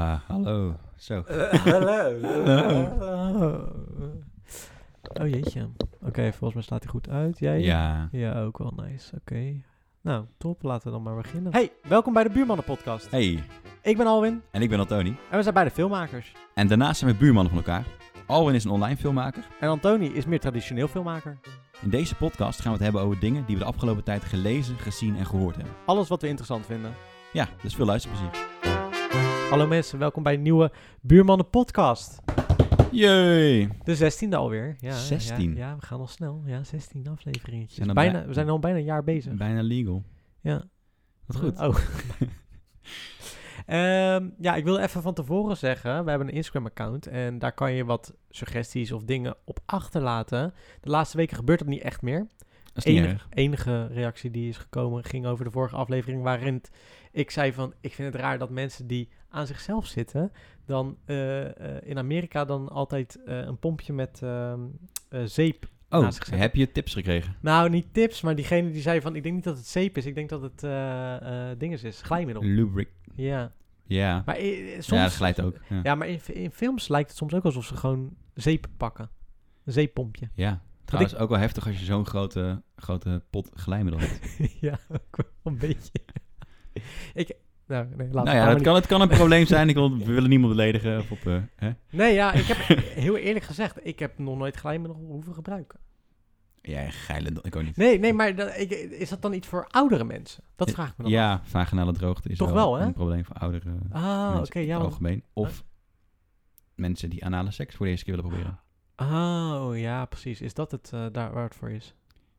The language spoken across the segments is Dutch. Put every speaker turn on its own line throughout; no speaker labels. Ah, hallo. Zo.
hallo.
Oh jeetje. Oké, volgens mij staat hij goed uit. Jij?
Ja.
Ja, ook wel nice. Oké. Nou, top. Laten we dan maar beginnen. Hey, welkom bij de Buurmannen Podcast.
Hey,
Ik ben Alwin
en ik ben Antoni.
en we zijn beide filmmakers.
En daarnaast zijn we buurmannen van elkaar. Alwin is een online filmmaker.
En Antoni is meer traditioneel filmmaker.
In deze podcast gaan we het hebben over dingen die we de afgelopen tijd gelezen, gezien en gehoord hebben.
Alles wat we interessant vinden.
Ja, dus veel luisterplezier.
Hallo mensen, welkom bij een nieuwe Buurmannen Podcast.
Jee.
De zestiende alweer. Ja,
16.
Ja, ja, we gaan al snel. Ja, 16 afleveringetjes.
Zijn er
Bijna,
bij-
we zijn al bijna een jaar bezig.
Bijna legal.
Ja.
Wat goed.
Oh. Ehm, ja, ik wilde even van tevoren zeggen, we hebben een Instagram-account en daar kan je wat suggesties of dingen op achterlaten. De laatste weken gebeurt dat niet echt meer.
Dat is niet
Enig-
erg.
enige reactie die is gekomen ging over de vorige aflevering, waarin het- ik zei van, ik vind het raar dat mensen die aan zichzelf zitten, dan eh, eh, in Amerika dan altijd eh, een pompje met ehm, eh, zeep
Oh,
naast gezet.
heb je tips gekregen?
nou, niet tips, maar diegene die zei van... ik denk niet dat het zeep is, ik denk dat het eh eh dinges is, glijmiddel.
Lubric.
Ja,
Ja.
maar i- i- soms...
Mm. Ja, dat glijdt ook. Ja.
Ja, maar in, in films lijkt het soms ook alsof ze gewoon zeep pakken. Een zeeppompje.
Ja. Trouwens, ook wel heftig als je zo'n grote, grote pot glijmiddel hebt.
ja, ook wel een beetje. ik... Nou, nee, laat
Nou ja,
het
het kan, het kan een probleem zijn. Ik wil, we willen niemand beledigen. Of op, eh, hè?
Nee, ja, ik heb heel eerlijk gezegd... ik heb nog nooit glijmiddel hoeven gebruiken.
Ja, geile, ik ook niet.
Nee, nee, maar dat, ik, is dat dan iets voor oudere mensen? Dat
Eh,
vraag ik me dan af.
Ja, vaginale droogte is
Toch
wel,
wel, hè?
een probleem voor ouderen.
Ah, oké,
mensen in
ja,
het
want
algemeen. Of mensen die anale seks voor de eerste keer willen
Ah.
proberen.
Oh, ja, precies. Is dat het eh, daar waar het voor is?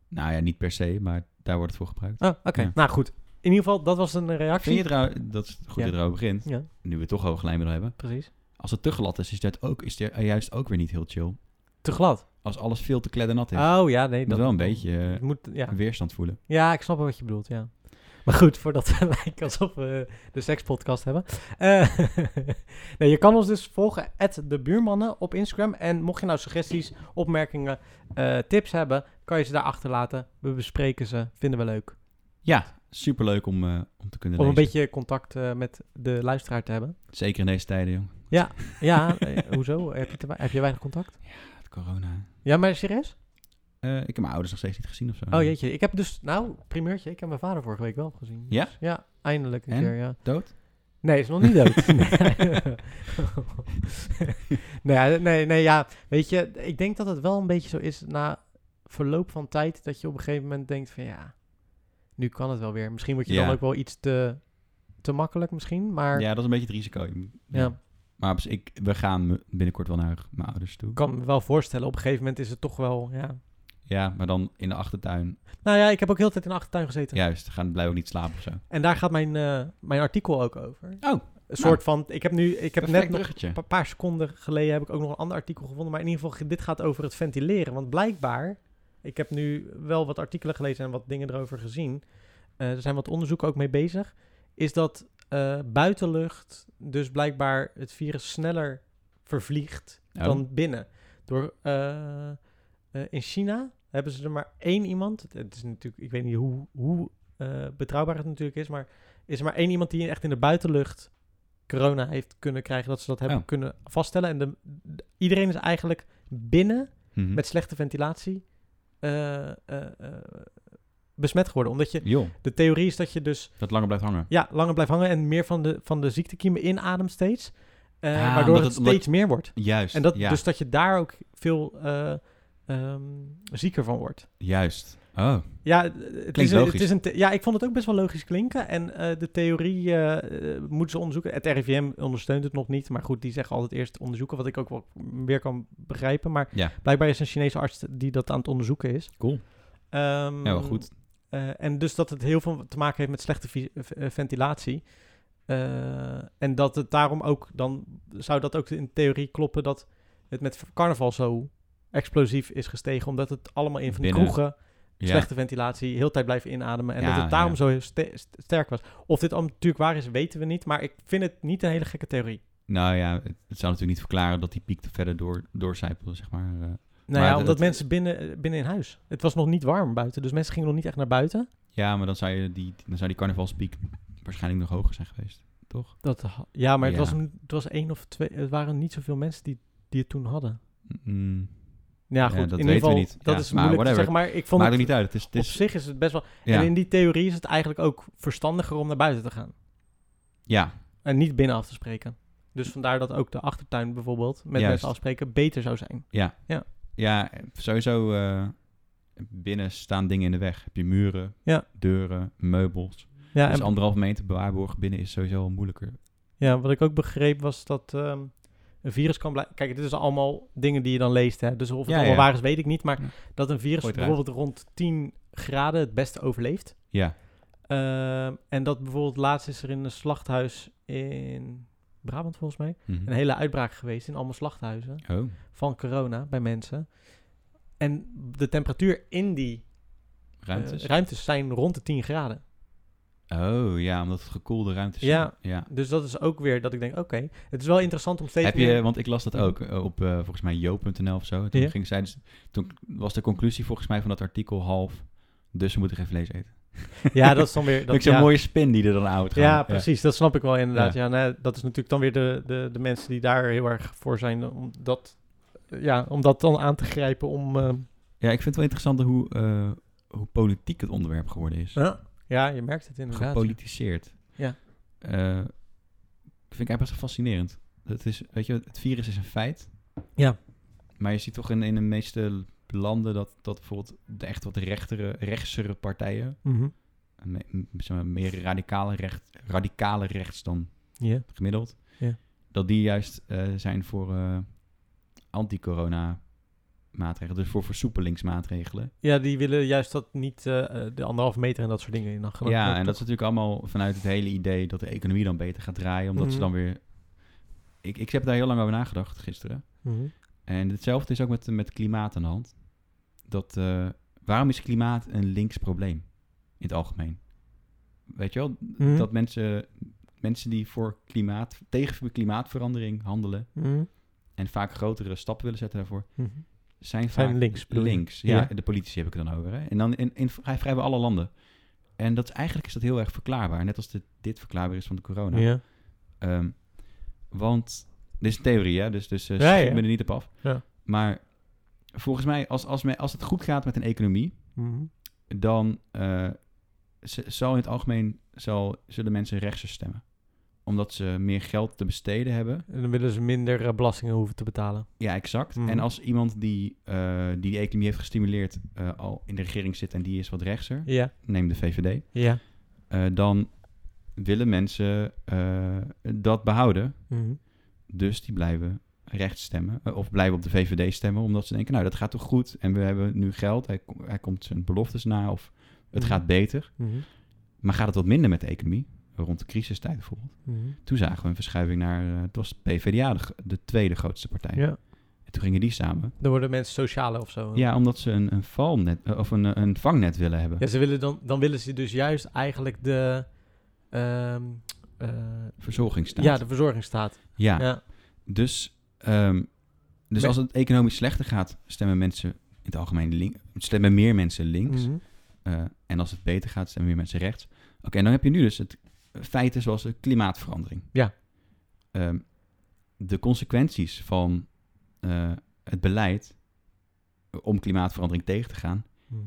Nou ja, niet per se, maar daar wordt het voor gebruikt.
Oh, oké.
Ja.
Nou, goed. In ieder geval, dat was een eh, reactie.
Vind je trouw, dat is goed dat je
Ja.
erover begint,
Ja,
nu we het toch over glijmiddel hebben.
precies.
Als het te glad is, is dat ook, is het juist ook weer niet heel chill.
Te glad.
Als alles veel te kleddernat is, moet
Oh, ja, nee.
je wel een beetje eh,
het moet, ja.
weerstand voelen.
ja, ik snap wel wat je bedoelt, ja. Maar goed, voordat we lijken alsof we de sekspodcast hebben. Eh, nee, je kan ons dus volgen, de buurmannen op Instagram. En mocht je nou suggesties, opmerkingen, eh, tips hebben, kan je ze daar achterlaten. We bespreken ze, vinden we leuk.
Ja, superleuk om, eh, om te kunnen
Om een
lezen.
beetje contact eh, met de luisteraar te hebben.
Zeker in deze tijden, jong.
Ja, eh, hoezo? Heb je, te wei- heb je weinig contact?
Het corona.
Ja, maar serieus?
Eh, ik heb mijn ouders nog steeds niet gezien of zo.
Oh jeetje, ik heb dus, nou, primeurtje, ik heb mijn vader vorige week wel gezien.
Ja?
Dus ja, eindelijk een
En?
keer, ja.
Dood?
Nee, is nog niet dood. nee, nee, nee, nee, ja, weet je, ik denk dat het wel een beetje zo is na verloop van tijd, dat je op een gegeven moment denkt van ja, nu kan het wel weer. Misschien word je
Ja.
dan ook wel iets te, te makkelijk misschien, maar ja,
Ja, dat is een beetje het risico. Je- Maar dus ik, we gaan me- binnenkort wel naar mijn ouders toe.
ik kan me wel voorstellen, op een gegeven moment is het toch wel, ja.
Ja, maar dan in de achtertuin.
Nou ja, ik heb ook heel de tijd in de achtertuin gezeten.
Juist, gaan blijven ook niet slapen of zo.
En daar gaat mijn, eh, mijn artikel ook over.
Oh,
Een soort van, ik heb nu, ik heb net nog
bruggetje.
een paar seconden geleden heb ik ook nog een ander artikel gevonden. Maar in ieder geval, dit gaat over het ventileren. Want blijkbaar, ik heb nu wel wat artikelen gelezen en wat dingen erover gezien. Eh, er zijn wat onderzoeken ook mee bezig. Is dat eh, buitenlucht dus blijkbaar het virus sneller vervliegt
Oh.
dan binnen. Door, eh, eh, in China hebben ze er maar één iemand. Het- Het is natuurlijk, ik weet niet hoe, hoe eh, betrouwbaar het natuurlijk is, maar is er maar één iemand die echt in de buitenlucht corona heeft kunnen krijgen, dat ze dat hebben
Oh.
kunnen vaststellen. En de, de- iedereen is eigenlijk binnen
Mhm.
met slechte ventilatie eh, eh, eh, besmet geworden. Omdat je,
Joh,
de theorie is dat je dus
dat langer blijft hangen.
ja, langer blijft hangen en meer van de, van de ziektekiemen inademt steeds. Eh,
Ah,
waardoor
omdat
het,
het- omdat-
steeds meer wordt.
Juist,
En dat,
ja,
dus dat je daar ook veel eh, ehm, zieker van wordt.
juist. Oh,
Ja, het is,
Klinkt
een- Het
logisch.
is een the- ja, ik vond het ook best wel logisch klinken. En eh, de theorie eh, eh, moeten ze onderzoeken. Het RIVM ondersteunt het nog niet. Maar goed, die zeggen altijd eerst onderzoeken. Wat ik ook wel weer kan begrijpen. Maar
Ja.
blijkbaar is een Chinese arts die dat aan het onderzoeken is.
cool.
Ehm,
Ja, wel goed.
eh, en dus dat het heel veel te maken heeft met slechte vi- eh, v- eh, ventilatie. Eh, en dat het daarom ook, dan zou dat ook in theorie kloppen dat het met carnaval zo explosief is gestegen. Omdat het allemaal in van die
Binnen.
kroegen,
Ja.
slechte ventilatie, heel de tijd blijven inademen. En
Ja,
dat het daarom
ja.
zo ste- st- sterk was. Of dit allemaal natuurlijk waar is, weten we niet. Maar ik vind het niet een hele gekke theorie.
Nou ja, het, het zou natuurlijk niet verklaren dat die piek te verder door, doorcijpelde, zeg maar. eh.
Nou
Maar
ja,
dat-
omdat
dat-
mensen binnen, eh, binnen in huis. Het was nog niet warm buiten, dus mensen gingen nog niet echt naar buiten.
ja, maar dan zou, je die, dan zou die carnavalspiek waarschijnlijk nog hoger zijn geweest. toch?
Dat, ha- ja, maar het,
Ja.
Was, een- het was één of twee. Het waren niet zoveel mensen die, die het toen hadden.
Mm,
Ja,
dat
goed. in
weten we
ieder geval,
niet.
dat
Ja,
is
maar
moeilijk te
whatever.
zeggen. Maar ik vond
maakt ook
het,
niet uit. Het is, het
op
is,
zich is het best wel...
ja,
En in die theorie is het eigenlijk ook verstandiger om naar buiten te gaan.
ja,
En niet binnen af te spreken. Dus vandaar dat ook de achtertuin bijvoorbeeld met
Juist.
mensen afspreken beter zou zijn.
ja, sowieso eh, binnen staan dingen in de weg. Heb je muren,
Ja.
deuren, meubels.
Ja,
dus
en,
anderhalf meter bewaarborgen binnen is sowieso al moeilijker.
ja, wat ik ook begreep was dat ehm, een virus kan blijven... Kijk, dit is allemaal dingen die je dan leest. Hè? Dus of het
Ja,
allemaal
ja.
waar is, weet ik niet. Maar
Ja.
dat een virus
Gooi het eruit.
bijvoorbeeld rond 10 graden het beste overleeft.
Ja,
Ehm, en dat bijvoorbeeld laatst is er in een slachthuis in Brabant volgens mij...
mhm.
een hele uitbraak geweest in allemaal slachthuizen.
Oh,
van corona bij mensen. En de temperatuur in die eh,
ruimtes.
ruimtes zijn rond de 10 graden.
oh, ja, omdat het gekoelde ruimtes zijn.
Ja.
ja.
Dus dat is ook weer dat ik denk, oké, het is wel interessant om steeds
Heb je,
meer-
want ik las dat ook eh, op eh, volgens mij jo.nl of zo. Toen,
Ja.
ging zij dus, toen was de conclusie volgens mij van dat artikel half. Dus we moeten geen vlees eten.
Ja, dat is dan weer...
Dat
Dat,
ik zo'n
ja.
mooie spin die er dan uit gaat.
Ja, precies. Dat snap ik wel inderdaad.
Ja.
Ja. nou, dat is natuurlijk dan weer de, de, de mensen die daar heel erg voor zijn om dat, ja, om dat dan aan te grijpen om... eh,
Ja, ik vind het wel interessant hoe, eh, hoe politiek het onderwerp geworden is.
ja. ja, je merkt het inderdaad.
Gepolitiseerd.
Ja.
Eh, ik vind ik eigenlijk best wel fascinerend. Het, is, weet je, het virus is een feit.
Ja.
Maar je ziet toch in, in de meeste landen dat, dat bijvoorbeeld de echt wat rechtere, rechtsere partijen...
Mhm.
me- m- zeg maar, meer radicale, recht, radicale rechts dan
Ja.
gemiddeld.
Ja.
Dat die juist eh, zijn voor eh, anti-corona maatregelen. Dus voor versoepelingsmaatregelen.
ja, die willen juist dat niet eh, eh, de anderhalve meter en dat soort dingen in acht genomen
ja,
worden,
en dat
toch?
is natuurlijk allemaal vanuit het hele idee dat de economie dan beter gaat draaien. Omdat ze
Mhm.
dan weer... Ik, ik heb daar heel lang over nagedacht gisteren.
Mhm.
En hetzelfde is ook met, met klimaat aan de hand. Dat, eh, waarom is klimaat een links probleem in het algemeen? Weet je wel,
Mhm.
dat mensen, mensen die voor klimaat, tegen klimaatverandering handelen
Mhm.
en vaak grotere stappen willen zetten daarvoor,
Mhm.
zijn vaak
Zijn links, bedoel je?
links. Ja,
Ja.
de politici heb ik het dan over. Hè? En dan in, in vrij- vrijwel alle landen. En dat is, eigenlijk is dat heel erg verklaarbaar. Net als dit, dit verklaarbaar is van de corona.
Ja.
Ehm, want, dit is een theorie, hè? dus, dus eh
Ja,
schiet
ja.
me er niet op af.
Ja.
Maar volgens mij, als, als, men- als het goed gaat met een economie,
Mhm.
dan eh, z- zal in het algemeen zal, zullen mensen rechtse stemmen. Omdat ze meer geld te besteden hebben.
En dan willen ze minder eh, belastingen hoeven te betalen.
Ja, exact.
Mhm.
En als iemand die, eh, die de economie heeft gestimuleerd eh, al in de regering zit en die is wat rechtser,
Ja,
neem de VVD,
ja.
eh, dan willen mensen eh, dat behouden.
Mhm.
Dus die blijven rechts stemmen. eh, Of blijven op de VVD stemmen. Omdat ze denken, nou dat gaat toch goed. En we hebben nu geld. Hij, kom- hij komt zijn beloftes na. Of het
Mhm.
gaat beter. Maar gaat het wat minder met de economie? Rond de crisistijd bijvoorbeeld.
Mhm.
Toen zagen we een verschuiving naar... eh, het was PvdA, de, g- de tweede grootste partij.
Ja.
En toen gingen die samen.
Dan worden mensen socialer of zo.
Ja, omdat ze een, een valnet... eh, of een, eh, een vangnet willen hebben.
Ja, ze willen dan, dan willen ze dus juist eigenlijk de, ehm, eh,
Verzorgingsstaat. Ah,
ja, de verzorgingsstaat.
Ja.
Ja.
Dus, ehm, dus
Maar-
als het economisch slechter gaat... stemmen mensen in het algemeen links. Stemmen meer mensen links.
Mhm.
Eh, en als het beter gaat, zijn weer mensen rechts. Oké, en dan heb je nu dus het feiten zoals de klimaatverandering.
Ja.
Ehm, de consequenties van eh, het beleid om klimaatverandering tegen te gaan,
Mhm.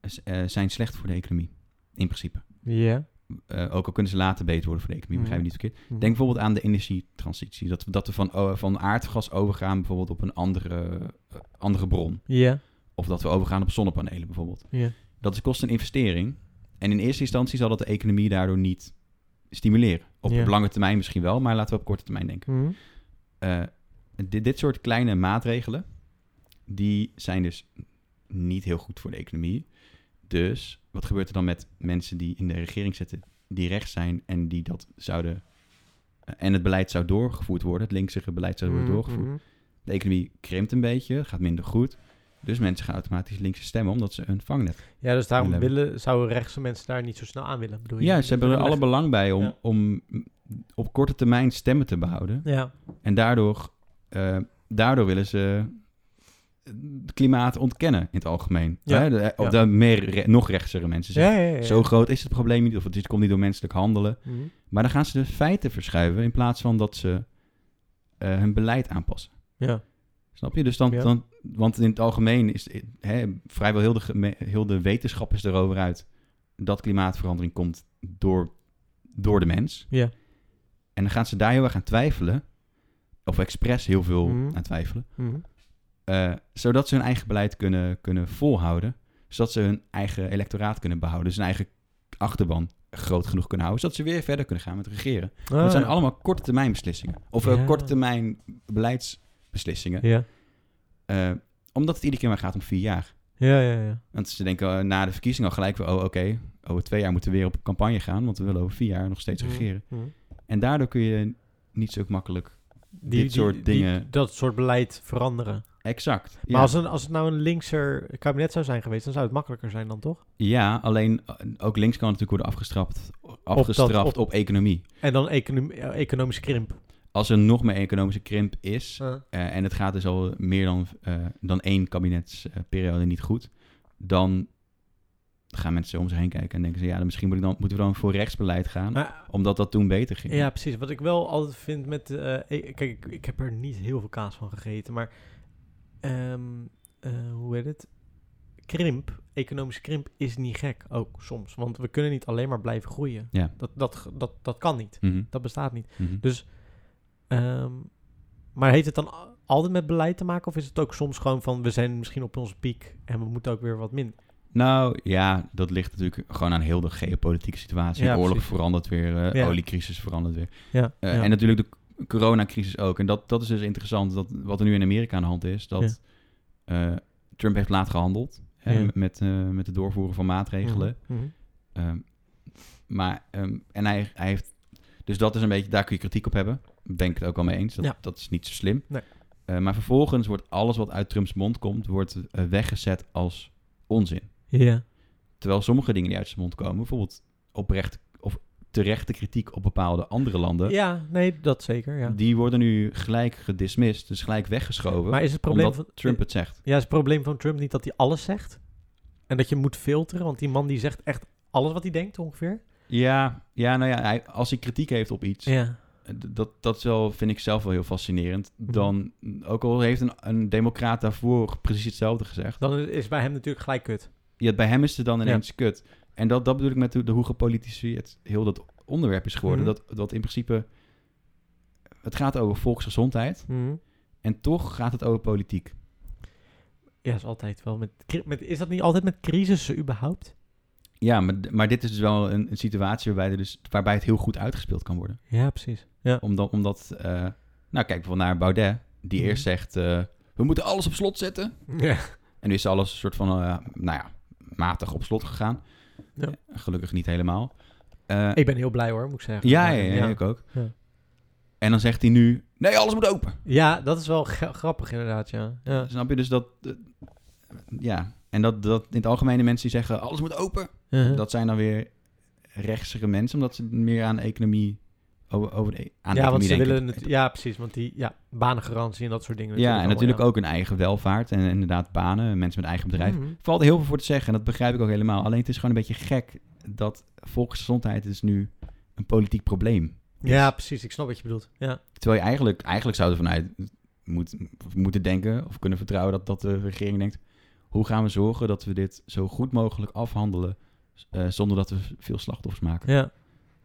is, eh, zijn slecht voor de economie. In principe.
Ja.
Eh, ook al kunnen ze later beter worden voor de economie, begrijp je niet verkeerd.
Mhm.
Denk bijvoorbeeld aan de energietransitie. Dat, we- dat we van, o- van aardgas overgaan bijvoorbeeld op een andere, eh, andere bron.
Ja.
Of dat we overgaan op zonnepanelen bijvoorbeeld.
Ja.
Dat is- kost een investering. En in eerste instantie zal dat de economie daardoor niet stimuleren. Op
Ja.
lange termijn misschien wel, maar laten we op korte termijn denken.
Mhm.
Eh, dit, dit soort kleine maatregelen, die zijn dus niet heel goed voor de economie. Dus wat gebeurt er dan met mensen die in de regering zitten, die rechts zijn en die dat zouden... eh, En het beleid zou doorgevoerd worden, het linkse beleid zou worden doorgevoerd.
Mhm.
De economie krimpt een beetje, gaat minder goed. Dus mensen gaan automatisch linkse stemmen omdat ze een vangnet
Ja, dus daarom
Willen hebben.
willen, zouden rechtse mensen daar niet zo snel aan willen, bedoel je?
Ja, ze hebben er alle belang bij om,
Ja.
om op korte termijn stemmen te behouden.
Ja.
En daardoor, eh, daardoor willen ze het klimaat ontkennen in het algemeen.
Ja.
Hè? De- of
Ja.
de meer re- nog rechtsere mensen zeggen,
Ja, ja, ja, ja.
Dus zo groot is het probleem niet, of dit komt niet door menselijk handelen.
Mhm.
Maar dan gaan ze de feiten verschuiven in plaats van dat ze eh, hun beleid aanpassen.
Ja.
Snap je? Dus dan,
Ja.
dan want in het algemeen is hè, vrijwel heel de, geme- heel de wetenschap is erover uit dat klimaatverandering komt door, door de mens.
Ja.
En dan gaan ze daar heel erg aan twijfelen, of expres heel veel
Mhm.
aan twijfelen,
Mhm.
eh, zodat ze hun eigen beleid kunnen, kunnen volhouden, zodat ze hun eigen electoraat kunnen behouden, dus hun eigen achterban groot genoeg kunnen houden, zodat ze weer verder kunnen gaan met regeren.
Ah,
Dat zijn
ja.
allemaal korte termijn beslissingen. Of eh,
Ja.
korte termijn beleidsbeslissingen.
Ja.
Eh, omdat het iedere keer maar gaat om vier jaar.
Ja, ja, ja.
Want ze denken eh, na de verkiezing al gelijk weer... oh oké, over twee jaar moeten we weer op campagne gaan... want we willen over vier jaar nog steeds
Mhm.
regeren.
Mhm.
En daardoor kun je niet zo makkelijk...
Die-
Dit soort
die-
dingen.
die- dat soort beleid veranderen.
Exact. Ja,
Maar als, een, als het nou een linkser kabinet zou zijn geweest, dan zou het makkelijker zijn dan toch?
ja alleen eh, ook links kan natuurlijk worden afgestraft, afgestraft op,
op-
economie.
En dan econom- eh, economische krimp. Ah.
Als er nog meer economische krimp is... eh, en het gaat dus al meer dan, eh, dan één kabinetsperiode niet goed, dan gaan mensen om zich heen kijken en denken ze, ja, dan misschien moet ik dan, moeten we dan voor rechtsbeleid gaan,
Maar-
omdat dat toen beter ging.
ja, precies. Wat ik wel altijd vind met... eh, eh, kijk, ik, ik heb er niet heel veel kaas van gegeten, maar... ehm, eh, hoe heet het? Krimp, economische krimp, is niet gek ook soms. Want we kunnen niet alleen maar blijven groeien.
Ja.
Dat, dat, dat, dat kan niet.
Mhm,
Dat bestaat niet.
mhm.
Dus, ehm, maar heeft het dan a- altijd met beleid te maken? Of is het ook soms gewoon van we zijn misschien op onze piek en we moeten ook weer wat minder?
nou ja, dat ligt natuurlijk gewoon aan heel de geopolitieke situatie.
Ja,
Oorlog
precies.
verandert weer, eh,
Ja.
oliecrisis verandert weer.
Ja,
Eh,
ja.
En natuurlijk de c- coronacrisis ook. En dat, dat is dus interessant, dat, wat er nu in Amerika aan de hand is, dat eh, Trump heeft laat gehandeld hè,
Ja.
met, eh, met het doorvoeren van maatregelen.
Mhm, mhm.
Ehm, maar, ehm, en hij, hij heeft... Dus dat is een beetje... Daar kun je kritiek op hebben. Ben ik het ook wel mee eens. Dat,
Ja.
dat is niet zo slim.
Nee.
Eh, maar vervolgens wordt alles wat uit Trumps mond komt... wordt eh, weggezet als onzin.
Ja,
Terwijl sommige dingen die uit zijn mond komen... bijvoorbeeld oprecht of terechte kritiek op bepaalde andere landen...
ja, nee, dat zeker. Ja.
die worden nu gelijk gedismissed. Dus gelijk weggeschoven.
Maar is het probleem
omdat
van
Trump het zegt.
Ja, is het probleem van Trump niet dat hij alles zegt? En dat je moet filteren, want die man die zegt echt alles wat hij denkt ongeveer.
Ja, ja nou ja. Hij, als hij kritiek heeft op iets...
Ja.
D- dat, dat is wel, vind ik zelf wel heel fascinerend.
Mhm.
Dan, ook al heeft een, een democraat daarvoor precies hetzelfde gezegd.
Dan is bij hem natuurlijk gelijk kut.
Ja, bij hem is het dan
Ja.
ineens kut. En dat, dat bedoel ik met de, de hoe gepolitiseerd heel dat onderwerp is geworden.
Mhm.
Dat, dat in principe, het gaat over volksgezondheid.
Mhm.
En toch gaat het over politiek.
Ja, is altijd wel met, cri- met. Is dat niet altijd met crisissen überhaupt?
Ja, maar, d- maar dit is dus wel een, een situatie waarbij, er dus, waarbij het heel goed uitgespeeld kan worden.
Ja, precies. Ja.
Omdat, omdat eh, nou kijk bijvoorbeeld naar Baudet. Die
Mhm.
eerst zegt, eh, we moeten alles op slot zetten.
Ja.
En nu is alles een soort van, eh, nou ja, matig op slot gegaan.
Ja.
Eh, Gelukkig niet helemaal. Eh,
Ik ben heel blij hoor, moet ik zeggen.
ja, ja, ja, ik ook.
Ja.
En dan zegt hij nu, nee, alles moet open.
Ja, dat is wel gra- grappig inderdaad, ja. ja.
Snap je? Dus dat, eh, ja. En dat, dat in het algemene mensen die zeggen, alles moet open.
Uh-huh.
Dat zijn dan weer rechtsere mensen, omdat ze meer aan de economie, over, over de, e- aan de
ja, want
economie
ze
denken.
willen het, ja, precies, want die ja, banengarantie en dat soort dingen.
ja, en natuurlijk
allemaal,
ook hun eigen welvaart en inderdaad banen, mensen met eigen
ja.
bedrijf.
Mhm.
Er valt heel veel voor te zeggen en dat begrijp ik ook helemaal. Alleen het is gewoon een beetje gek dat volksgezondheid is nu een politiek probleem.
Ja, precies, ik snap wat je bedoelt. Ja,
Terwijl je eigenlijk, eigenlijk zou je vanuit moet, moeten denken of kunnen vertrouwen dat, dat de regering denkt... hoe gaan we zorgen dat we dit zo goed mogelijk afhandelen... eh, zonder dat we veel slachtoffers maken.
ja.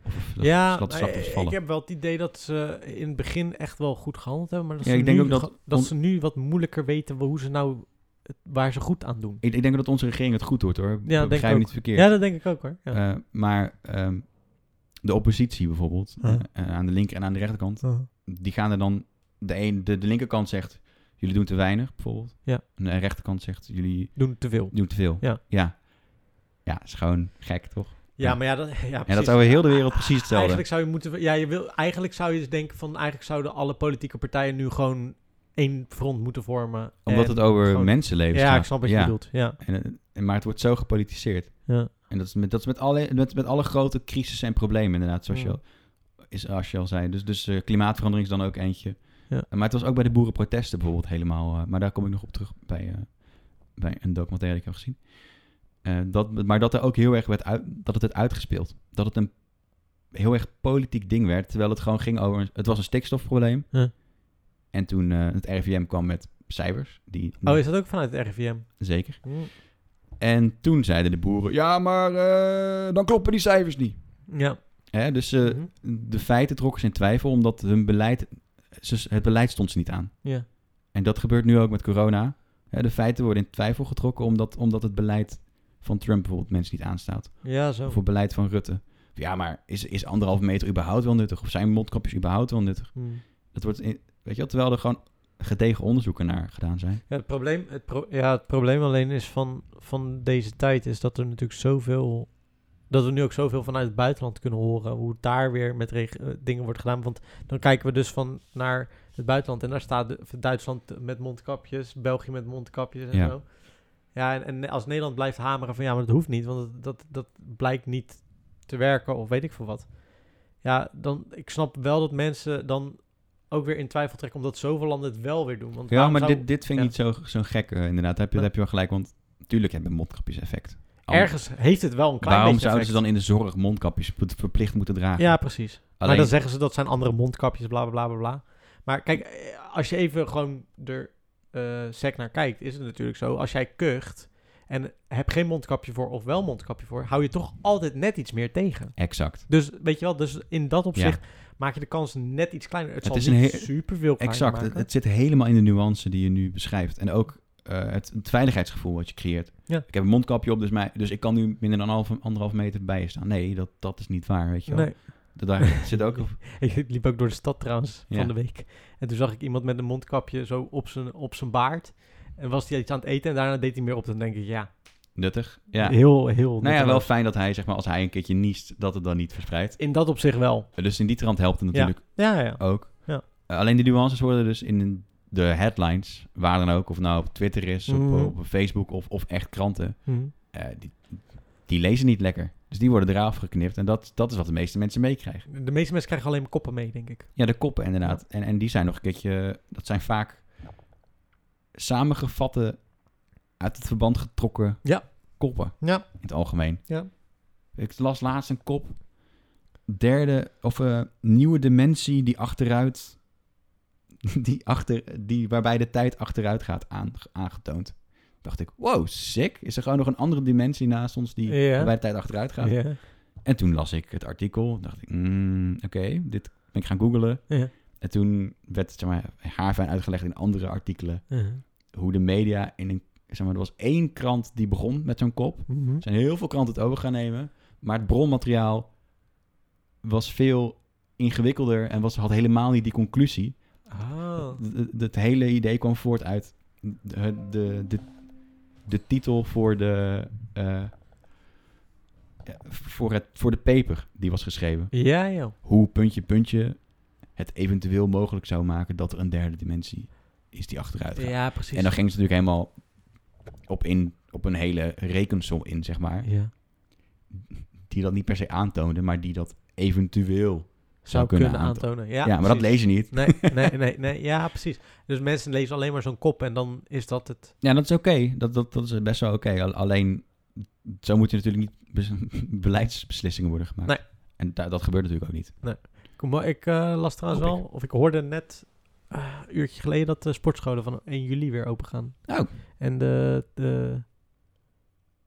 Of dat
ja
dat
nou,
slachtoffers
ik
vallen.
heb wel het idee dat ze in het begin echt wel goed gehandeld hebben, maar dat,
Ja,
ze,
ik denk
nu,
ook dat
ge- dat
on-
ze nu wat moeilijker weten hoe ze nou, het- waar ze goed aan doen.
ik, ik denk dat onze regering het goed doet hoor.
denk ik
Begrijp me
ook.
niet verkeerd.
Ja, dat denk ik ook hoor. Ja.
Eh, maar ehm, de oppositie bijvoorbeeld,
Ja.
eh, aan de linker en aan de rechterkant...
Uh-huh.
die gaan er dan... De, een, de, de linkerkant zegt, jullie doen te weinig, bijvoorbeeld.
Ja.
En de rechterkant zegt, jullie
Doen te veel.
doen te veel.
Ja.
Ja, ja is gewoon gek, toch?
Ja,
Ja.
maar ja, dat, ja,
En dat
precies.
is over heel de wereld precies hetzelfde.
Eigenlijk zou je moeten. Ja, je wil, eigenlijk zou je dus denken van eigenlijk zouden alle politieke partijen nu gewoon één front moeten vormen.
Omdat
En-
het over
gewoon-
mensenlevens
Ja,
gaat.
ik snap wat je bedoelt. Ja.
En, eh, en- maar het wordt zo gepolitiseerd.
Ja.
En dat is met, dat is met, alle, met, met alle grote crisissen en problemen inderdaad, zoals je,
Mm.
al, is, als je al zei. Dus, dus eh, klimaatverandering is dan ook eentje.
Ja.
Maar het was ook bij de boerenprotesten bijvoorbeeld helemaal... eh, maar daar kom ik nog op terug bij, eh, bij een documentaire die ik heb gezien. Eh, dat, maar dat er ook heel erg werd uit, dat het werd uitgespeeld. Dat het een heel erg politiek ding werd. Terwijl het gewoon ging over... Het was een stikstofprobleem.
Ja.
En toen eh, het RIVM kwam met cijfers. Die,
Oh, is dat ook vanuit het RIVM?
Zeker.
Hm.
En toen zeiden de boeren... Ja, maar eh, dan kloppen die cijfers niet.
Ja.
Hè, dus eh,
Mhm.
de feiten trokken ze in twijfel omdat hun beleid, ze- het beleid stond ze niet aan.
ja.
En dat gebeurt nu ook met corona. Hè, de feiten worden in twijfel getrokken omdat, omdat het beleid van Trump bijvoorbeeld mensen niet aanstaat.
Ja, zo.
Of het beleid van Rutte. Ja, maar is, is anderhalf meter überhaupt wel nuttig? Of zijn mondkapjes überhaupt wel nuttig?
Hm.
Dat wordt, in- weet je wel, terwijl er gewoon gedegen onderzoeken naar gedaan zijn.
Ja, het probleem, het pro- ja, het probleem alleen is van, van deze tijd is dat er natuurlijk zoveel. Dat we nu ook zoveel vanuit het buitenland kunnen horen. Hoe het daar weer met reg- eh, dingen wordt gedaan. Want dan kijken we dus van naar het buitenland. En daar staat de- Duitsland met mondkapjes, België met mondkapjes en
Ja.
zo. Ja, en, en als Nederland blijft hameren van ja, maar dat hoeft niet. Want dat, dat, dat blijkt niet te werken of weet ik veel wat. Ja, dan, ik snap wel dat mensen dan ook weer in twijfel trekken. Omdat zoveel landen het wel weer doen. Want
Ja,
waarom
maar
zou-
dit, dit vind ik
ja.
niet zo, zo gek eh, inderdaad. Daar heb, je, daar heb je wel gelijk, want tuurlijk hebben mondkapjes effect. Anders-
Ergens heeft het wel een klein
Waarom
beetje
zouden ze
effect.
dan in de zorg mondkapjes verplicht moeten dragen?
Ja, precies. Maar dan zeggen ze dat zijn andere mondkapjes, bla bla bla bla, bla. Maar kijk, eh, als je even gewoon er eh sec naar kijkt, is het natuurlijk zo. Als jij kucht en heb geen mondkapje voor of wel mondkapje voor, hou je toch altijd net iets meer tegen.
Exact.
Dus weet je wel, dus in dat opzicht maak je de kans net iets kleiner. Het,
Het
zal
is een
niet
heel-
super veel kleiner
Exact. Het,
maken.
het zit helemaal in de nuance die je nu beschrijft. En ook eh, het, het veiligheidsgevoel wat je creëert.
Ja.
Ik heb een mondkapje op, dus, mij, dus ik kan nu minder dan half, anderhalf meter bij je staan. Nee, dat, dat is niet waar, weet je wel.
nee.
Dat, daar zit ook...
Ik liep ook door de stad trouwens
Ja.
van de week. En toen zag ik iemand met een mondkapje zo op zijn, op zijn baard. En was hij iets aan het eten en daarna deed hij meer op. Dan denk ik, ja,
Nuttig. Ja.
Heel, heel.
nou ja, wel
nutteloos.
fijn dat hij, zeg maar, als hij een keertje niest, dat het dan niet verspreidt.
In dat opzicht wel.
Dus in die trant helpt het natuurlijk
Ja, ja.
ook.
Ja.
Eh, alleen de nuances worden dus in de headlines, waar dan ook, of het nou op Twitter is, op-
Mhm.
op, Facebook of, of echt kranten,
Hm.
eh, die, die lezen niet lekker. Dus die worden eraf geknipt. En dat, dat is wat de meeste mensen meekrijgen.
De meeste mensen krijgen alleen maar koppen mee, denk ik.
Ja, de koppen inderdaad. En, en die zijn nog een keertje... Dat zijn vaak samengevatte, uit het verband getrokken
Ja.
koppen
Ja.
in het algemeen.
Ja.
Ik las laatst een kop. Derde, of eh, nieuwe dimensie die achteruit... Die achter, die, waarbij de tijd achteruit gaat aan, aangetoond. Dacht ik, wow, sick. Is er gewoon nog een andere dimensie naast ons die
Ja.
waarbij de tijd achteruit gaat?
Ja.
En toen las ik het artikel. Dacht ik, mm, oké, dit ben ik gaan googlen.
Ja.
En toen werd zeg maar, haarfijn uitgelegd in andere artikelen. Hoe de media in een. Zeg maar, er was één krant die begon met zo'n kop. Er
Mhm.
zijn heel veel kranten het over gaan nemen. Maar het bronmateriaal was veel ingewikkelder. En was, had helemaal niet die conclusie.
Oh.
D- d- Het hele idee kwam voort uit de, de, de, de titel voor de. eh, ja, voor, het, voor de paper die was geschreven
Ja, joh.
hoe puntje puntje het eventueel mogelijk zou maken dat er een derde dimensie is die achteruit gaat.
Ja, precies.
en dan ging ze natuurlijk helemaal op, in, op een hele rekensom in, zeg maar.
ja.
Die dat niet per se aantoonde, maar die dat eventueel.
Zou kunnen, aantonen.
Ja,
Ja,
maar dat
precies.
lees je niet.
Nee, nee, nee, nee. Ja, precies. Dus mensen lezen alleen maar zo'n kop en dan is dat het.
Ja, dat is oké. Dat, dat, dat is best wel oké. Al- Alleen, zo moeten natuurlijk niet bes- beleidsbeslissingen worden gemaakt.
Nee.
En da- dat gebeurt natuurlijk ook niet.
Kom maar, Ik eh, las trouwens
Hoop
wel, of ik hoorde net eh, een uurtje geleden dat de sportscholen van 1 juli weer open gaan.
Oh.
En de, de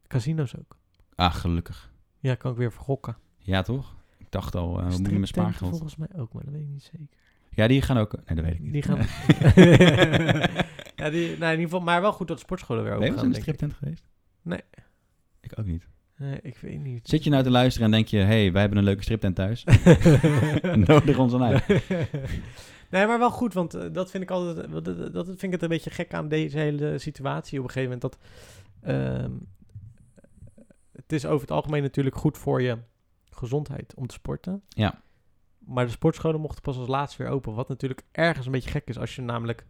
casino's ook.
Ah, gelukkig.
Ja, kan ik weer vergokken.
Ja, toch? Ik dacht al, eh, we moeten
Striptank
mijn spaargeld.
Volgens mij ook, maar dat weet ik niet zeker.
Ja, die gaan ook... Nee, dat weet ik niet.
Die gaan. ja, die, nou, in ieder geval, maar wel goed dat de sportscholen weer
Ben je
open
wel eens in
gaan.
de
Denk
striptent
ik.
geweest?
Nee.
Ik ook niet.
Nee, ik weet niet.
Zit je nou te luisteren en denk je... hey, wij hebben een leuke striptent thuis. Nodig ons dan uit.
nee, maar wel goed, want eh, dat vind ik altijd. Dat, dat- dat vind ik het een beetje gek aan deze hele situatie. Op een gegeven moment dat. ehm, het is over het algemeen natuurlijk goed voor je gezondheid om te sporten.
Ja.
Maar de sportscholen mochten pas als laatst weer open. Wat natuurlijk ergens een beetje gek is als je namelijk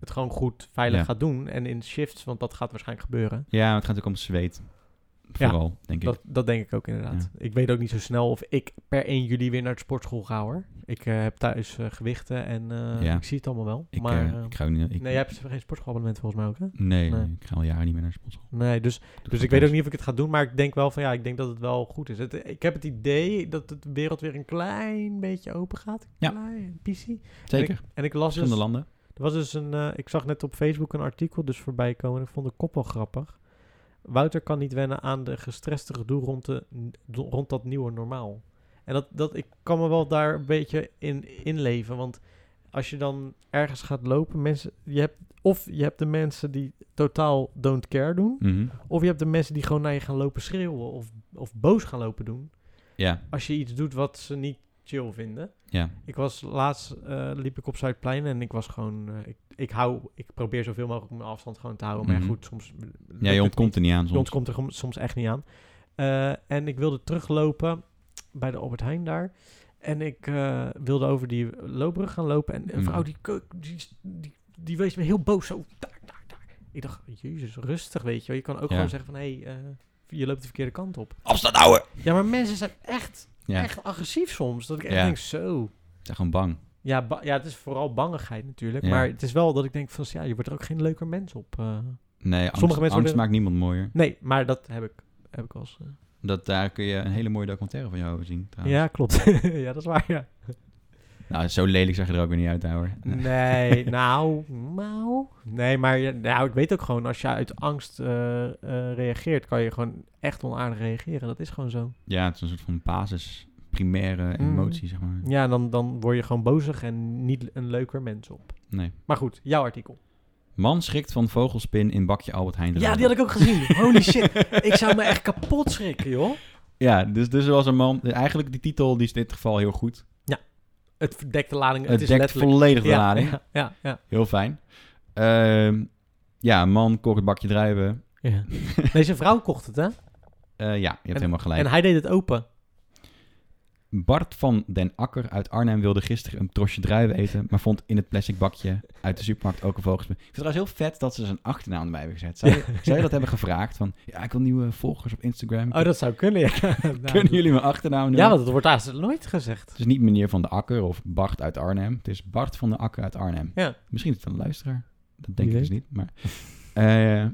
het gewoon goed veilig
Ja.
gaat doen. En in shifts, want dat gaat waarschijnlijk gebeuren.
Ja, het gaat ook om zweet.
Ja,
Vooral, denk ik.
Dat, dat denk ik ook inderdaad. Ik weet ook niet zo snel of ik per 1 juli weer naar de sportschool ga hoor. Ik eh, heb thuis eh, gewichten en eh,
Ja.
ik zie het allemaal wel.
ik,
maar,
eh,
eh,
ik ga ook niet... Ik,
nee, jij hebt geen sportschoolabonnement volgens mij ook hè?
nee,
nee.
nee, ik ga al jaren niet meer naar de sportschool.
Nee, dus,
Doe
dus
gewoon
ik weet ook
thuis.
niet of ik het ga doen, maar ik denk wel van ja, ik denk dat het wel goed is. Het, ik heb het idee dat de wereld weer een klein beetje open gaat. Een
Ja.
klein piecie.
Zeker,
En ik las dus
verschillende landen.
Er was dus een. eh, ik zag net op Facebook een artikel dus voorbij komen. En ik vond de kop wel grappig. Wouter kan niet wennen aan de gestreste gedoe rond, de, rond dat nieuwe normaal. En dat, dat, ik kan me wel daar een beetje in inleven. Want als je dan ergens gaat lopen, mensen, je hebt, of je hebt de mensen die totaal don't care doen.
Mhm.
Of je hebt de mensen die gewoon naar je gaan lopen schreeuwen of, of boos gaan lopen doen.
Ja,
Als je iets doet wat ze niet chill vinden.
ja.
Ik was laatst, eh, liep ik op Zuidplein en ik was gewoon, eh, ik, ik hou, ik probeer zoveel mogelijk mijn afstand gewoon te houden.
Mhm.
Maar goed, soms... lukt
Ja,
het
je ontkomt er niet aan
niet.
soms.
Je ontkomt er gewoon soms echt niet aan. Eh, en ik wilde teruglopen bij de Albert Heijn daar. En ik eh, wilde over die loopbrug gaan lopen. En een
Mhm.
vrouw die, keuk- die, die, die wees me heel boos zo. Daar, daar, daar. Ik dacht, jezus, rustig weet je wel. Je kan ook
Ja.
gewoon zeggen van, hé, hey, eh, je loopt de verkeerde kant op.
Afstand houden!
Ja, maar mensen zijn echt,
Ja, ik
echt agressief soms. Dat ik echt
Ja.
denk, zo...
ben gewoon bang.
Ja, ba- ja, het is vooral bangigheid natuurlijk.
Ja.
Maar het is wel dat ik denk van, ja, je wordt er ook geen leuker mens op. eh.
Nee, angst,
Sommige mensen
angst
worden-
maakt niemand mooier.
Nee, maar dat heb ik, heb ik wel eens. eh.
Dat, daar kun je een hele mooie documentaire van jou zien trouwens.
ja, klopt. ja, dat is waar, ja.
Nou, zo lelijk zag je er ook weer niet uit, ouwe.
Nee, nou, nou. Nee, maar je- nou, ik weet ook gewoon, als je uit angst eh, eh, reageert, kan je gewoon echt onaardig reageren. Dat is gewoon zo.
Ja, het is een soort van basis, primaire
Mm.
emotie, zeg maar.
Ja, en dan, dan word je gewoon bozig en niet een leuker mens op.
Nee.
Maar goed, jouw artikel.
Man schrikt van vogelspin in bakje Albert Heijn.
Ja, die had ik ook gezien. Holy shit. Ik zou me echt kapot schrikken, joh.
Ja, dus, dus er was een man... Eigenlijk die titel die is in dit geval heel goed.
Het verdekt de lading. Het,
Het,
is
dekt
letterlijk...
volledig de lading.
Ja, ja, ja.
Heel fijn. Ehm, ja, een man kocht een bakje druiven.
ja. Nee, zijn vrouw kocht het, hè?
Eh, ja, je hebt helemaal gelijk.
En hij deed het open. Oh,
Bart van den Akker uit Arnhem wilde gisteren een trosje druiven eten, maar vond in het plastic bakje uit de supermarkt ook een vogelspin. Ik vind het trouwens heel vet dat ze zijn achternaam erbij hebben gezet. Zou je, zou je dat hebben gevraagd? Van, ja, ik wil nieuwe volgers op Instagram.
Oh, dat zou kunnen, ja. Nou,
Kunnen jullie mijn achternaam noemen?
Ja, want het wordt haast nooit gezegd.
Het is niet meneer van de Akker of Bart uit Arnhem. Het is Bart van de Akker uit Arnhem.
Ja.
Misschien is het een luisteraar. Dat denk
Wie
ik dus niet. Maar, eh,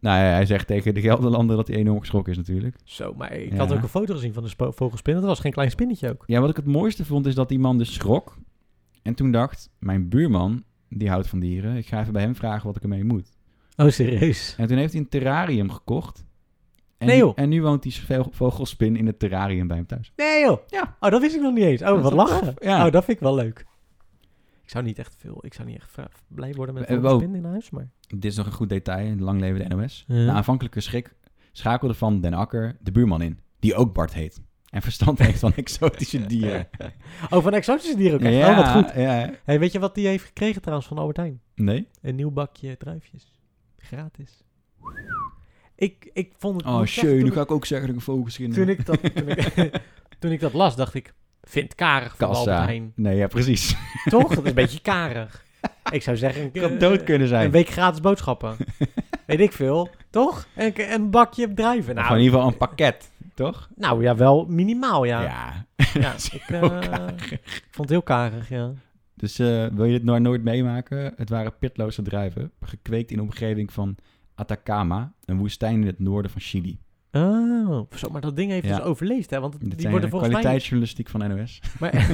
nou ja, hij zegt tegen de Gelderlander dat hij enorm geschrokken is natuurlijk.
Zo, maar ik
Ja.
had ook een foto gezien van de spo- vogelspin. Dat was geen klein spinnetje ook.
Ja, wat ik het mooiste vond is dat die man dus schrok. En toen dacht, mijn buurman, die houdt van dieren. Ik ga even bij hem vragen wat ik ermee moet.
Oh, serieus?
En toen heeft hij een terrarium gekocht. En
Nee,
nu-
joh.
En nu woont die vo- vogelspin in het terrarium bij hem thuis.
Nee, joh.
Ja.
Oh, dat wist ik nog niet eens. Oh,
Dat is
wat
toch
lachen.
tof? Ja.
Oh, dat vind ik wel leuk. Ik zou niet echt veel... Ik zou niet echt vra- blij worden met
We
een
hebben
vogelspin in huis, maar...
Dit is nog een goed detail, een lang leven de NOS.
Ja.
Na aanvankelijke schrik schakelde Van den Akker de buurman in. Die ook Bart heet. En verstand heeft van exotische dieren.
Oh, van exotische dieren ook echt.
ja,
Oh, wat goed.
Ja.
Hey, weet je wat die heeft gekregen trouwens van Albert Heijn?
Nee?
Een nieuw bakje druifjes. Gratis. Ik, ik vond het...
Oh,
moet ik zeggen,
shit, nu
toen
ga ik ook zeggen dat ik een vogelspin
toen ik, dat, toen, ik, toen ik dat las, dacht ik... Vind karig van
Kassa.
Albert Heijn.
Nee, ja, precies.
Toch? Dat is een beetje karig. Ik zou zeggen... Een,
Ik had dood kunnen zijn.
Een week gratis boodschappen. Weet ik veel. Toch? En een bakje druiven.
Of in
Nou,
ieder geval een pakket, toch?
nou ja, wel minimaal, ja.
ja.
Ja, ik, eh, ik vond het heel karig, ja.
Dus eh, wil je dit nou nooit meemaken? Het waren pitloze druiven, gekweekt in de omgeving van Atacama, een woestijn in het noorden van Chili.
Oh, zo, maar dat ding heeft
Ja.
dus overleefd, hè? Want het-
Dit
die
zijn
worden
de
volgens mij...
kwaliteitsjournalistiek van NOS.
Maar,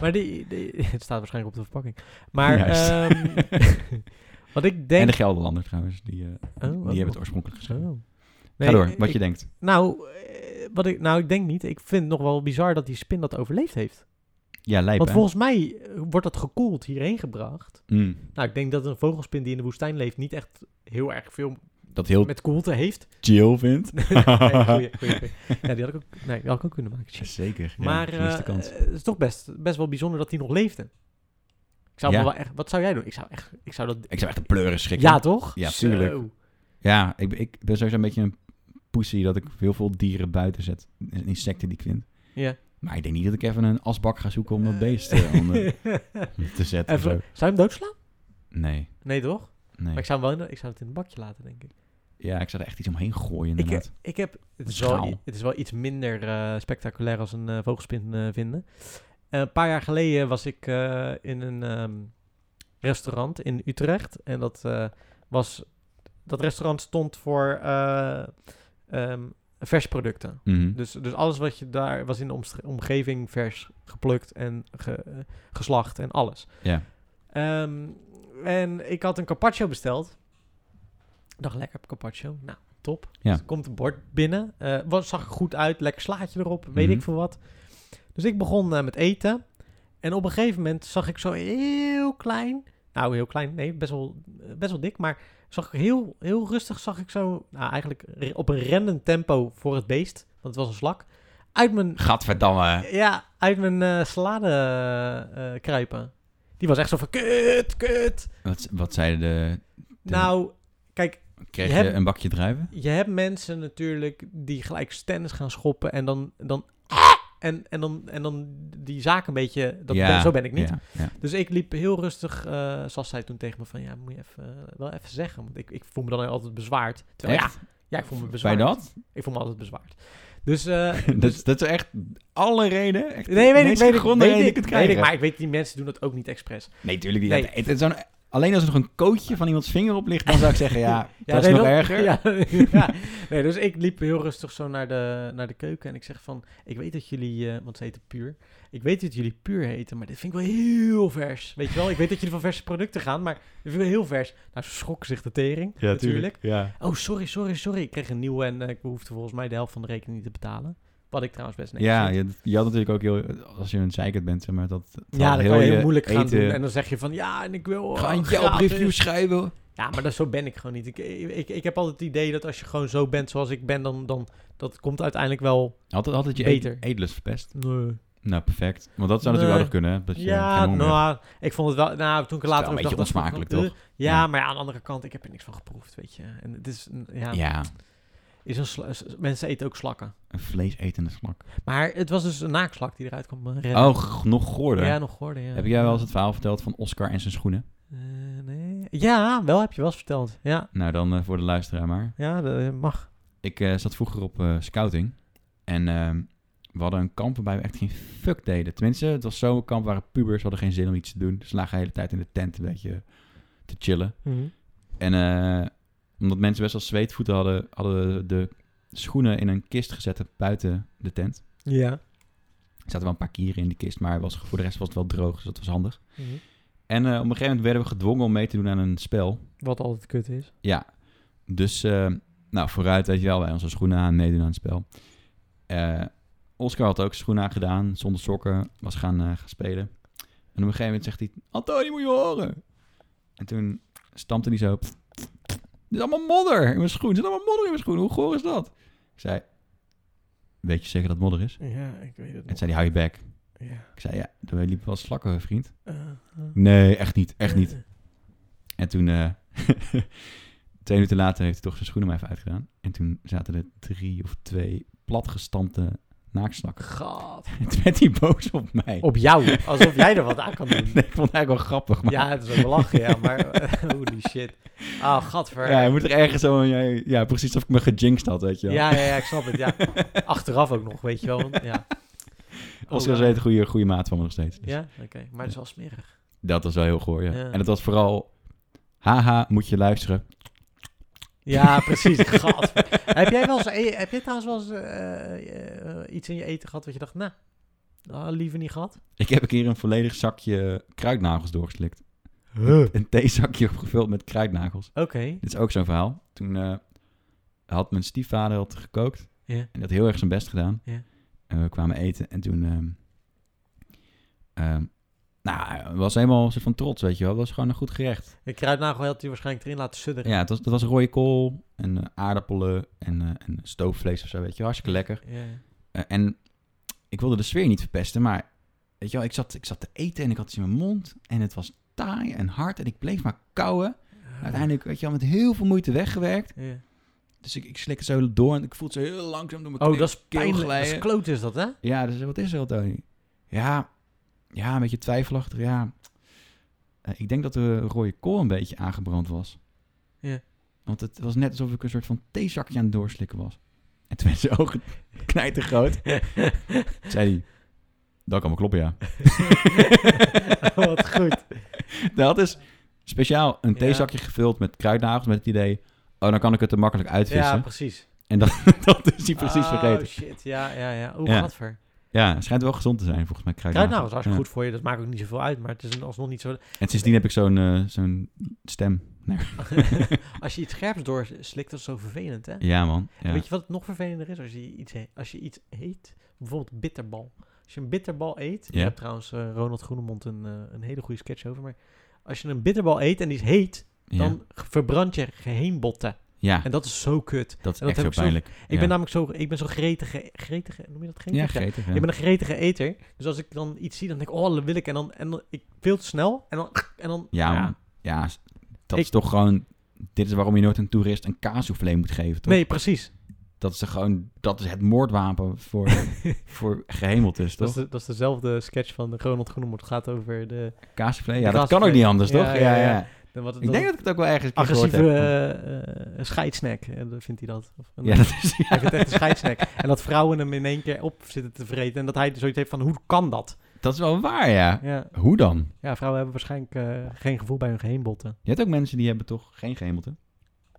maar die, die- het staat waarschijnlijk op de verpakking. Maar
Juist.
ehm, wat ik
En
denk...
de Gelderlander trouwens, die, eh, die
oh.
hebben het oorspronkelijk geschreven.
Oh.
Ga door, wat
ik-
je denkt.
Nou, eh, wat ik, nou, ik denk niet. Ik vind het nog wel bizar dat die spin dat overleefd heeft.
Ja, lijp,
Want
hè?
volgens mij eh, wordt dat gekoeld hierheen gebracht.
Mm,
Nou, ik denk dat een vogelspin die in de woestijn leeft niet echt heel erg veel
dat heel
met koelte heeft.
chill vindt.
Nee, goeie, goeie, goeie. Ja, die had ik ook, nee, die had ik ook kunnen maken. Shit.
Zeker, ja,
maar eh,
gemiste kans.
eh, het is toch best, best wel bijzonder dat die nog leefde. Ik zou
Ja.
me wel echt, wat zou jij doen? Ik zou, echt, ik zou dat
Ik zou echt een pleuren schrikken.
Ja, toch?
Ja,
Zo.
tuurlijk. Ja, ik, ik ben sowieso een beetje een pussy dat ik heel veel dieren buiten zet. Insecten die ik vind.
Ja.
Maar ik denk niet dat ik even een asbak ga zoeken om dat beest eh, onder- te zetten. of
Even-
zo.
zou je hem doodslaan?
Nee,
Nee, toch?
nee.
Maar ik zou, hem wel in de- ik zou het in een bakje laten, denk ik.
Ja, ik zou er echt iets omheen gooien
Ik, eh,
inderdaad.
ik heb, het, is
Schaal.
wel, i- het is wel iets minder eh, spectaculair als een eh, vogelspin eh, vinden. Eh, een paar jaar geleden was ik eh, in een ehm, restaurant in Utrecht. En dat, eh, was, dat restaurant stond voor eh ehm, versproducten.
Mhm.
Dus, dus alles wat je daar was in de omstre- omgeving vers geplukt en ge- eh, geslacht en alles.
Ja.
Ehm, en ik had een carpaccio besteld. Ik dacht, lekker carpaccio. Nou, top.
Ja.
Dus er komt een bord binnen. Eh, was, zag er goed uit. Lekker slaatje erop. Weet
Mhm.
ik veel wat. Dus ik begon eh, met eten. En op een gegeven moment zag ik zo heel klein... Nou, heel klein. Nee, best wel, eh, best wel dik. Maar zag ik heel, heel rustig zag ik zo... Nou, eigenlijk re- op een rennend tempo voor het beest. Want het was een slak. Uit mijn
Gadverdamme.
ja, uit mijn eh, salade eh, eh, kruipen. Die was echt zo van kut, kut.
Wat, wat zeiden de... de-
Nou, kijk,
Kreeg je,
je hebt-
een bakje druiven?
je hebt mensen natuurlijk die gelijk stennis gaan schoppen en dan... dan en, en, dan, en dan die zaak een beetje... Dat
Ja,
ben- zo ben ik niet.
Ja, ja.
Dus ik liep heel rustig. eh zoals zij toen tegen me van... Ja, moet je even, eh, wel even zeggen. Want ik, ik voel me dan altijd bezwaard. Terwijl,
Echt?
Ja, ja, ik voel me
Bij
bezwaard.
dat?
Ik voel me altijd bezwaard. Dus... eh,
dat, is, dat is echt alle reden. Echt
Nee, weet ik, weet ik,
Gronden
weet
reden
ik,
kunt
weet
krijgen.
ik, maar ik weet, die mensen doen dat ook niet expres.
Nee, tuurlijk niet.
Nee.
Het- het is zo'n- alleen als er nog een kootje van iemands vinger op ligt, dan zou ik zeggen, ja,
Ja,
dat is
nee,
nog erger.
Ja, ja. Nee, dus ik liep heel rustig zo naar de, naar de keuken en ik zeg van, ik weet dat jullie, eh, want ze heten puur, ik weet dat jullie puur heten, maar dit vind ik wel heel vers. Weet je wel, ik weet dat jullie van verse producten gaan, maar dit vind ik wel heel vers. Nou, ze schrokken zich de tering, natuurlijk.
Ja.
Oh, sorry, sorry, sorry. Ik kreeg een nieuwe en eh, ik hoefde volgens mij de helft van de rekening niet te betalen. Wat ik trouwens best netjes
ja,
vind.
je, je had natuurlijk ook heel... Als je een zeikert bent, zeg maar, dat... dat
ja, dat kan je heel
je
moeilijk gaan
eten-
doen. En dan zeg je van, ja, en ik wil... eh,
Ga een
gratis.
Yelp-review schrijven.
Ja, maar dat, zo ben ik gewoon niet. Ik, ik, ik heb altijd het idee dat als je gewoon zo bent zoals ik ben, dan, dan dat komt uiteindelijk wel...
Had het, had het je
Beter.
eet- eetlust verpest?
Nee.
Nou, perfect. Want dat zou natuurlijk
Nee.
wel nog kunnen, hè, dat je
Ja,
geen honger hebt.
nou, ik vond het wel... Nou, toen
Het
ik
is
later
wel een beetje
ook dacht, dat vond ik
onsmakelijk,
wel-
toch?
Ja,
Ja.
maar ja, aan de andere kant, ik heb er niks van geproefd, weet je. En het is... een- Ja,
Ja,
Is een sla- s- mensen eten ook slakken.
een vleesetende slak.
Maar het was dus een naakslak die eruit kwam eh, redden.
Oh, g- nog goorder.
Ja, nog hoorde, ja.
Heb jij wel eens het verhaal verteld van Oscar en zijn schoenen?
Eh, nee. Ja, wel heb je wel eens verteld. Ja,
Nou, dan eh, voor de luisteraar maar.
ja dat mag.
Ik eh, zat vroeger op eh, scouting. En ehm, we hadden een kamp waarbij we echt geen fuck deden. Tenminste, het was zo'n kamp waar pubers hadden geen zin om iets te doen. Dus lagen de hele tijd in de tent een beetje te chillen.
Mhm.
En eh, omdat mensen best wel zweetvoeten hadden, hadden we de schoenen in een kist gezet buiten de tent.
Ja.
Er zaten wel een paar kieren in de kist, maar was, voor de rest was het wel droog. Dus dat was handig.
Mhm.
En eh, op een gegeven moment werden we gedwongen om mee te doen aan een spel.
Wat altijd kut is.
Ja, dus eh, nou, vooruit weet je wel, wij onze schoenen aan, meedoen aan het spel. Eh, Oscar had ook schoenen aan gedaan, zonder sokken, was gaan, eh, gaan spelen. En op een gegeven moment zegt hij, Antonie moet je horen. En toen stampte hij zo, "Pff, pff, pff, dit is allemaal modder in mijn schoen, er zit allemaal modder in mijn schoen, hoe goor is dat? Ik zei, weet je zeker dat het modder is?
Ja, ik weet het
En toen zei hij, hou je bek.
Ja. Eh,
Ik zei, ja, er liepen wel slakken, vriend. Nee, echt niet, echt niet. En toen, eh, twee minuten later, heeft hij toch zijn schoenen maar even uitgedaan. En toen zaten er drie of twee platgestampte naakslakken.
God.
En toen werd hij boos op mij.
Op jou, alsof jij er wat aan kan doen.
Nee, ik vond het eigenlijk wel grappig. Maar...
Ja, het is ook wel lachen, ja, maar eh, holy shit. Ah, gadver.
Ja, je moet er ergens zo... Ja, ja, precies of ik me gejinxed had, weet je wel.
ja, ja, ja, ik snap het, ja. Achteraf ook nog, weet je wel. want- ja,
Oscar is
Oh, ja.
een goede, goede maat van me nog steeds. Dus
ja? oké. Maar het is wel smerig.
Dat was wel heel goor, ja.
Ja.
En het was vooral... Haha, moet je luisteren.
Ja, precies, gadver. Heb jij wel eens, eh, heb jij trouwens wel eens eh, eh, iets in je eten gehad wat je dacht, nou, ah, liever niet gehad?
Ik heb een keer een volledig zakje kruidnagels doorgeslikt.
Oké.
Een theezakje opgevuld met kruidnagels. Dit is ook zo'n verhaal. Toen eh, had mijn stiefvader had gekookt.
Ja.
En die had heel erg zijn best gedaan.
Ja.
En we kwamen eten. En toen... ehm, ehm, nou, hij was helemaal een soort van trots, weet je wel. Het was gewoon een goed gerecht.
De kruidnagel had hij waarschijnlijk erin laten sudderen.
Ja, het was, het was rode kool en eh, aardappelen en, eh, en stoofvlees of zo, weet je wel. Hartstikke lekker.
Ja.
Eh, en ik wilde de sfeer niet verpesten, maar weet je wel, ik zat, ik zat te eten en ik had iets in mijn mond. En het was taai en hard en ik bleef maar kauwen. Uiteindelijk, weet je wel, met heel veel moeite weggewerkt.
Ja.
Dus ik, ik slik het zo door en ik voel het zo heel langzaam door mijn
Oh,
keel-
dat is
keel
pijnlijk. Dat is
glijden.
kloot is dat, hè?
Ja, dus wat is er, Tony? Ja, ja, een beetje twijfelachtig. Ja, Eh, ik denk dat de rode kool een beetje aangebrand was.
Ja.
Oké, Want het was net alsof ik een soort van theezakje aan het doorslikken was. En toen werd zijn ogen knijtergroot. zei hij, dat kan wel kloppen, ja.
Oh, Wat goed.
Hij had dus speciaal een
Ja.
theezakje gevuld met kruidnagels met het idee... Oh, dan kan ik het er makkelijk uitvissen.
Ja, precies.
En dat, dat is hij precies
oh,
vergeten.
shit. Ja, ja, ja. Oeh,
Ja.
wat voor.
Ja, het schijnt wel gezond te zijn volgens mij. Kruidnagels,
Kruidnagels is hartstikke
Ja.
goed voor je. Dat maakt ook niet zoveel uit. Maar het is een- alsnog niet zo...
En sindsdien heb ik zo'n eh, zo'n stem. Nee.
Als je iets scherps doorslikt, dat is zo vervelend, hè?
Ja, man.
En
Ja.
Weet je wat het nog vervelender is als je iets, he- als je iets eet? Bijvoorbeeld bitterbal. Als je een bitterbal eet...
Ja.
Je hebt trouwens eh, Ronald Groenemond een, eh, een hele goede sketch over. Maar als je een bitterbal eet en die is heet...
Ja.
dan verbrand je geheenbotten.
ja,
En dat is zo kut.
dat is
en dat
echt
heb
zo
ik zo-
pijnlijk.
Ik ben namelijk zo, ik ben zo gretige, gretige, noem je dat gretige?
Ja, gretig. ja.
Ik ben een gretige eter. Dus als ik dan iets zie, dan denk ik, oh, dat wil ik. En dan, en dan ik veel te snel. En dan, en dan
Ja, man. ja s- dat
Ik-
is toch gewoon... Dit is waarom je nooit een toerist een kaassoufflé moet geven, toch?
Nee, precies.
Dat is toch gewoon... Dat is het moordwapen voor, voor gehemeld is,
Dat is,
toch?
de, dat is dezelfde sketch van Ronald Groenemond. Het gaat over de...
Kaassoufflé,
de
ja, dat kan ook
kaassoufflé.
niet anders,
Ja,
toch?
ja,
Ja,
ja.
ja.
de- wat,
Ik denk dat ik het ook wel ergens een keer gehoord
Agressieve
heb.
eh, eh, scheidsnack, eh, dat vindt hij dat. Of een-
Ja, dat is...
Hij vindt echt een scheidsnack. En dat vrouwen hem in één keer op zitten te vreten. En dat hij zoiets heeft van, hoe kan dat?
Dat is wel waar, ja.
Ja,
Hoe dan?
ja vrouwen hebben waarschijnlijk eh, geen gevoel bij hun geheenbotten.
Je hebt ook mensen die hebben toch geen gehemelte?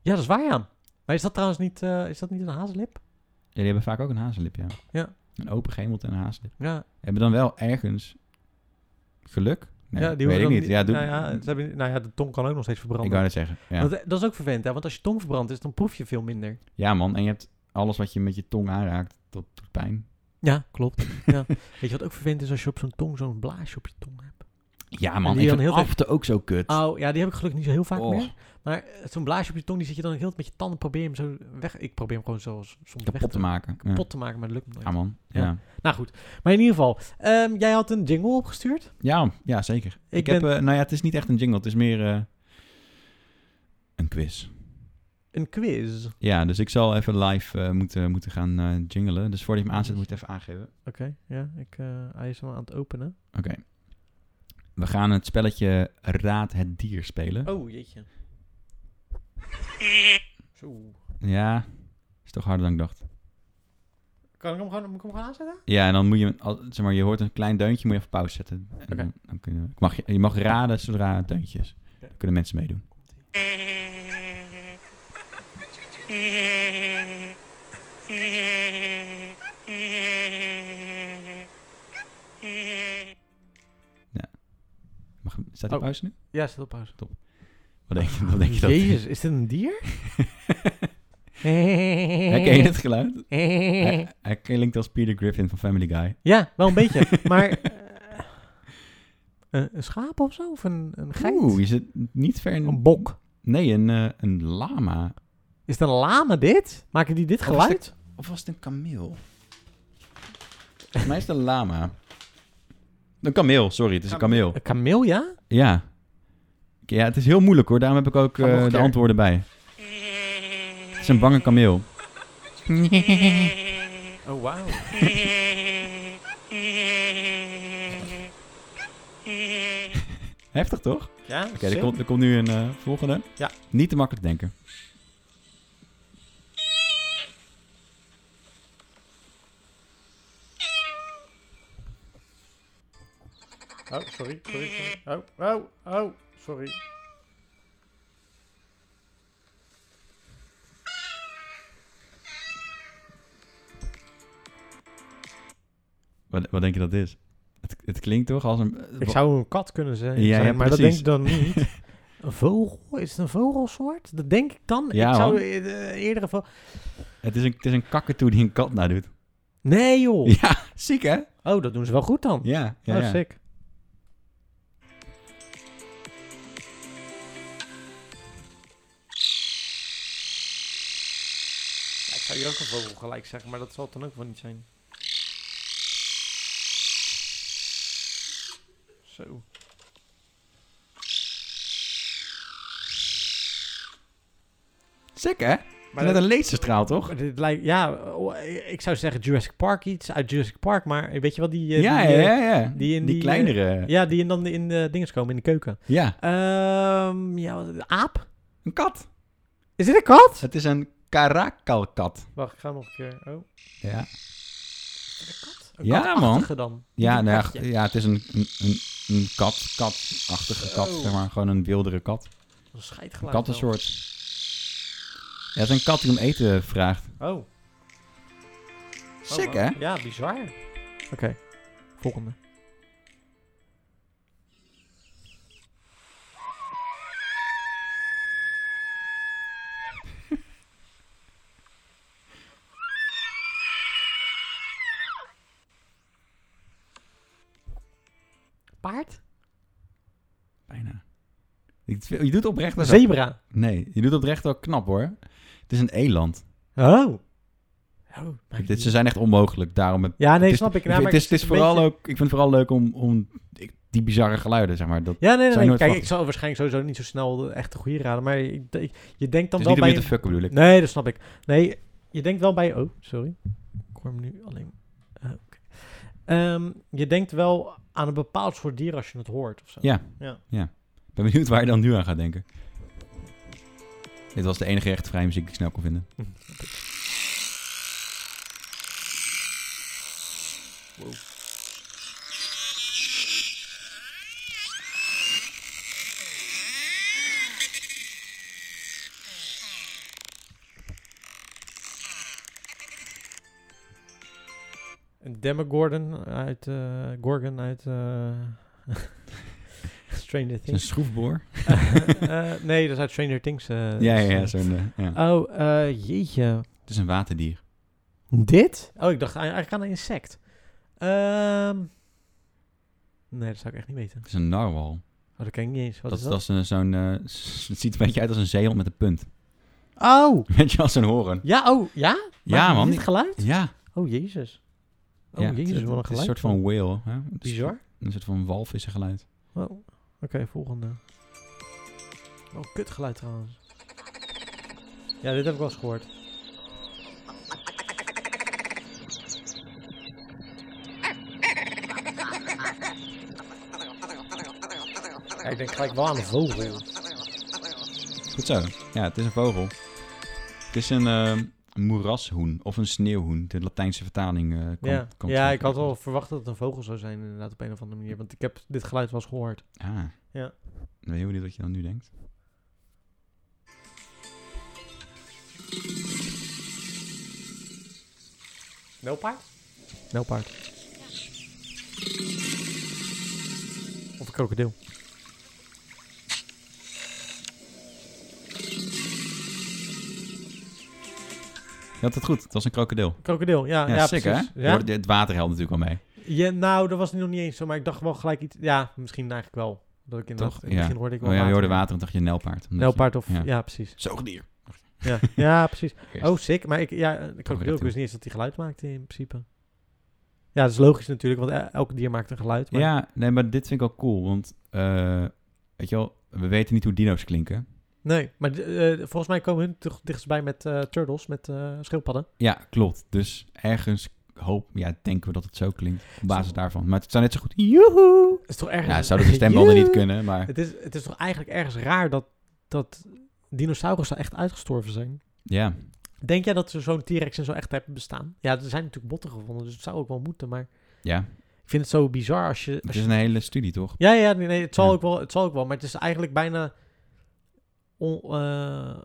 Ja, dat is waar, Jan. Maar is dat trouwens niet, eh, is dat niet een hazenlip?
Ja, die hebben vaak ook een hazenlip, ja.
Ja.
Een open gehemelte en een hazenlip.
Ja,
Hebben dan wel ergens geluk? Nee,
ja
weet ik
dan
niet. Ja, doe...
nou, ja, ze hebben, nou ja, de tong kan ook nog steeds
ik
verbranden.
wou net zeggen. Ja.
Want, eh, dat is ook vervelend, hè? want als je tong verbrand is, dan proef je veel minder.
ja, man. En je hebt alles wat je met je tong aanraakt, dat doet pijn.
Ja, klopt. ja. Weet je wat ook vervelend is als je op zo'n tong zo'n blaasje op je tong hebt?
Ja,
En
man.
die
Ik
dan
vind
heel tijd-
aften ook zo kut.
Oh, ja, die heb ik gelukkig niet zo heel vaak
Oh,
meer. Maar eh, zo'n blaasje op je tong, die zit je dan heel tijd met je tanden, probeer je hem zo weg... Ik probeer hem gewoon zo soms weg
kapot te maken. Ja. Ah,
kapot te maken, maar dat lukt me nooit.
Ja, man. Ja.
Ja.
Ja.
Nou goed, maar in ieder geval, ehm, jij had een jingle opgestuurd.
ja, zeker. Ik,
Ik
heb...
ben-
eh, nou ja, het is niet echt een jingle. Het is meer eh, een quiz.
Een quiz. Oké,
Ja, dus ik zal even live eh, moeten, moeten gaan eh, jingelen. Dus voordat je hem aanzet, moet je het even aangeven.
ja, ik, eh, hij is hem aan het openen.
Oké. We gaan het spelletje Raad het Dier spelen.
Oh, jeetje. Zo.
Ja, is toch harder dan ik dacht.
Kan ik hem gewoon, moet ik hem gewoon aanzetten?
Ja, en dan moet je, al- zeg maar, je hoort een klein deuntje, moet je even op pauze zetten. En
Oké.
dan, dan kun je, ik mag, je mag raden zodra het deuntje is. Dan kunnen mensen meedoen. Mag, staat die
Oh.
pauze nu?
Ja, zet op pauze. Oh,
Wat denk je, wat denk je dat?
Jezus, is dit een dier?
Herken je het geluid?
je
Hij, hij klinkt als Peter Griffin van Family Guy.
Ja, wel een beetje, maar... eh, een, een schaap of zo? Of een, een geit?
Oeh, je zit niet ver in...
Een bok.
Nee, een, eh, een lama.
Is het een lama dit? Maken die dit
Of is
geluid?
Of was het een kameel? Volgens mij is het een lama. Een kameel, sorry. Het is een kameel.
Een kameel, ja?
Ja. Ja, het is heel moeilijk hoor. Daarom heb ik ook
Ga nog
eh,
een
de
keer.
antwoorden bij. Het is een bange kameel.
Oh, wauw.
Heftig toch? Oké,
Ja,
er,
sick.
komt, er komt nu een eh, volgende.
Ja.
Niet te makkelijk denken.
Oh, sorry, sorry, sorry. Oh, oh, oh, sorry.
Wat, wat denk je dat het is? Het, het klinkt toch als een...
Ik zou een kat kunnen zijn,
Ja,
zijn,
ja,
maar dat
precies.
denk ik dan niet. Een vogel? Is het een vogelsoort? Dat denk ik dan.
Ja,
ik zou
man.
eh, eerder een vogel...
Het is een, het is een kakatoe die een kat nadoet.
Nee, joh.
Ja, ziek hè?
Oh, dat doen ze wel goed dan.
Ja, ja,
oh,
ja.
sick. Ja, ik zou hier ook een vogel gelijk zeggen, maar dat zal het dan ook wel niet zijn. Zo.
Sick hè?
Maar
Net
dat-
een laserstraal toch?
Maar dit lijkt, ja, oh, ik zou zeggen Jurassic Park iets uit Jurassic Park, maar weet je wel die... eh,
ja,
die, eh,
ja, ja.
die
Die,
in
die,
die,
kleinere.
ja, die in dan in de dingen komen, in de keuken.
ja,
Ehm ja, wat- aap?
een kat.
Is dit een kat?
Het is een karakalkat.
Wacht, ik ga nog een keer. Oh,
Ja,
is dit een kat?
Ja,
katachtige dan.
ja,
Een
nou ja,
katje.
g- ja het is een, een, een, een kat, katachtige kat,
Oh.
zeg maar. Gewoon een wildere kat.
Dat is Een
Een
scheidgeluid. wel.
kattensoort. Ja, het is een kat die om eten vraagt.
Oh. oh,
Sick,
oh.
hè?
Ja, bizar. Oké, volgende. Paard?
Bijna. Ik- Je doet oprecht wel...
Zebra.
Nee, je doet oprecht wel knap, hoor. Het is een eland.
Oh. oh
Dit, ze zijn echt onmogelijk, daarom... heb-
Ja, nee,
het is-
snap ik.
ik
Nou,
vind-
maar
het is, het is
een
vooral
beetje-
ook... Ik vind het vooral leuk om, om ik- die bizarre geluiden, zeg maar. Dat,
Ja, nee, nee,
Zou je
nee.
nooit
Kijk, ik
verwachten.
zal waarschijnlijk sowieso niet zo snel de echte goede raden. Maar ik, ik- je
het
denkt dan
is
wel
niet om
bij...
je te fucken, bedoel ik.
Nee, dat snap ik. Nee, je denkt wel bij... Oh, sorry. Ik hoor hem nu alleen... eh, oké. Ehm, je denkt wel aan een bepaald soort dier als je het hoort of zo.
Ja.
Ja.
Ik ben benieuwd waar je dan nu aan gaat denken. Dit was de enige rechtvrije muziek die ik snel kon vinden.
Een Demogorgon uit... eh, Gorgon uit... eh, Stranger
Is het een
Things.
schroefboor?
Eh, eh, nee, dat is uit Stranger Things. eh,
Ja,
dus,
ja, ja.
eh,
Zo'n, eh, ja.
Oh, eh, jeetje.
Het is een waterdier.
Dit? Oh, ik dacht eigenlijk aan een insect. Ehm, nee, dat zou ik echt niet weten.
Het is een narwal.
Oh, dat ken ik niet eens. Wat
Dat,
is
dat?
dat?
is een- zo'n... eh, s- het ziet er een beetje uit als een zeehond met een punt.
Oh!
Weet je, als een horen.
Ja, oh, ja?
Ja,
Maakt
man.
Dit geluid?
Ja.
Oh, jezus. Oh,
ja, het-
jezus,
het-
wat een
het is
geluid.
een soort van whale. Hè? Het is
Bizar.
Een soort van walvissengeluid.
Oh, Oké, volgende. Oh, kut geluid trouwens. Ja, dit heb ik wel eens gehoord. Ja, ik denk gelijk wel aan een vogel.
Goed zo. Ja, het is een vogel. Het is een eh, moerashoen of een sneeuwhoen. De Latijnse vertaling. eh, kan-
Ja,
kan
ja
zo-
ik had al verwacht dat het een vogel zou zijn inderdaad op een of andere manier. Want ik heb dit geluid wel eens gehoord.
Ah.
Ja.
Ik ben heel benieuwd wat je dan nu denkt.
Nelpaard? Nelpaard. Of een krokodil.
Je had het goed. Het was een krokodil.
Krokodil, ja. Ja,
Ja, sick
precies.
hè? Je
Ja?
hoort- Het water helpt natuurlijk wel mee.
Ja, nou, dat was nog niet eens zo, maar ik dacht wel gelijk iets... Ja, misschien eigenlijk wel. Dat ik inderdaad,
Toch?
In het
Ja.
begin hoorde ik wel
Oh ja, je hoorde
water.
water en dacht je nelpaard. omdat
Nelpaard of... Ja,
Ja.
precies.
je- Zoogdier.
Ja, ja precies.
Eerst.
Oh, sick. Maar ik, ja, eh, de krokodil, ik
reptiel.
wist niet eens dat hij geluid maakte in principe. Ja, dat is logisch natuurlijk, want eh, elk dier maakt een geluid. Maar...
Ja, nee, maar dit vind ik wel cool, want eh, weet je wel, we weten niet hoe dino's klinken.
Nee, maar eh, volgens mij komen hun toch dichtstbij met eh, turtles, met eh, schildpadden.
Ja, klopt. Dus ergens hoop, ja, denken we dat het zo klinkt op basis daarvan. Maar het zou net zo goed.
Joehoe! Het is toch ergens...
Ja, het zouden Nou, de stembanden niet kunnen, maar
Het is, het is toch eigenlijk ergens raar dat, dat dinosaurussen echt uitgestorven zijn?
ja.
Denk jij dat ze zo'n T-Rex en zo echt hebben bestaan? Ja, er zijn natuurlijk botten gevonden, dus het zou ook wel moeten. Maar
Ja,
ik vind het zo bizar als je...
het
Als
is
je-
een hele studie, toch?
ja, ja, nee, nee, het, zal
Ja.
Ook wel, het zal ook wel. Maar het is eigenlijk bijna... On, eh,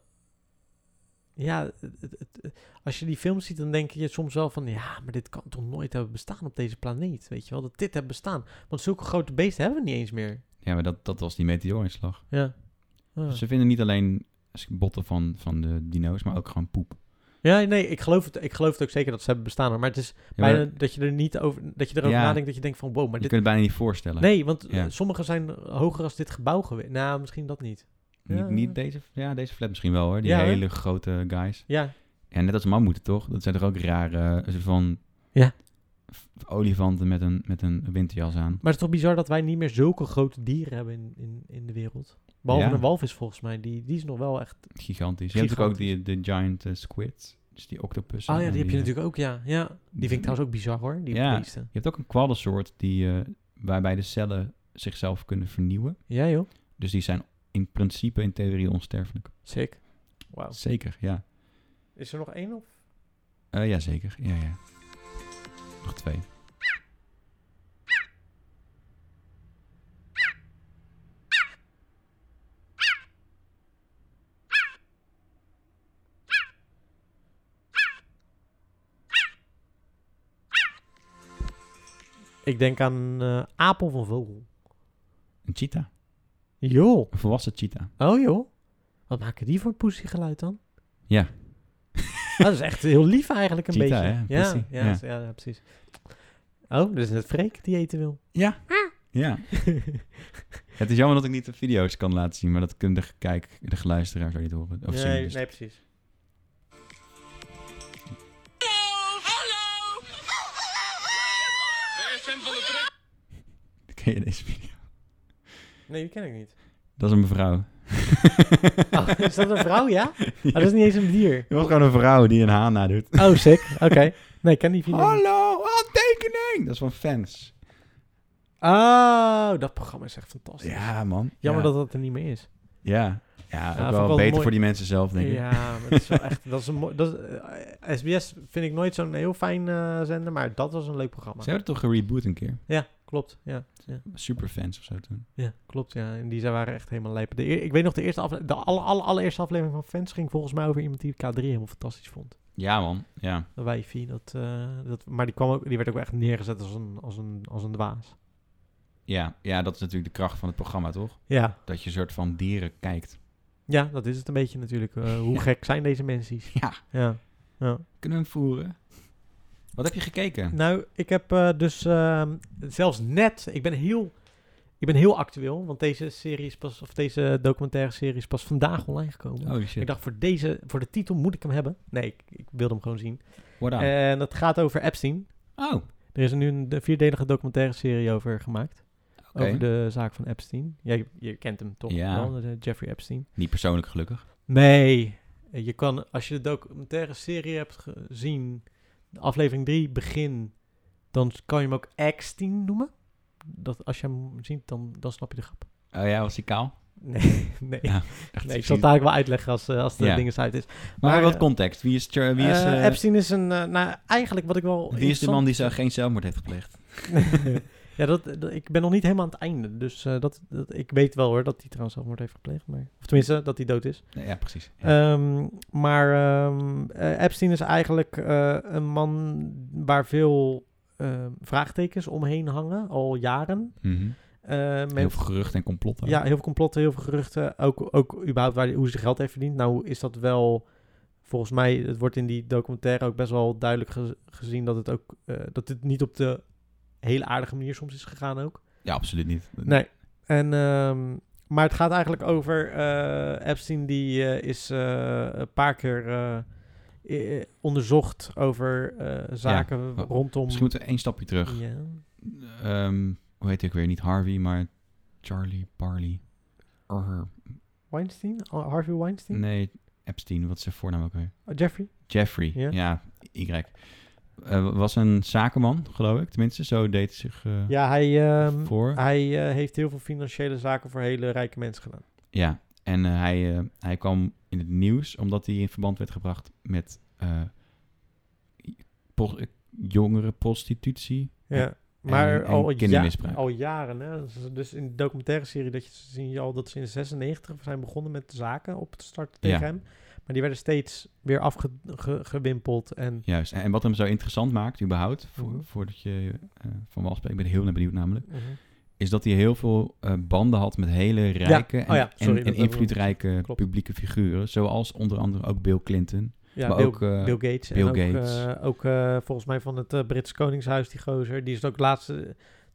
ja, het, het- het- als je die films ziet, dan denk je soms wel van... Ja, maar dit kan toch nooit hebben bestaan op deze planeet, weet je wel? Dat dit heeft bestaan. Want zulke grote beesten hebben we niet eens meer.
Ja, maar dat, dat was die meteoorinslag.
Ja. Ah.
Ze vinden niet alleen botten van, van de dino's, maar ook gewoon poep.
Ja, nee, ik geloof, het, ik geloof het ook zeker dat ze hebben bestaan. hoor. Maar het is
Ja, maar
bijna dat je er niet over, dat je erover
Ja.
nadenkt, dat je denkt van wow, maar
je
dit...
kunt het bijna niet voorstellen.
Nee, want eh,
Ja.
sommige zijn hoger als dit gebouw geweest. Nou, misschien dat niet.
Niet,
Ja.
niet deze, ja, deze flat misschien wel hoor. Die
Ja, hè?
hele grote guys.
Ja,
Ja, net als mammoeten toch? Dat zijn toch ook rare eh, soort van
Ja.
f- olifanten met een, met een winterjas aan.
maar het is toch bizar dat wij niet meer zulke grote dieren hebben in, in, in de wereld. Behalve
Ja.
een walvis volgens mij, die, die is nog wel echt...
Gigantisch. Je hebt natuurlijk ook die, de giant eh, squid. Dus die octopus.
Ah ja, die heb je natuurlijk ook, ja. ja. Die vind ik trouwens ook bizar hoor, die
Ja.
beesten.
Je hebt ook een kwaddensoort die, eh, waarbij de cellen zichzelf kunnen vernieuwen.
Ja joh,
Dus die zijn in principe, in theorie, onsterfelijk.
sick. Wauw.
Zeker, ja.
Is er nog één of?
Eh, ja, zeker. Ja, ja. Nog twee.
Ik denk aan een eh, aap of een vogel.
Een cheetah.
Joh.
Een volwassen cheetah.
Oh joh. Wat maken die voor poesiegeluid dan?
Ja.
Ah, dat is echt heel lief eigenlijk een
Cheetah,
beetje.
hè?
Ja,
Pussy,
ja,
ja.
dat is- ja, ja, precies. Oh, dus het Freek die eten wil.
Ja. Ja. Het is jammer dat ik niet de video's kan laten zien, maar dat kunnen de, kijk, de geluisteraars ook niet horen. Of zien, dus.
precies.
Oh, hallo! Waar is Sven van de Trek?
Ken je deze video?
Nee, die ken ik niet.
Dat is een mevrouw.
Oh, is dat een vrouw, ja? Oh, dat is niet eens een dier.
Je was gewoon een vrouw die een haan nadoet.
Oh, sick. Oké. Nee, ik ken die video niet.
Hallo, handtekening! Dat is van fans.
Oh, dat programma is echt fantastisch.
Ja, man.
Jammer
ja.
dat dat er niet meer is.
Ja, ja ook
vond ik
wel
wel
beter
mooi.
voor die mensen zelf, denk ik.
ja, maar dat is wel echt... Dat is een mooi, dat is, eh, SBS vind ik nooit zo'n heel fijn eh, zender, maar dat was een leuk programma.
Ze hebben het toch gereboot een keer?
Ja, klopt. Ja, ja,
Superfans of zo toen.
ja, klopt. Ja, en die zijn waren echt helemaal lijp. De eer- ik weet nog de eerste aflevering... De alle, alle, allereerste aflevering van Fans ging volgens mij over iemand die K3 helemaal fantastisch vond.
Ja, man. Ja.
Een wijfie. Dat, eh, dat, maar die, kwam ook, die werd ook echt neergezet als een, als een, als een dwaas.
Ja, ja, dat is natuurlijk de kracht van het programma, toch?
Ja,
Dat je een soort van dieren kijkt.
Ja, dat is het een beetje natuurlijk. Eh, hoe
Ja.
gek zijn deze mensen?
Ja.
Ja. ja.
Kunnen we hem voeren? Wat heb je gekeken?
Nou, ik heb eh, dus ehm, zelfs net, ik ben heel, ik ben heel actueel, want deze serie is pas, of deze documentaire serie is pas vandaag online gekomen.
Oh shit.
Ik dacht voor deze, voor de titel moet ik hem hebben. Nee, ik, ik wilde hem gewoon zien.
What up?
En dat gaat over Epstein.
eh, oh, oké.
Er is nu een de- vierdelige documentaire serie over gemaakt. Over
De...
de zaak van Epstein. Jij je kent hem toch?
Ja.
wel, eh, Jeffrey Epstein.
Niet persoonlijk gelukkig.
Nee, je kan, als je de documentaire serie hebt gezien, de aflevering 3 begin, dan kan je hem ook X-10 noemen. Dat, als je hem ziet, dan, dan snap je de grap.
Oh ja, was hij kaal?
Nee, nee.
Ja, Dacht ik
nee ik zal
zie-
het eigenlijk wel uitleggen als, eh, als de
Ja.
ding eens uit is.
Maar,
maar,
wat
eh,
context? Wie is, Cher- wie is,
Eh,
eh,
Epstein is een, eh, nou eigenlijk wat ik wel...
wie is de man
interessant-
die zo geen zelfmoord heeft gepleegd?
ja, dat, dat- ik ben nog niet helemaal aan het einde. Dus eh, dat, dat, ik weet wel hoor dat hij trouwens zelfmoord heeft gepleegd. Maar, of tenminste, dat hij dood is.
Nee, ja, precies. Ja.
Ehm, maar ehm, eh, Epstein is eigenlijk eh, een man waar veel ehm, vraagtekens omheen hangen, al jaren.
Mhm.
Eh, men-
Heel veel gerucht en complotten.
ja, heel veel complotten, heel veel geruchten. Ook, ook überhaupt waar, hij- hoe hij zijn geld heeft verdiend. Nou is dat wel, volgens mij, het wordt in die documentaire ook best wel duidelijk ge- gezien dat het ook, eh, dat dit niet op de hele aardige manier soms is gegaan ook.
Ja, absoluut niet.
Nee. En, ehm, maar het gaat eigenlijk over eh, Epstein, die eh, is eh, een paar keer eh, eh, onderzocht over eh, zaken
Oh,
rondom.
Misschien moeten we één stapje terug.
Ja.
Ehm, hoe heet ik weer? Niet Harvey, maar Charlie Barley. Or-
Weinstein? Oh, Harvey Weinstein?
nee, Epstein, wat is zijn voornaam ook weer?
Oh, Jeffrey?
Jeffrey,
Ja.
ja, Y. Eh, was een zakenman, geloof ik. Tenminste, zo deed hij zich eh,
Ja, hij, ehm,
voor.
hij eh, heeft heel veel financiële zaken voor hele rijke mensen gedaan.
Ja, en eh, hij, eh, hij kwam in het nieuws omdat hij in verband werd gebracht met eh, pos- eh, jongerenprostitutie.
Ja.
en-
Maar
en
al, ja-
kindermisbruik.
al jaren, hè? Dus- dus in de documentaire serie dat je, zie je al dat ze in 96 zijn begonnen met zaken op te starten tegen
Ja.
hem. Maar die werden steeds weer afgewimpeld. en
Juist. En en wat hem zo interessant maakt, überhaupt, voor,
Mhm.
voordat je eh, van wal spreekt, ik ben heel benieuwd namelijk, is dat hij heel veel eh, banden had met hele rijke en,
Oh ja, sorry,
en,
dat
en
heb ik
invloedrijke
Klopt.
publieke figuren. Zoals onder andere ook Bill Clinton.
ja,
maar
Bill,
ook, eh,
Bill Gates.
Bill
en ook,
Gates.
eh, ook eh, volgens mij van het eh, Britse Koningshuis, die gozer. Die is ook laatst eh,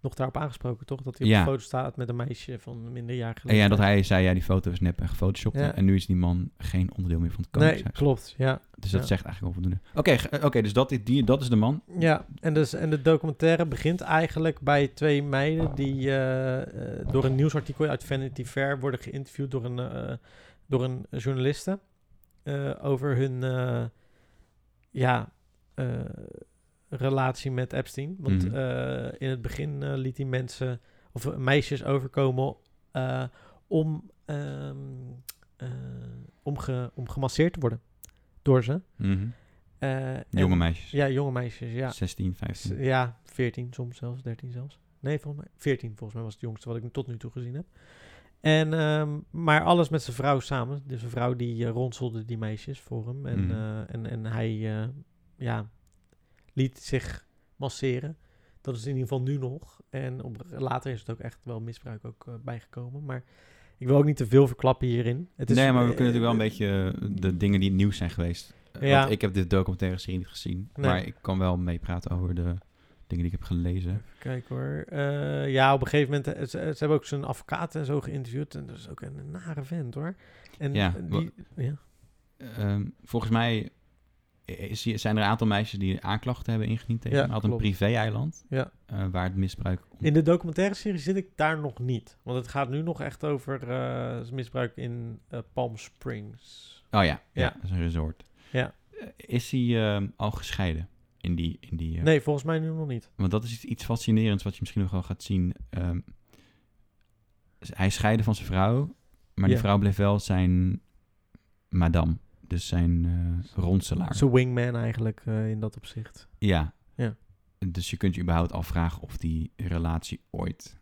nog daarop aangesproken, toch? Dat hij op
Ja.
de foto staat met een meisje van minderjarige
En ja, dat
leeftijd.
hij zei, ja, die foto is nep en gefotoshopt.
Ja.
En nu is die man geen onderdeel meer van het
Nee,
koningshuis.
klopt, ja.
dus dat
ja.
zegt eigenlijk wel voldoende. Oké, ge- eh, oké, dus dat, is- die, dat is de man.
Ja, en, dus, en de documentaire begint eigenlijk bij twee meiden die eh, eh, door een nieuwsartikel uit Vanity Fair worden geïnterviewd door een, eh, door een journaliste eh, over hun eh, ja, eh, relatie met Epstein. Want
Mhm.
eh, in het begin eh, liet hij mensen of meisjes overkomen eh, om, ehm, eh, om ge- om gemasseerd te worden door ze.
Mhm.
Eh, en-
Jonge meisjes.
Ja, jonge meisjes, ja.
16,
S-
15.
Ja, 14 soms zelfs, 13 zelfs. Nee, volgens mij 14 volgens mij was het jongste wat ik tot nu toe gezien heb. En, ehm, maar alles met zijn vrouw samen. Dus een vrouw die eh, ronselde die meisjes voor hem. En,
Mhm.
eh, en, en hij eh, ja, liet zich masseren. Dat is in ieder geval nu nog. En op, later is het ook echt wel misbruik ook eh, bijgekomen. Maar ik wil ook niet te veel verklappen hierin. Het is,
nee, maar we
eh,
kunnen natuurlijk wel
eh,
een beetje eh, de dingen die nieuws zijn geweest. Eh,
Ja.
Want ik heb dit documentaire serie niet gezien.
Nee.
Maar ik kan wel meepraten over de dingen die ik heb gelezen.
Kijk hoor. Eh, ja, op een gegeven moment... eh, Ze, ze hebben ook zijn advocaat en zo geïnterviewd. En dat is ook een nare vent hoor. En eh,
Ja,
die, ja.
Ehm, volgens mij is, zijn er een aantal meisjes die aanklachten hebben ingediend tegen
Ja,
hem. Hij had een
klopt.
privé-eiland
Ja.
eh, waar het misbruik... om-
In de documentaire serie zit ik daar nog niet. Want het gaat nu nog echt over eh, misbruik in eh, Palm Springs.
Oh ja, ja,
Ja.
dat is een resort.
Ja.
Eh, Is hij ehm, al gescheiden in die... In die eh,
Nee, volgens mij nu nog niet.
Want dat is iets, iets fascinerends wat je misschien nog wel gaat zien. Ehm, hij scheidde van zijn vrouw, maar die
Ja.
vrouw bleef wel zijn madame. Dus zijn eh, ronselaar.
Zijn wingman eigenlijk eh, in dat opzicht.
Ja.
Ja.
Dus je kunt je überhaupt afvragen of die relatie ooit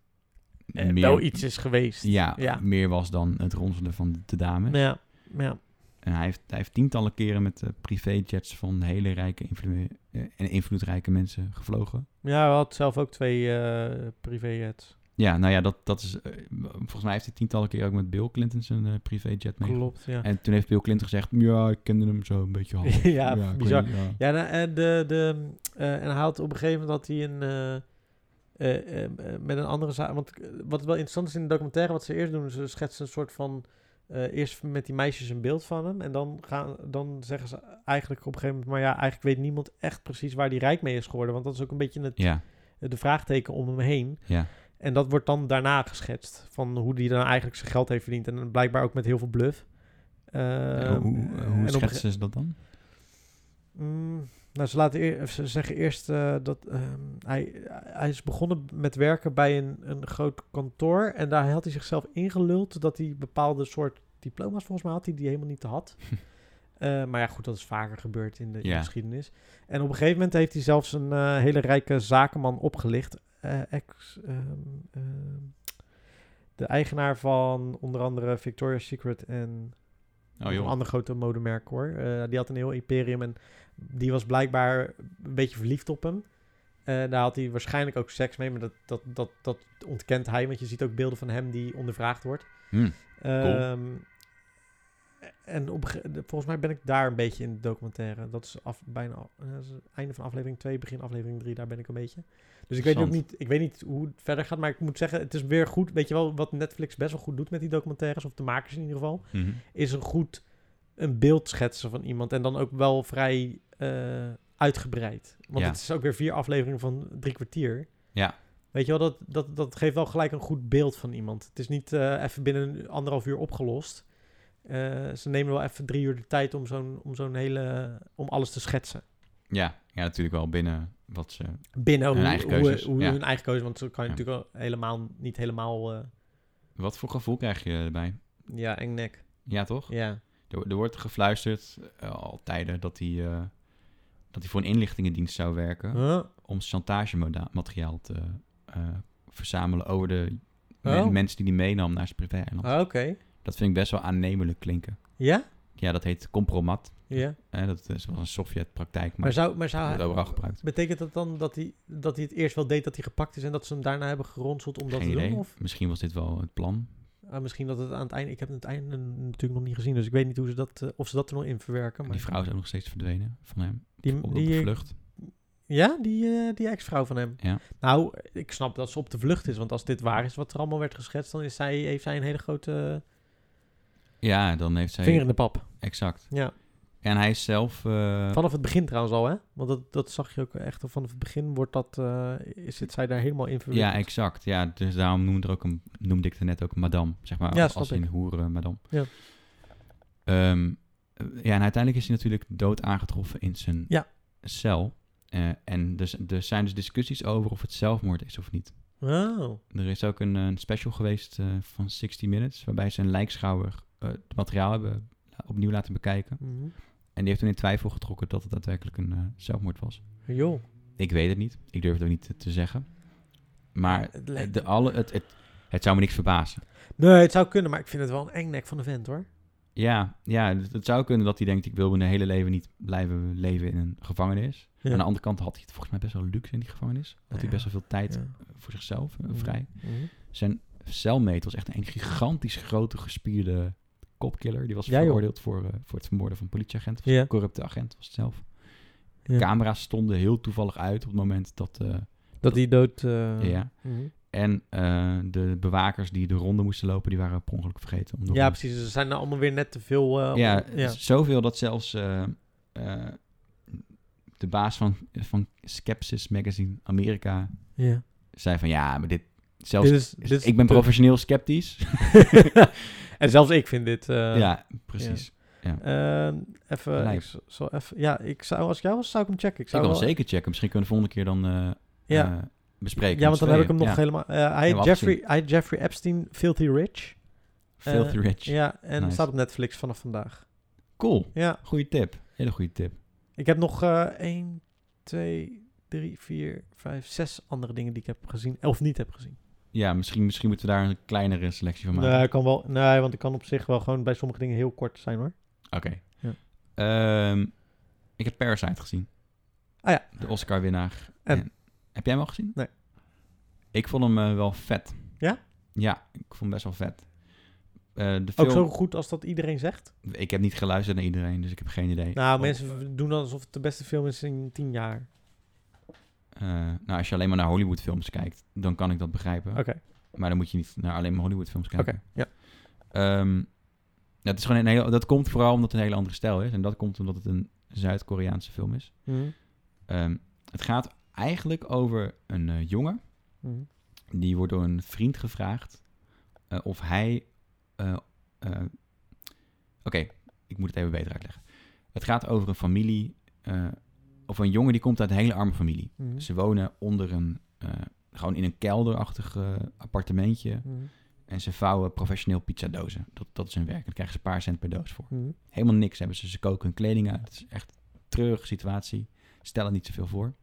Eh, wel iets is geweest.
ja,
Ja.
meer was dan het ronselen van de dame.
Ja, ja.
En hij heeft, hij heeft tientallen keren met eh, privéjets van hele rijke invlu- eh, en invloedrijke mensen gevlogen.
ja, hij had zelf ook twee eh privéjets.
Ja, nou ja, dat, dat is. eh, volgens mij heeft hij tientallen keer ook met Bill Clinton zijn eh, privéjet mee.
Klopt, ja.
En toen heeft Bill Clinton gezegd: Ja, ik kende hem zo een beetje half.
Ja,
ik
bizar.
weet niet, ja.
Ja, nou, en, de, de, eh, en hij had op een gegeven moment dat hij een. eh, eh, eh, met een andere zaak. Want eh, wat wel interessant is in de documentaire, wat ze eerst doen, ze schetsen een soort van. eh, eerst met die meisjes een beeld van hem. En dan, gaan, dan zeggen ze eigenlijk op een gegeven moment. Maar ja, eigenlijk weet niemand echt precies waar die rijk mee is geworden. Want dat is ook een beetje het,
Ja,
de vraagteken om hem heen.
ja.
En dat wordt dan daarna geschetst. Van hoe die dan eigenlijk zijn geld heeft verdiend. En blijkbaar ook met heel veel bluff. Eh,
Eh, hoe
en op
eh,
een
hoe
gege-
schetsen ze dat dan?
Mm, nou, ze, laten eer- of ze zeggen eerst eh, dat ehm, hij, hij is begonnen met werken bij een, een groot kantoor. En daar had hij zichzelf ingeluld dat hij bepaalde soort diploma's volgens mij had, die hij helemaal niet had. Eh, maar ja, goed, dat is vaker gebeurd in de, in de
Ja.
geschiedenis. En op een gegeven moment heeft hij zelfs een eh, hele rijke zakenman opgelicht. Eh, ex, ehm, ehm, de eigenaar van onder andere Victoria's Secret en
Oh
een
joh.
ander grote modemerk hoor. Eh, die had een heel imperium en die was blijkbaar een beetje verliefd op hem. Eh, daar had hij waarschijnlijk ook seks mee, maar dat, dat, dat, dat ontkent hij. Want je ziet ook beelden van hem die ondervraagd wordt.
Hm.
Ehm, En op, een ge- de- volgens mij ben ik daar een beetje in de documentaire. Dat is af, bijna al- eh, dat is het einde van aflevering 2, begin aflevering 3. Daar ben ik een beetje. Dus ik weet ook
Interessant.
niet, ik weet niet hoe het verder gaat. Maar ik moet zeggen, het is weer goed. Weet je wel, wat Netflix best wel goed doet met die documentaires. Of de makers in ieder geval
Mhm.
is een goed een beeld schetsen van iemand. En dan ook wel vrij eh, uitgebreid. Want
Ja.
het is ook weer vier afleveringen van drie kwartier.
Ja.
Weet je wel, dat, dat, dat geeft wel gelijk een goed beeld van iemand. Het is niet eh, even binnen anderhalf uur opgelost. Eh, ze nemen wel even drie uur de tijd om zo'n, om zo'n hele... om alles te schetsen.
Ja, ja, natuurlijk wel binnen wat ze.
Binnen
Hun
hoe,
eigen
hoe-
keuzes,
hoe
ja.
hun eigen keuze. Want zo kan je
Ja.
natuurlijk wel helemaal, niet helemaal... eh,
Wat voor gevoel krijg je erbij?
ja, eng nek.
Ja, toch?
Ja.
Er, er wordt gefluisterd eh, al tijden dat hij, eh, dat hij voor een inlichtingendienst zou werken.
Huh?
om chantagemateriaal te eh, verzamelen over de
Oh.
men- mensen die die meenam naar zijn privé-eiland.
Ah, Oké.
Dat vind ik best wel aannemelijk klinken.
Ja?
Ja, dat heet compromat.
Ja.
Hè, dat is wel een Sovjet-praktijk, maar,
Maar zou, maar zou
dat wordt overal
hij...
gebruikt.
Betekent dat dan dat hij, dat hij het eerst wel deed dat hij gepakt is en dat ze hem daarna hebben geronseld om dat
Geen
te doen?
idee.
Of
Misschien was dit wel het plan.
ah, misschien dat het aan het einde. Ik heb het einde natuurlijk nog niet gezien, dus ik weet niet hoe ze dat, eh, of ze dat er nog in verwerken.
En
Maar
die vrouw is ook nog steeds verdwenen van hem.
Die-
op, op
die-
de vlucht.
Ja, die, eh, die ex-vrouw van hem.
Ja.
Nou, ik snap dat ze op de vlucht is, want als dit waar is wat er allemaal werd geschetst, dan is zij, heeft zij een hele grote
Ja, dan heeft zij...
vinger in de pap.
Exact.
Ja.
En hij is zelf... eh,
Vanaf het begin trouwens al, hè? Want dat, dat zag je ook echt al vanaf het begin. Wordt dat, eh, zit zij daar helemaal in
Ja,
verwerkt?
exact. Ja, dus daarom noemde, er ook een, noemde ik er net ook een madame, zeg maar.
Ja,
als-
snap
als in
ik.
hoeren madame.
Ja.
Ehm, ja, en uiteindelijk is hij natuurlijk dood aangetroffen in zijn
Ja.
cel. Eh, en dus, er zijn dus discussies over of het zelfmoord is of niet.
Oh,
Er is ook een, eh, special geweest eh, van 60 Minutes, waarbij ze een lijkschouwer eh, het materiaal hebben opnieuw laten bekijken.
Mhm.
En die heeft toen in twijfel getrokken dat het daadwerkelijk een eh, zelfmoord was.
Joh.
Ik weet het niet. Ik durf het ook niet te, te zeggen. Maar
Het lijkt-
de, alle, het, het, het zou me niks verbazen.
Nee, het zou kunnen, maar ik vind het wel een eng nek van de vent hoor.
Ja, ja het, het zou kunnen dat hij denkt... ik wil mijn hele leven niet blijven leven in een gevangenis.
Ja.
Aan de andere kant had hij het volgens mij best wel luxe in die gevangenis. Had hij
Ja.
best wel veel tijd
Ja.
voor zichzelf eh,
Mhm.
vrij.
Mhm.
Zijn celmate was echt een gigantisch grote gespierde kopkiller. Die was
Ja, joh.
veroordeeld voor, eh, voor het vermoorden van een politieagent.
Ja.
Corrupte agent was het zelf.
Ja.
Camera's stonden heel toevallig uit op het moment dat... eh,
Dat die dood. eh,
ja.
mhm.
En eh, de bewakers die de ronde moesten lopen, die waren per ongeluk vergeten. Om de
Ja,
ronde-
precies. Dus er zijn nou allemaal weer net te veel. eh,
Ja, dus-
om- ja.
z- zoveel dat zelfs eh, eh, de baas van, van Skepsis Magazine Amerika
ja.
zei van... Ja, maar dit... Zelfs dus
Dit is, dit is
ik ben
te-
professioneel sceptisch.
en zelfs ik vind dit. eh,
ja, precies.
ehm, even.
Lijp.
ik z- zal even. Ja, ik zou als ik jou was, zou ik hem checken. Ik
Ik
zou
kan hem
wel-
zeker checken. Misschien kunnen we de volgende keer dan eh,
Ja.
eh, bespreken.
ja,
met
want dan
z'n
heb ik hem nog
tweeën.
helemaal. eh, hij,
Helemaal
heet Jeffrey, hij heet Jeffrey Epstein, Filthy Rich.
Ja. Filthy
eh,
Rich.
Ja, en
Nice.
staat op Netflix vanaf vandaag.
Cool.
Ja,
Goeie tip. Hele goede tip.
ik heb nog eh 1, 2, 3, 4, 5, 6 andere dingen die ik heb gezien. Of niet heb gezien.
Ja, misschien, misschien moeten we daar een kleinere selectie van maken.
Nee, kan wel, nee, want ik kan op zich wel gewoon bij sommige dingen heel kort zijn hoor.
Oké.
Ja.
Ehm, ik heb Parasite gezien.
Ah ja.
De Oscar-winnaar.
En?
heb jij hem al gezien?
Nee.
Ik vond hem eh, wel vet.
Ja?
Ja, ik vond hem best wel vet. Eh, de film...
Ook zo goed als dat iedereen zegt.
Ik heb niet geluisterd naar iedereen, dus ik heb geen idee.
Nou,
Of-
mensen doen dan alsof het de beste film is in tien jaar.
Eh, nou, als je alleen maar naar Hollywoodfilms kijkt, dan kan ik dat begrijpen.
Oké,
Maar dan moet je niet naar alleen maar Hollywoodfilms
oké,
kijken.
ja.
Ehm, nou, het is gewoon een hele, dat komt vooral omdat het een hele andere stijl is. En dat komt omdat het een Zuid-Koreaanse film is.
Mhm,
Ehm, het gaat eigenlijk over een eh, jongen.
mhm.
Die wordt door een vriend gevraagd eh, of hij... eh, eh, Oké, ik moet het even beter uitleggen. Het gaat over een familie... eh, of een jongen die komt uit een hele arme familie.
Mhm,
Ze wonen onder een, eh, gewoon in een kelderachtig eh, appartementje.
mhm,
En ze vouwen professioneel pizzadozen. Dat, dat is hun werk. Daar krijgen ze een paar cent per doos voor.
mhm.
Helemaal niks hebben ze. Ze koken hun kleding uit. Het is echt een treurige situatie. Stellen niet zoveel voor.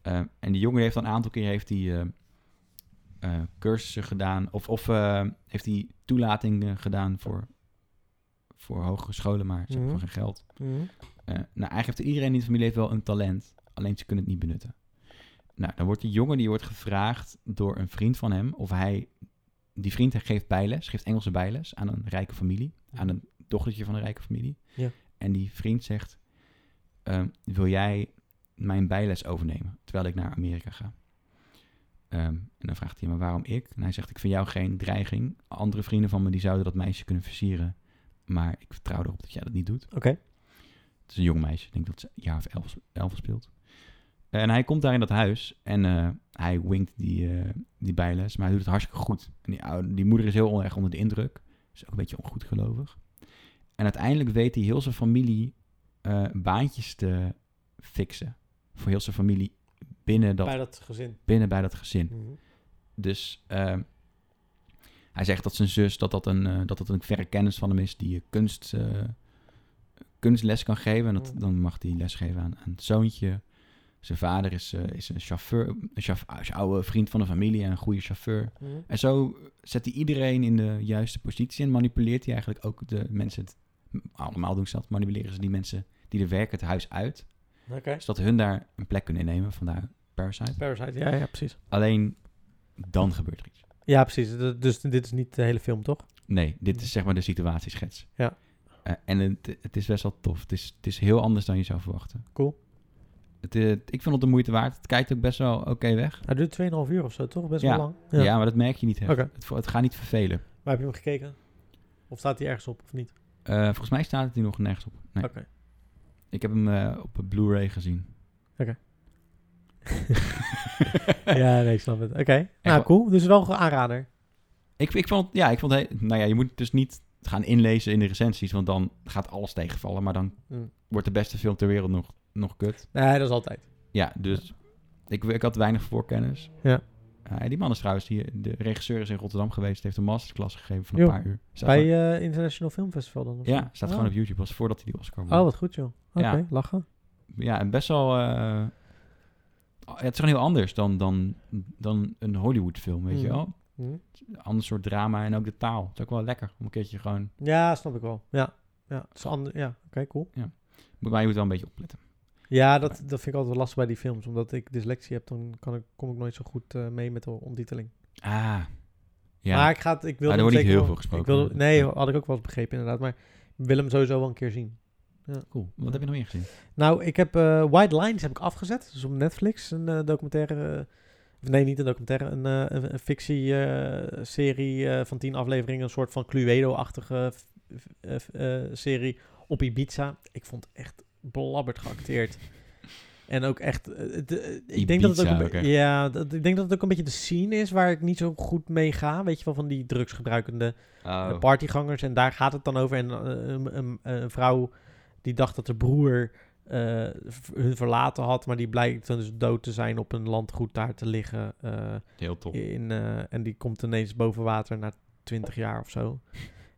Eh, en die jongen heeft al een aantal keer heeft die, eh, eh, cursussen gedaan. Of, of eh, heeft hij toelatingen gedaan voor, voor hogescholen. Maar ze hebben
Mhm.
gewoon geen geld.
Mhm.
Eh, nou, eigenlijk heeft iedereen in de familie heeft wel een talent, alleen ze kunnen het niet benutten. Nou, dan wordt die jongen die wordt gevraagd door een vriend van hem of hij. Die vriend geeft bijles, geeft Engelse bijles aan een rijke familie, aan een dochtertje van een rijke familie.
Ja.
En die vriend zegt: ehm, Wil jij mijn bijles overnemen terwijl ik naar Amerika ga? Ehm, en dan vraagt hij: Maar waarom ik? En hij zegt: Ik vind jou geen dreiging. Andere vrienden van me die zouden dat meisje kunnen versieren. Maar ik vertrouw erop dat jij dat niet doet.
Oké.
Het is een jong meisje. Ik denk dat ze een jaar of elf, elf speelt. Eh, En hij komt daar in dat huis en eh, hij winkt die, eh, die bijles, maar hij doet het hartstikke goed. En die, oude, die moeder is heel on- erg onder de indruk. Is ook een beetje ongoedgelovig. En uiteindelijk weet hij heel zijn familie eh, baantjes te fixen. Voor heel zijn familie binnen, dat,
Bij dat gezin.
binnen bij dat gezin.
Mhm.
Dus eh, hij zegt dat zijn zus, dat dat een, eh, dat dat een verre kennis van hem is, die eh, kunst, eh, kunstles kan geven. En dat,
Mm.
dan mag hij les geven aan, aan het zoontje. Zijn vader is, eh, is een chauffeur, een chauff- een oude vriend van de familie en een goede chauffeur.
Mhm.
En zo zet hij iedereen in de juiste positie en manipuleert hij eigenlijk ook de mensen. Het, allemaal doen ze dat, manipuleren ze die mensen die er werken het huis uit.
Oké.
Zodat hun daar een plek kunnen innemen, vandaar Parasite.
Parasite, ja, ja, precies.
Alleen dan gebeurt er iets.
Ja, precies. D- Dus dit is niet de hele film, toch?
Nee, dit
Mhm.
is zeg maar de situatieschets.
Ja.
Eh, en het, het is best wel tof. Het is, het is heel anders dan je zou verwachten.
Cool.
Het, eh, ik vond het de moeite waard. Het kijkt ook best wel oké weg.
Hij duurt 2,5 uur of zo, toch? Best
Ja.
wel lang.
Ja. maar dat merk je niet. echt.
Oké.
Het, vo- het gaat niet vervelen.
Maar heb je hem gekeken? Of staat hij ergens op of niet?
Eh, volgens mij staat het hier nog nergens op. Nee.
Oké.
Ik heb hem eh, op een Blu-ray gezien.
Oké. Ja, nee, ik snap het. Oké. Nou,
wel-
cool. Dus wel een aanrader.
Ik, ik vond, ja, ik vond het, he- nou ja, je moet dus niet gaan inlezen in de recensies, want dan gaat alles tegenvallen. Maar dan
Mm.
wordt de beste film ter wereld nog, nog kut.
Nee, dat is altijd.
Ja, dus ik, ik had weinig voorkennis.
Ja.
Ah, die man is trouwens, die, de regisseur is in Rotterdam geweest, heeft een masterclass gegeven van
Joh.
een paar uur. Staat
Bij
gewoon-
eh, International Film Festival dan? of
ja,
zo?
staat
Oh.
gewoon op YouTube, was voordat hij die Oscar won.
Oh, wat goed joh. Oké,
Ja.
lachen.
Ja, en best wel... eh, oh, ja, het is gewoon heel anders dan, dan, dan een Hollywood film, weet je
Mhm.
wel?
Hm.
Een ander soort drama en ook de taal. Het is ook wel lekker om een keertje gewoon...
Ja, snap ik wel. Ja, ja, het is ander, ja. oké, cool.
Maar je moet wel een beetje opletten.
Ja, dat, dat vind ik altijd wel lastig bij die films. Omdat ik dyslexie heb, dan kan ik, kom ik nooit zo goed eh, mee met de ondertiteling.
Ah, ja.
Maar ik, ga het, ik wil
Maar er
hem
wordt niet
zeker
heel
wel-
veel gesproken.
Ik wil, nee, had ik ook wel eens begrepen inderdaad. Maar ik wil hem sowieso wel een keer zien.
Cool. Wat heb je nog meer gezien?
Nou, ik heb eh White Lines heb ik afgezet. Dus op Netflix een eh, documentaire. eh, of nee, niet een documentaire. Een, eh, een, een fictie-serie eh, van tien afleveringen. Een soort van Cluedo-achtige f- f- eh, f- eh, serie op Ibiza. Ik vond het echt blabberd geacteerd. En ook echt. eh, het, eh, ik, denk dat het ook
Ibiza
een,
ook
be-
echt.
ja, dat, ik denk dat het ook een beetje de scene is waar ik niet zo goed mee ga. Weet je wel, van die drugsgebruikende
Oh,
eh, partygangers. En daar gaat het dan over. En eh, een, een, een vrouw die dacht dat de broer eh, v- hun verlaten had, maar die blijkt dan dus dood te zijn op een landgoed daar te liggen. eh,
Heel tof.
in, eh, en die komt ineens boven water na 20 jaar of zo.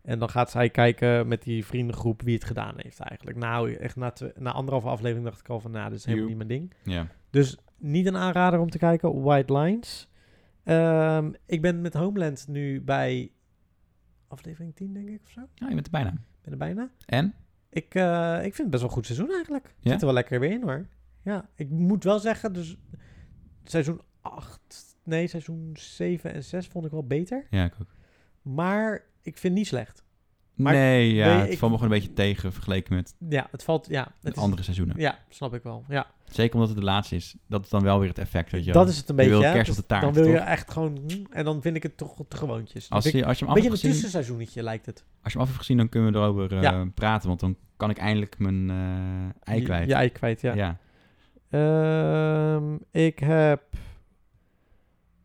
En dan gaat zij kijken met die vriendengroep wie het gedaan heeft eigenlijk. Nou, echt na, twe- na anderhalve aflevering dacht ik al van, nou, dit is helemaal
Joep.
niet mijn ding.
Ja.
Dus niet een aanrader om te kijken. White Lines. Ehm, ik ben met Homeland nu bij aflevering 10, denk ik, of zo.
ja, je bent er bijna.
Ben er bijna.
En?
Ik, eh, ik vind het best wel een goed seizoen eigenlijk. Het
Ja?
Zit er wel lekker weer in, hoor. Ja, ik moet wel zeggen, dus seizoen 8, nee, seizoen 7 en 6 vond ik wel beter.
Ja, ik ook.
Maar ik vind het niet slecht. Maar-
Nee, ja,
Nee,
het
ik-
valt me gewoon een beetje tegen vergeleken met
Ja, het valt, ja.
de
Het is-
andere seizoenen.
Ja, snap ik wel. Ja,
Zeker omdat het de laatste is. Dat is dan wel weer het effect, weet je wel.
dat is het een
Je
beetje.
wil
hè.
kerst
Dus
op de taart,
Dan wil je
toch?
echt gewoon, mm, en dan vind ik het toch te gewoontjes.
Als
Dus ik-
je, als je hem
een
af
beetje
hebt
een
gezien,
tussenseizoentje lijkt het.
als je hem af hebt gezien, dan kunnen we erover eh,
Ja.
praten. Want dan kan ik eindelijk mijn eh ei kwijt.
Je, je ei kwijt, ja.
ja.
Ehm, ik heb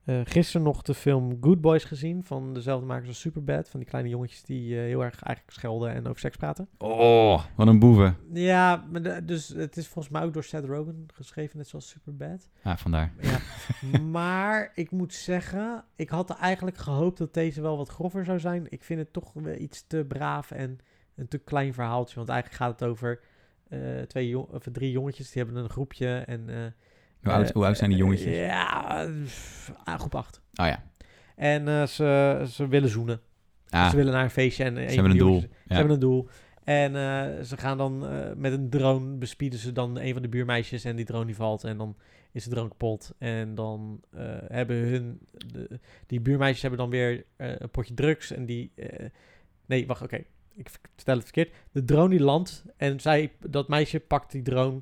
eh, gisteren nog de film Good Boys gezien van dezelfde makers als Superbad. Van die kleine jongetjes die eh, heel erg eigenlijk schelden en over seks praten.
Oh, wat een boeven.
Ja, maar de- dus het is volgens mij ook door Seth Rogen geschreven, net zoals Superbad.
Ah, vandaar.
Ja. maar ik moet zeggen, ik had er eigenlijk gehoopt dat deze wel wat grover zou zijn. Ik vind het toch wel iets te braaf en een te klein verhaaltje. Want eigenlijk gaat het over eh, twee jong of drie jongetjes, die hebben een groepje en... eh,
Hoe oud,
eh,
hoe oud zijn die jongetjes?
Ja, pff, ah, groep 8.
Oh ja.
En eh, ze, ze willen zoenen.
Ah,
Ze willen naar een feestje. En
ze hebben een doel.
Ze
Ja.
hebben een doel. En eh, ze gaan dan eh, met een drone bespieden ze dan een van de buurmeisjes. En die drone die valt. En dan is de drone kapot. En dan eh, hebben hun... de- die buurmeisjes hebben dan weer eh, een potje drugs. En die... eh, nee, wacht, oké. Ik v- vertel het verkeerd. De drone die landt. En zij, dat meisje pakt die drone.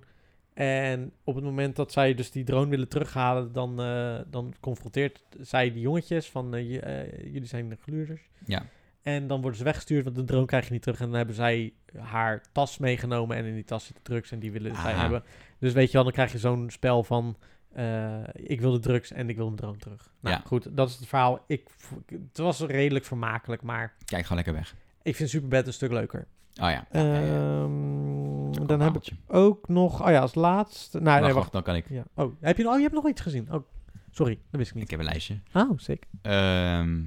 En op het moment dat zij dus die drone willen terughalen... dan, eh, dan confronteert zij die jongetjes van... eh, je- eh, jullie zijn de gluurders.
Ja.
En dan worden ze weggestuurd, want de drone krijg je niet terug. En dan hebben zij haar tas meegenomen. En in die tas zitten drugs en die willen zij
Ah.
hebben. Dus weet je wel, dan krijg je zo'n spel van... eh, ik wil de drugs en ik wil mijn drone terug. Nou
Ja.
goed, dat is het verhaal. Ik, vo- het was redelijk vermakelijk, maar
Kijk gewoon lekker weg.
ik vind Superbad een stuk leuker.
Oh ja. Ja, ja, ja.
Ehm,
Zo'n
dan heb ik
kabeltje.
ook nog... Oh ja, als laatste... Nou, nee,
Wacht,
wacht.
wacht, dan kan ik.
Ja. Oh, heb je, oh, je hebt nog iets gezien. Oh, sorry, dat wist ik
Ik
niet.
heb een lijstje.
Oh, sick.
Ehm,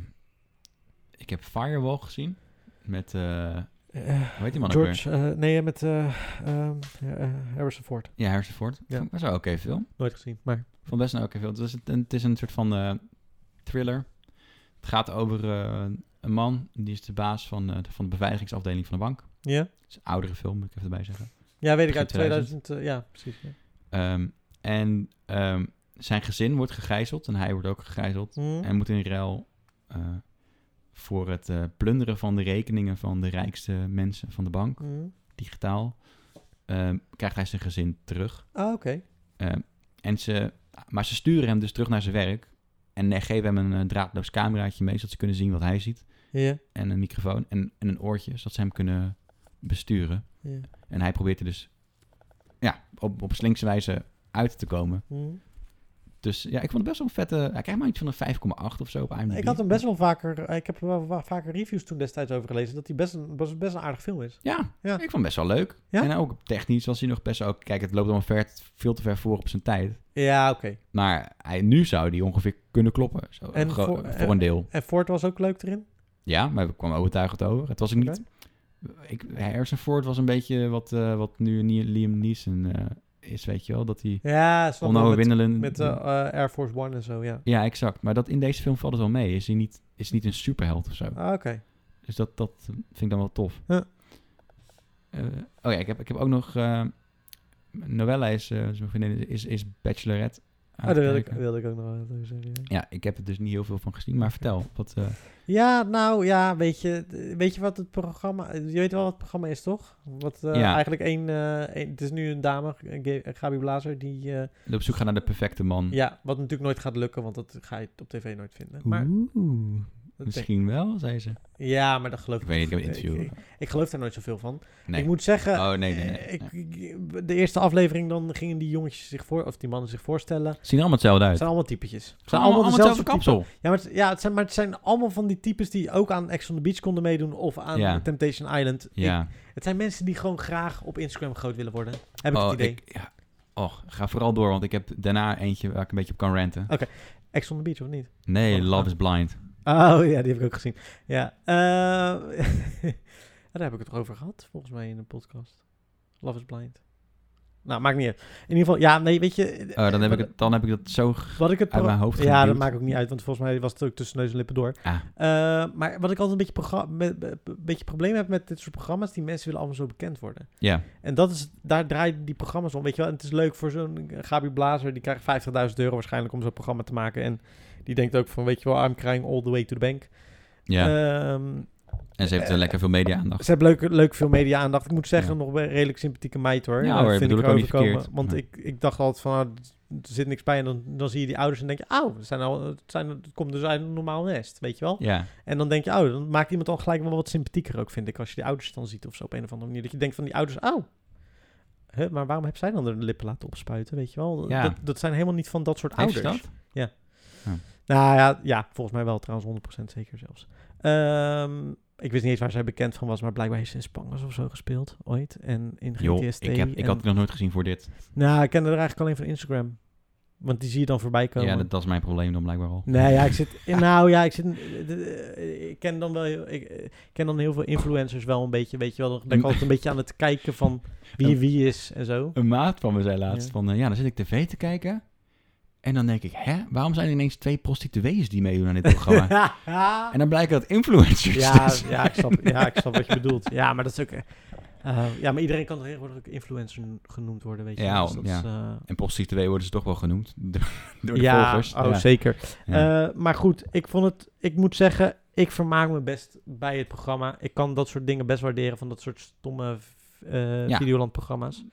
ik heb Firewall gezien. Met, eh
Eh,
hoe heet die man ook weer?
George, eh, nee, met eh, ehm, eh, Harrison Ford.
Ja, Harrison Ford.
Ja.
Vond ik best wel oké film.
Nooit gezien, maar...
Vond best wel oké film. Het is, een, het is een soort van eh, thriller. Het gaat over eh, een man, die is de baas van, eh, de- van de beveiligingsafdeling van de bank.
Ja,
Het is een oudere film, moet ik even erbij zeggen.
ja weet ik
Begin
uit 2000. eh, ja, precies. ja.
Ehm, en ehm, zijn gezin wordt gegijzeld en hij wordt ook gegijzeld.
Hm? Mhm.
En moet in ruil eh, voor het eh, plunderen van de rekeningen van de rijkste mensen van de bank,
Mm.
digitaal, ehm, krijgt hij zijn gezin terug.
Ah, oké.
Ehm, en ze, maar ze sturen hem dus terug naar zijn werk en eh, geven hem een eh, draadloos cameraatje mee, zodat ze kunnen zien wat hij ziet.
Ja,
En een microfoon en, en een oortje, zodat ze hem kunnen besturen.
ja.
En hij probeert er dus ja, op, op slinkse wijze uit te komen.
Mm.
Dus ja, ik vond het best wel een vette... Hij krijgt maar iets van een 5,8 of zo op IMDb.
Ik had hem best wel vaker, eh, ik heb er wel wa- vaker reviews toen destijds over gelezen, dat hij best een, best, best een aardig film is.
Ja,
Ja.
ik vond hem best wel leuk.
Ja?
En ook technisch was hij nog best wel... Kijk, het loopt allemaal ver, veel te ver voor op zijn tijd.
Ja, oké.
Maar hij, nu zou die ongeveer kunnen kloppen. Zo,
En
gro-
voor-
voor, een deel.
En Ford was ook leuk erin?
Ja, maar ik kwam overtuigend over. Het was ook niet... Ik, Harrison Ford was een beetje wat, eh, wat nu Nie- Liam Neeson eh, is, weet je wel. Dat hij
Ja, snap ik. Met,
onoverwinnelen...
met eh, eh, Air Force One en zo, ja.
Ja, exact. Maar dat in deze film valt het wel mee. Is hij niet, is niet een superheld of zo.
Ah, Oké.
Dus dat, dat vind ik dan wel tof.
Ja.
Eh, oh ja, ik heb, ik heb ook nog... eh Noella is, eh, is mijn vriendin, is, is bachelorette. aan
Oh, daar
het
wilde ik,
kijken.
wilde ik ook nog wat over zeggen. ja.
Ja, ik heb er dus niet heel veel van gezien. Maar vertel, wat... eh,
Ja, nou ja, weet je, weet je wat het programma... Je weet wel wat het programma is, toch? Wat eh,
Ja.
eigenlijk één, eh, één- Het is nu een dame, eh, Ga- eh, Gabi Blazer, die... eh,
op zoek gaan naar de perfecte man.
ja, wat natuurlijk nooit gaat lukken, want dat ga je op tv nooit vinden. Maar
Oeh,
dat denk-
misschien wel, zei ze.
ja, maar dat geloof
Ik
ik
weet niet, ik heb een
Ik,
interview.
ik, ik geloof daar nooit zoveel van.
Nee.
Ik moet zeggen...
Oh, nee, nee, nee,
eh, ik- ik- de eerste aflevering, dan gingen die jongetjes zich voor... Of die mannen zich voorstellen. Het
Zien er allemaal hetzelfde uit.
zijn allemaal typetjes. Gewoon
Ze allemaal, allemaal
dezelfde
hetzelfde
type.
kapsel.
Ja, maar het, ja, het zijn, maar het zijn allemaal van die types die ook aan Ex on the Beach konden meedoen of aan
Ja.
Temptation Island. Ik-
Ja.
het zijn mensen die gewoon graag op Instagram groot willen worden. Heb ik
oh,
het idee.
Ik, ja. Och, ga vooral door, want ik heb daarna eentje waar ik een beetje op kan ranten.
Ex on the Beach of niet?
Nee,
Oh.
Love is Blind.
Oh ja, die heb ik ook gezien. Ja. eh, daar heb ik het toch over gehad, volgens mij in de podcast. Love is Blind. Nou, maakt niet uit. In ieder geval, ja, nee, weet je...
Oh, dan, heb ik het, dan heb ik dat zo... ge-
Wat ik het
uit
pro-
mijn hoofd
Oh. Ja, dat
geduwd.
maakt ook niet uit, want volgens mij was het ook tussen neus en lippen door.
Ah,
Eh, maar wat ik altijd een beetje, progra- met- met- een beetje probleem heb met dit soort programma's, die mensen willen allemaal zo bekend worden.
ja.
En dat is, daar draaien die programma's om, weet je wel. En het is leuk voor zo'n Gabi Blazer, die krijgt 50.000 euro waarschijnlijk om zo'n programma te maken. En die denkt ook van, weet je wel, I'm crying all the way to the bank.
ja.
Ehm,
en ze heeft er
eh,
lekker veel media-aandacht.
ze hebben leuk, leuk veel media-aandacht. Ik moet zeggen,
Ja.
nog wel een redelijk sympathieke meid hoor.
Ja,
Eh,
hoor,
vind
bedoel
ik
ik ook niet
overkomen.
verkeerd.
Want
Nee.
ik, ik dacht altijd van, ah, er zit niks bij. En dan, dan zie je die ouders en denk je, auw, het, zijn al, het, zijn, het komt dus uit een normaal nest, weet je wel.
Ja,
En dan denk je, oh, dan maakt iemand dan gelijk wel wat sympathieker ook, vind ik. Als je die ouders dan ziet of zo op een of andere manier. Dat je denkt van die ouders, oh, hè, maar waarom heb zij dan de lippen laten opspuiten, weet je wel?
Ja.
Dat, dat zijn helemaal niet van dat soort
heeft ze
ouders.
dat?
Nou ja, ja, volgens mij wel trouwens, 100% zeker zelfs. Ehm, ik wist niet eens waar zij bekend van was, maar blijkbaar heeft ze in Spangers of zo gespeeld ooit. En in GTST.
Joh, ik, heb, ik
en-
had het nog nooit gezien voor dit.
Nou, ik kende haar eigenlijk alleen van Instagram. Want die zie je dan voorbij komen.
Ja, dat, dat is mijn probleem dan blijkbaar al.
Nee, ja, ik zit. Nou ja, ik zit. de- de- Ik ken dan wel. heel- Ik eh, ken dan heel veel influencers wel een beetje. Weet je wel. Dan
Mm.
ben ik altijd een beetje aan het kijken van wie wie is en zo.
Een maat van me zei laatst
Ja.
van... eh, ja, dan zit ik tv te kijken. En dan denk ik... Hè, waarom zijn er ineens twee prostituees die meedoen aan dit programma?
ja,
en dan blijken dat influencers
ja,
dus-
ja, ik snap, ja, ik snap wat je bedoelt. Ja, maar dat is ook. eh, eh, ja, maar iedereen kan tegenwoordig ook influencer genoemd worden, weet je.
Ja,
wel. Dus dat
ja.
is, eh,
En prostituee worden ze toch wel genoemd door, door de
ja,
volgers.
Oh,
ja.
zeker.
Ja.
Eh, maar goed, ik vond het. Ik moet zeggen, ik vermaak me best bij het programma. Ik kan dat soort dingen best waarderen van dat soort stomme eh
Ja.
Videoland-programma's.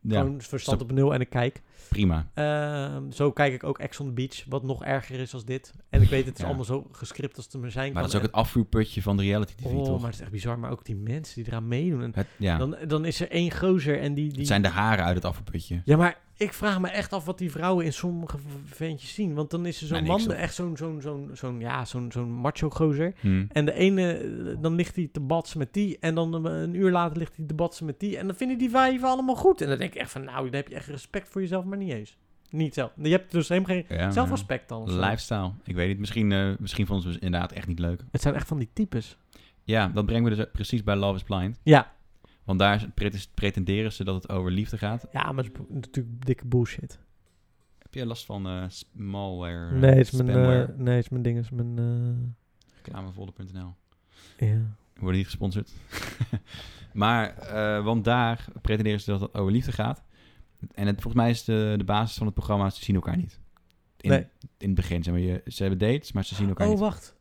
Ja,
Gewoon verstand op nul en ik kijk.
prima.
Ehm, zo kijk ik ook Ex on the Beach, wat nog erger is als dit. En ik weet, het is
Ja.
allemaal zo gescript als het maar zijn
Maar
kan.
dat is ook
En-
het afvoerputje van de reality TV,
Oh,
toch?
maar het is echt bizar. Maar ook die mensen die eraan meedoen. En
Het, ja,
dan, dan is er één gozer en die... die...
het zijn de haren uit het afvoerputje.
Ja, maar ik vraag me echt af wat die vrouwen in sommige v- ventjes zien. Want dan is er zo'n
Nee,
man,
niks,
echt zo'n zo'n zo'n zo'n ja, zo'n zo'n macho gozer.
Hm.
En de ene, eh, dan ligt hij te batsen met die. En dan eh, een uur later ligt hij te batsen met die. En dan vinden die wijven allemaal goed. En dan denk ik echt van, nou, dan heb je echt respect voor jezelf, maar niet eens. Niet zelf. Je hebt dus helemaal geen
Ja,
zelfrespect dan. of zo.
Lifestyle. Ik weet niet, misschien, eh, misschien vonden ze het inderdaad echt niet leuk.
Het zijn echt van die types.
Ja, dat brengen we dus precies bij Love is Blind.
Ja.
Want daar is- pret- pretenderen ze dat het over liefde gaat.
Ja, maar het is bo- natuurlijk dikke bullshit.
Heb jij last van eh, malware? eh,
Nee, het is mijn,
spamware?
eh, nee, het is mijn ding. Het is mijn, eh,
Reclamevolle.nl.
ja.
We worden niet gesponsord. maar, eh, want daar pretenderen ze dat het over liefde gaat. En het, volgens mij is de, de basis van het programma, ze zien elkaar niet. In,
Nee.
in het begin, zeg maar, je, ze hebben dates, maar ze zien elkaar
Oh,
niet.
wacht.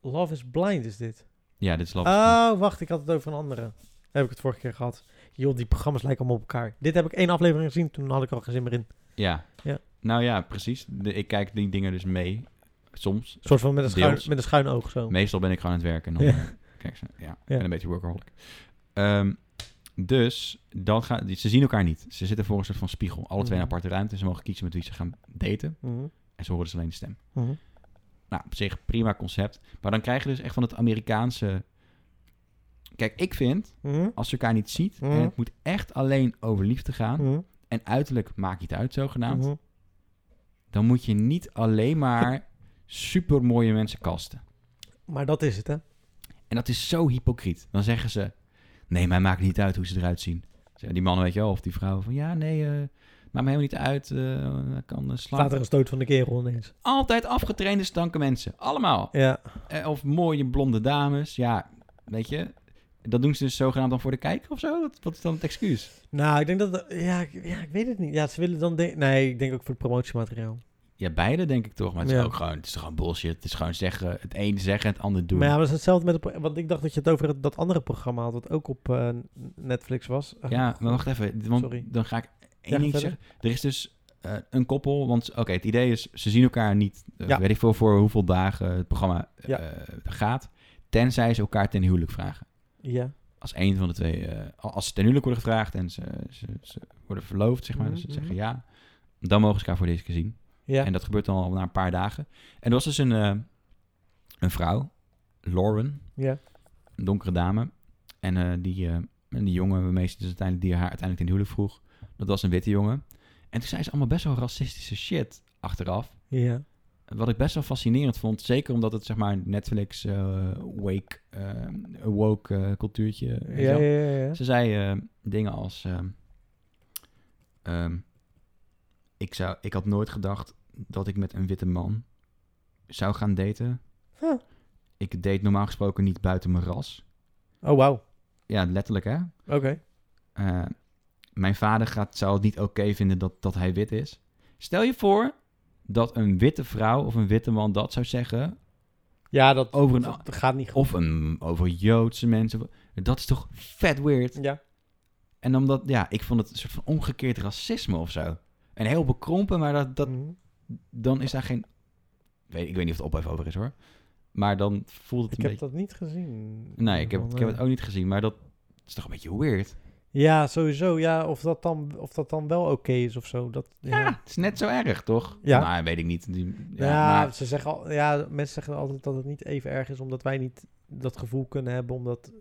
Love is blind is dit.
Ja, dit is lastig.
Oh, wacht. Ik had het over een andere. Daar heb ik het vorige keer gehad. Joh, die programma's lijken allemaal op elkaar. Dit heb ik één aflevering gezien. Toen had ik al geen zin meer in.
ja.
ja.
Nou ja, precies. De- ik kijk die dingen dus mee, soms.
Een soort van met een, schuin,
Deels.
met een schuin oog zo.
Meestal ben ik gewoon aan het werken. En dan,
Ja.
eh, kijk ze. Ja, ik ben een beetje workaholic. Ehm, Dus dan gaan ze zien elkaar niet. Ze zitten voor een soort van spiegel. Alle twee in
Mhm.
aparte ruimte. Ze mogen kiezen met wie ze gaan daten.
Mhm.
En ze horen dus alleen de stem.
Mhm.
Nou, op zich prima concept. Maar dan krijg je dus echt van het Amerikaanse... Kijk, ik vind,
Mhm.
als je elkaar niet ziet...
Mhm.
en het moet echt alleen over liefde gaan...
Mhm.
en uiterlijk maakt niet uit zogenaamd...
Mhm.
dan moet je niet alleen maar supermooie mensen kasten.
Maar dat is het, hè?
En dat is zo hypocriet. Dan zeggen ze, nee, mij maakt niet uit hoe ze eruit zien. Zeggen Die mannen, weet je wel, of die vrouwen van, ja, nee, eh maakt me helemaal niet uit. eh, ik kan eh, slaan.
Later een stoot van de kerel ineens.
Altijd afgetrainde stanke mensen. Allemaal.
Ja.
Eh, Of mooie blonde dames. Ja, weet je. Dat doen ze dus zogenaamd dan voor de kijker of zo? Wat, wat is dan het excuus?
Nou, ik denk dat... Ja ik, ja, ik weet het niet. Ja, ze willen dan... de- Nee, ik denk ook voor het promotiemateriaal.
Ja, beide denk ik toch. Maar het is
Ja.
ook gewoon, het is gewoon bullshit. Het is gewoon zeggen, het een zeggen, het ander doen.
Maar ja, maar het is hetzelfde met... het pro- Want ik dacht dat je het over het- dat andere programma had, wat ook op eh, Netflix was. Eh,
Ja, maar wacht even. Want
Sorry.
dan ga ik één
Ja,
ding
verder.
zeggen. Er is dus eh, een koppel. Want oké, het idee is, ze zien elkaar niet. eh,
Ja.
Weet ik veel voor hoeveel dagen het programma eh,
Ja.
gaat. Tenzij ze elkaar ten huwelijk vragen.
Ja.
Als een van de twee, eh, als ze ten huwelijk worden gevraagd en ze, ze, ze worden verloofd, zeg maar.
Mhm,
dus ze
mhm.
zeggen ja, dan mogen ze elkaar voor deze keer zien.
Ja.
En dat gebeurt dan al na een paar dagen. En er was dus een, eh, een vrouw, Lauren,
ja.
een donkere dame. En eh, die, eh, en die jongen waarmee ze dus uiteindelijk, die haar uiteindelijk in het huwelijk vroeg, dat was een witte jongen. En toen zei ze allemaal best wel racistische shit achteraf.
Ja.
Wat ik best wel fascinerend vond, zeker omdat het zeg maar Netflix eh, wake, eh, woke eh, cultuurtje.
Ja,
en
ja,
zo.
ja, ja.
Ze zei eh, dingen als... ehm, ehm, ik, zou, ik had nooit gedacht dat ik met een witte man zou gaan daten.
Huh.
Ik date normaal gesproken niet buiten mijn ras.
Oh, wauw.
Ja, letterlijk hè.
Oké.
Eh, mijn vader gaat, zou het niet oké vinden dat, dat hij wit is. Stel je voor dat een witte vrouw of een witte man dat zou zeggen.
Ja, dat,
Over een-
dat gaat niet goed.
Of een, over Joodse mensen. Dat is toch vet weird.
Ja.
En omdat, ja, ik vond het een soort van omgekeerd racisme of zo. En heel bekrompen, maar dat, dat,
Mhm.
dan is daar geen... Weet, ik weet niet of het ophef over is hoor. Maar dan voelt het
Ik
een
heb
beetje...
dat niet gezien.
Nee, ik heb, ik heb het
Nee.
ook niet gezien, maar dat is toch een beetje weird.
Ja, sowieso. Ja, of dat dan, of dat dan wel oké is of zo. Dat,
Ja. het is net zo erg, toch?
Ja.
Nou, weet ik niet. Die, ja,
Ja,
maar-
ze zeggen al, ja, mensen zeggen altijd dat het niet even erg is, omdat wij niet dat gevoel kunnen hebben, omdat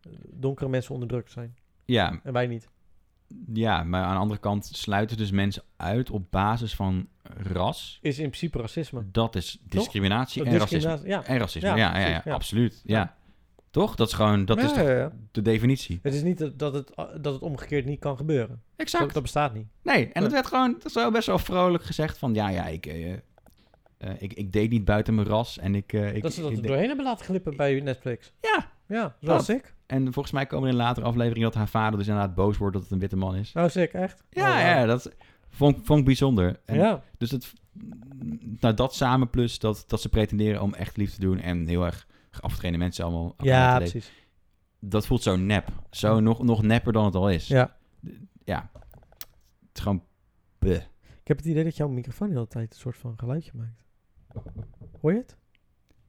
eh, donkere mensen onderdrukt zijn.
ja,
En wij niet.
Ja, maar aan de andere kant sluiten dus mensen uit op basis van ras.
Is in principe racisme.
Dat is discriminatie
Dat
en racisme.
discriminatie- Ja.
En racisme, ja, ja,
Ja,
ja,
precies, ja.
absoluut. Ja. Toch? Dat is gewoon, dat is
Ja,
toch
ja, ja.
de definitie.
Het is niet dat dat het, eh, dat het omgekeerd niet kan gebeuren. Dat,
Exact.
dat bestaat niet.
Nee, en het
Nee.
werd gewoon zo best wel vrolijk gezegd van, ja, ja, ik, eh, eh, ik, ik deed niet buiten mijn ras en ik... eh, ik
dat ze dat
ik
er
deed-
doorheen hebben laten glippen bij Netflix.
Ja, Oh.
Ja, zoals ik.
en volgens mij komen er in een latere aflevering dat haar vader dus inderdaad boos wordt dat het een witte man is.
Nou, ik echt.
Ja,
Oh, wauw.
ja, dat vond, vond ik bijzonder. En
ja.
Dus het, nou, dat samen plus dat, dat ze pretenderen om echt lief te doen en heel erg afgetrainde mensen allemaal. elkaar te
Ja,
daten.
precies.
Dat voelt zo nep. Zo nog, nog nepper dan het al is.
Ja.
Ja. Het is gewoon. bleh.
Ik heb het idee dat jouw microfoon de hele tijd een soort van geluidje maakt. Hoor je het?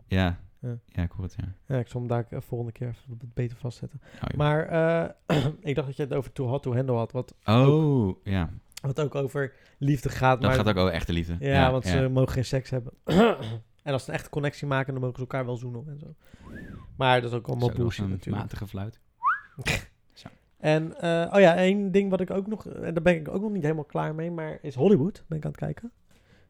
Ja. ja.
Ja.
ik hoor het. Ja.
Ja, ik zal hem daar eh, volgende keer even wat beter vastzetten.
Oh, joh.
Maar eh, ik dacht dat je het over Too Hot To Handle had, wat,
oh ja.
wat ook over liefde gaat.
Dat
maar,
gaat ook over echte liefde.
Ja, want ze mogen geen seks hebben. en als ze een echte connectie maken, dan mogen ze elkaar wel zoenen en zo. Maar dat is ook allemaal
Zo, dat was
bullshit
een
natuurlijk.
Matige fluit.
En, eh, oh ja, één ding wat ik ook nog, en daar ben ik ook nog niet helemaal klaar mee, maar is Hollywood. Ben ik aan het kijken.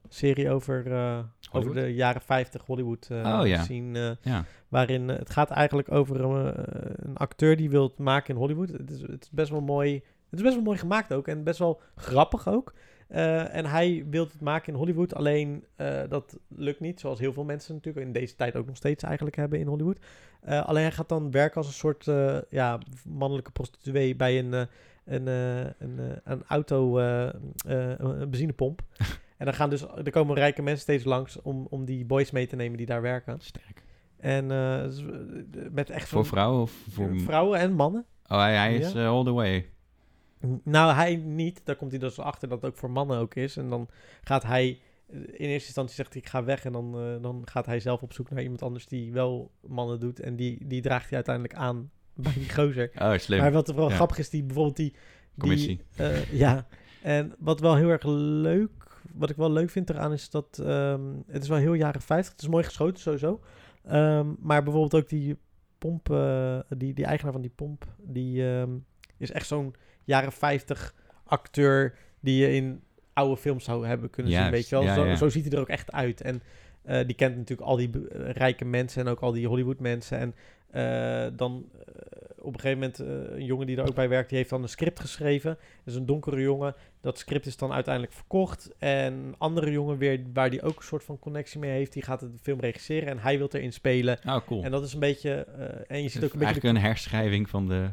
Een serie over, eh, over de jaren 50 Hollywood eh
Oh ja.
scene, eh,
Ja.
waarin eh, het gaat eigenlijk over eh, een acteur die wil maken in Hollywood. Het is, het is best wel mooi. Het is best wel mooi gemaakt ook en best wel grappig ook. Eh, en hij wil het maken in Hollywood, alleen eh, dat lukt niet, zoals heel veel mensen natuurlijk in deze tijd ook nog steeds eigenlijk hebben in Hollywood. Eh, alleen hij gaat dan werken als een soort eh, ja, mannelijke prostituee bij een, eh, een, eh, een, eh, een auto, eh, eh, een een benzinepomp. en dan gaan dus, er komen rijke mensen steeds langs om, om die boys mee te nemen die daar werken.
Sterk.
En eh, dus, eh, met echt
Voor
zo'n-
vrouwen of voor.
vrouwen en mannen.
Oh, hij, hij is
Ja.
eh, all the way.
Nou, hij niet. Daar komt hij dus achter dat het ook voor mannen ook is. En dan gaat hij... eh, In eerste instantie zegt hij, ik ga weg. En dan, eh, dan gaat hij zelf op zoek naar iemand anders die wel mannen doet. En die, die draagt hij uiteindelijk aan bij die gozer.
Oh, slim.
Maar wat wel
Ja.
grappig is, die bijvoorbeeld die... die,
Commissie.
eh, ja, en wat wel heel erg leuk... Wat ik wel leuk vind eraan is dat... ehm, het is wel heel jaren 50. Het is mooi geschoten sowieso. Ehm, maar bijvoorbeeld ook die pomp... eh, die, die eigenaar van die pomp... Die ehm, is echt zo'n jaren 50 acteur... Die je in oude films zou hebben kunnen zien,
Juist,
weet je wel.
ja,
zo,
ja.
zo ziet hij er ook echt uit. En eh, die kent natuurlijk al die be- eh, rijke mensen en ook al die Hollywood mensen. En eh, dan eh, op een gegeven moment, eh, een jongen die daar ook bij werkt, die heeft dan een script geschreven. Dat is een donkere jongen. Dat script is dan uiteindelijk verkocht. En een andere jongen weer, waar die ook een soort van connectie mee heeft, die gaat de film regisseren en hij wil erin spelen.
Oh, cool.
En dat is een beetje, eh, en je ziet ook een beetje... de-
Eigenlijk een herschrijving van de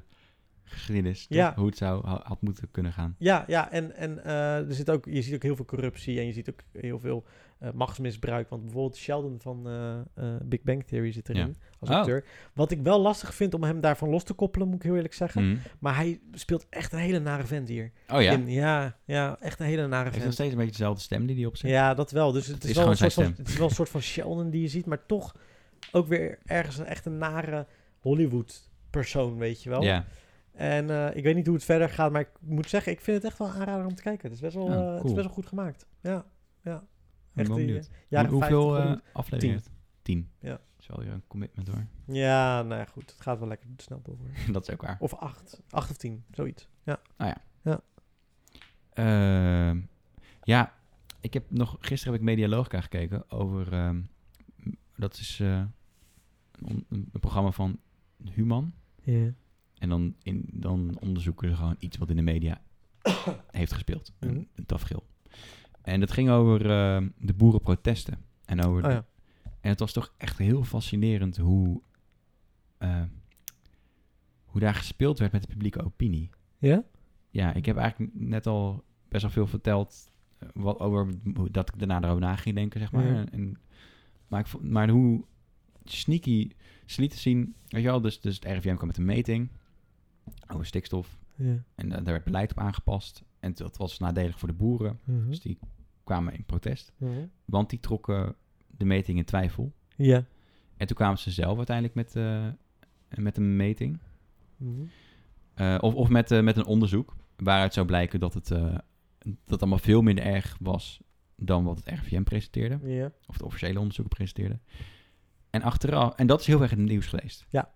geschiedenis. toch?
Ja.
Hoe het zou, ha- had moeten kunnen gaan.
Ja, ja, en, en eh, er zit ook, je ziet ook heel veel corruptie en je ziet ook heel veel eh, machtsmisbruik. Want bijvoorbeeld Sheldon van eh, eh, Big Bang Theory zit erin als
Oh.
acteur. Wat ik wel lastig vind om hem daarvan los te koppelen, moet ik heel eerlijk zeggen.
Mm.
Maar hij speelt echt een hele nare vent hier.
Oh ja.
In- ja, ja, echt een hele nare
Hij heeft nog
vent.
steeds een beetje dezelfde stem die hij opzet.
Ja, dat wel. Dus het is,
is
wel een
gewoon zijn
soort van,
stem.
het is wel een soort van Sheldon die je ziet, maar toch ook weer ergens een echt een nare Hollywood persoon, weet je wel.
Ja.
En eh, ik weet niet hoe het verder gaat, maar ik moet zeggen, ik vind het echt wel een aanrader om te kijken. Het is best wel,
Oh,
eh, het is
cool.
best wel goed gemaakt. Ja,
Ik
echt
ben
die,
benieuwd.
eh, jaren
Hoe- hoeveel
50
eh,
Hollywood.
afleveringen? heeft het? Tien.
Ja.
Dat is wel weer een commitment hoor.
Ja, nou ja, goed. Het gaat wel lekker snel door. hoor.
dat is ook waar.
Of acht. Acht of tien, zoiets. Ja.
Ehm, ja, ik heb nog... Gisteren heb ik Medialogica gekeken over... ehm, m- dat is eh, een, on- een programma van Human. En dan, in, dan onderzoeken ze gewoon iets wat in de media heeft gespeeld.
Mhm.
Een, een tafereel. En dat ging over ehm, de boerenprotesten. En, over
Oh
de-
ja.
en het was toch echt heel fascinerend hoe, eh, hoe daar gespeeld werd met de publieke opinie.
Ja?
Ja, ik heb eigenlijk net al best wel veel verteld eh, wat, over hoe- dat ik daarna erover na ging denken, zeg maar.
Ja.
En, en- maar, ik, vo- maar hoe sneaky ze lieten zien, weet je wel, dus, dus het RIVM kwam met een meting over stikstof.
Ja.
En da- daar werd beleid op aangepast. En dat was nadelig voor de
Mhm.
boeren. Dus die kwamen in protest. Want die trokken de meting in twijfel.
Ja.
En toen kwamen ze zelf uiteindelijk met, eh, met een meting.
Mhm.
Eh, of of met, eh, met een onderzoek. Waaruit zou blijken dat het, eh, dat het allemaal veel minder erg was dan wat het RIVM presenteerde.
Ja.
Of de officiële onderzoeken presenteerde. En achteraf, en dat is heel erg in het nieuws geweest.
Ja.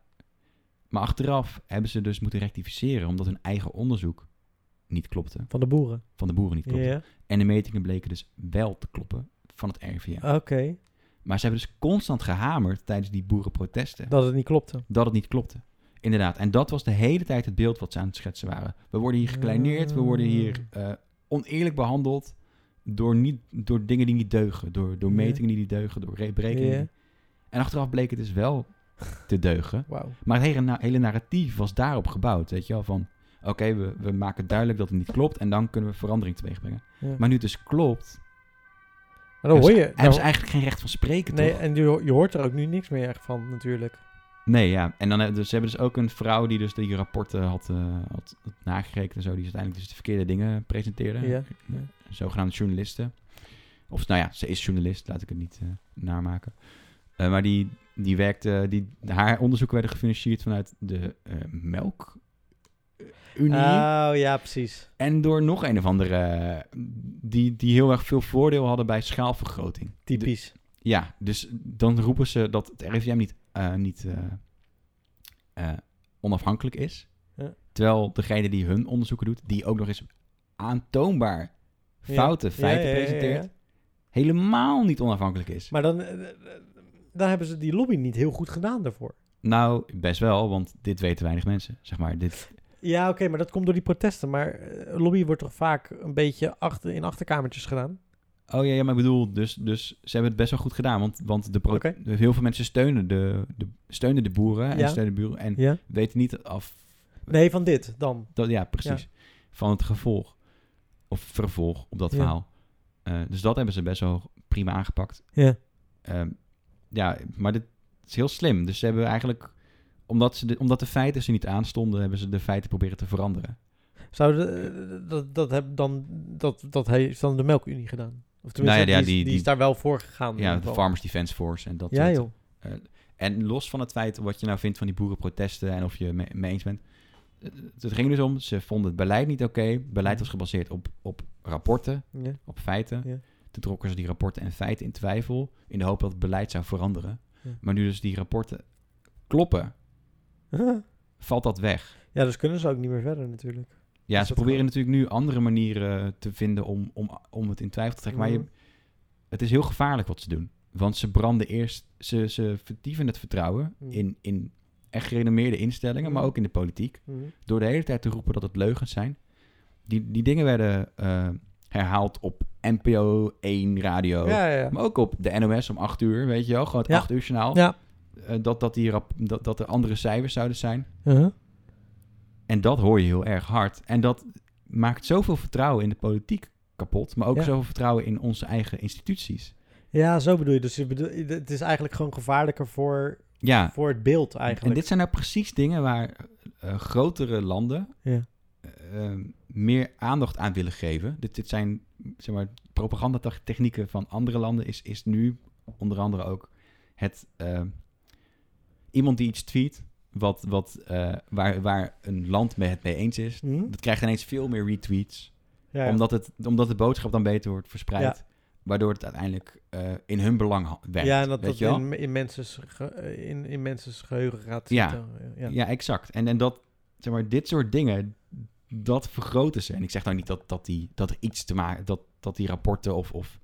Maar achteraf hebben ze dus moeten rectificeren omdat hun eigen onderzoek niet klopte.
Van de boeren.
Van de boeren niet klopte.
Ja.
En de metingen bleken dus wel te kloppen van het RIVM.
Ah, Oké.
Maar ze hebben dus constant gehamerd tijdens die boerenprotesten
Dat het niet klopte.
dat het niet klopte. Inderdaad. En dat was de hele tijd het beeld wat ze aan het schetsen waren. We worden hier gekleineerd, we worden hier
Ah.
eh, oneerlijk behandeld door, niet, door dingen die niet deugen, door, door
Ja.
metingen die niet deugen, door re- berekeningen.
Ja.
En achteraf bleek het dus wel te deugen.
Wauw.
Maar het hele, na- hele narratief was daarop gebouwd, weet je wel, van oké, we, we maken duidelijk dat het niet klopt en dan kunnen we verandering teweegbrengen.
Ja.
Maar nu het dus klopt,
Maar dan hoor je...
hebben ze
dan-
eigenlijk geen recht van spreken,
Nou, nee,
toch?
en je, ho- je hoort er ook nu niks meer echt van, natuurlijk.
Nee, ja. En dan hebben ze hebben dus ook een vrouw die dus die rapporten had, eh, had nagerekend en zo. Die dus uiteindelijk dus de verkeerde dingen presenteerde.
Ja, ja.
Zogenaamde journalisten. Of nou ja, ze is journalist, laat ik het niet eh, naarmaken. Eh, maar die, die werkte, die, haar onderzoeken werden gefinancierd vanuit de eh melkunie.
Oh, ja, precies.
En door nog een of andere, eh, die, die heel erg veel voordeel hadden bij schaalvergroting. De-
Typisch.
ja, dus dan roepen ze dat het RIVM niet, eh, niet eh, eh, onafhankelijk is.
Ja.
Terwijl degene die hun onderzoeken doet, die ook nog eens aantoonbaar
Ja.
foute
Ja,
feiten
ja, ja, ja,
presenteert,
ja.
helemaal niet onafhankelijk is.
Maar dan, eh, eh, dan hebben ze die lobby niet heel goed gedaan daarvoor.
Nou, best wel, want dit weten weinig mensen, zeg maar. Dit,
Ja, oké, maar dat komt door die protesten. Maar eh, lobby wordt toch vaak een beetje achter, in achterkamertjes gedaan?
oh ja, ja, maar ik bedoel, dus, dus ze hebben het best wel goed gedaan, want, want de pro-
Oké.
heel veel mensen steunen de, de, steunen de boeren en
Ja.
steunen de buren en
Ja.
weten niet af
Nee, van dit dan.
Dat, ja, precies. Van het gevolg. Of vervolg op dat
Ja.
verhaal. Eh, dus dat hebben ze best wel prima aangepakt.
Ja.
Ehm, ja, maar dit is heel slim. Dus ze hebben eigenlijk... Omdat, ze de, omdat de feiten ze niet aanstonden... hebben ze de feiten proberen te veranderen.
Zou de- eh, dat, dat, heb dan, dat, dat heeft dan de Melkunie gedaan? Of tenminste,
Nou ja, ja,
die, is-
die-
die,
die-
is daar wel voor gegaan. in
ja,
ieder
de
geval.
Farmers Defense Force en dat
Ja,
soort.
joh.
En los van het feit wat je nou vindt van die boerenprotesten en of je me- mee eens bent. Het, het ging dus om, ze vonden het beleid niet oké.
Mhm.
Beleid was gebaseerd op, op rapporten,
Ja.
op feiten.
Ja.
Toen trokken ze die rapporten en feiten in twijfel in de hoop dat het beleid zou veranderen.
Ja.
Maar nu dus die rapporten kloppen, valt dat weg.
ja, dus kunnen ze ook niet meer verder natuurlijk.
Ja,
Is
ze
dat
proberen
gewoon-
natuurlijk nu andere manieren te vinden om, om, om het in twijfel te trekken. Maar je,
Mhm.
het is heel gevaarlijk wat ze doen. Want ze branden eerst, ze, ze verdieven het vertrouwen
Mm.
in, in echt gerenommeerde instellingen, maar
Mm.
ook in de politiek.
Mhm.
Door de hele tijd te roepen dat het leugens zijn. Die, die dingen werden eh, herhaald op NPO 1 radio.
Ja, ja, ja.
Maar ook op de NOS om 8 uur, weet je wel, gewoon het
Ja.
8 uur journaal.
Ja.
Eh, dat, dat, die rap, dat, dat er andere cijfers zouden zijn.
Uh-huh.
En dat hoor je heel erg hard. En dat maakt zoveel vertrouwen in de politiek kapot, maar ook
Ja.
zoveel vertrouwen in onze eigen instituties.
Ja, zo bedoel je. Dus je bedoel, het is eigenlijk gewoon gevaarlijker voor,
Ja,
voor het beeld eigenlijk.
en dit zijn nou precies dingen waar eh, grotere landen
Ja.
eh, eh, meer aandacht aan willen geven. Dit, dit zijn, zeg maar, propagandatechnieken van andere landen is, is nu onder andere ook het... eh, iemand die iets tweet, wat, wat, eh, waar, waar een land mee het mee eens is,
Mhm.
dat krijgt ineens veel meer retweets.
Ja, ja.
Omdat, het, omdat de boodschap dan beter wordt verspreid. Waardoor het uiteindelijk eh, in hun belang ha- werkt.
ja, en dat
weet
dat
je wel?
in, in, mensen's ge- eh, in, in mensen's geheugen gaat
Ja.
zitten.
ja.
Ja.
exact. En, en dat, zeg maar, dit soort dingen, dat vergroten ze. En ik zeg nou niet dat, dat, die, dat er iets te maken, dat, dat die rapporten of, of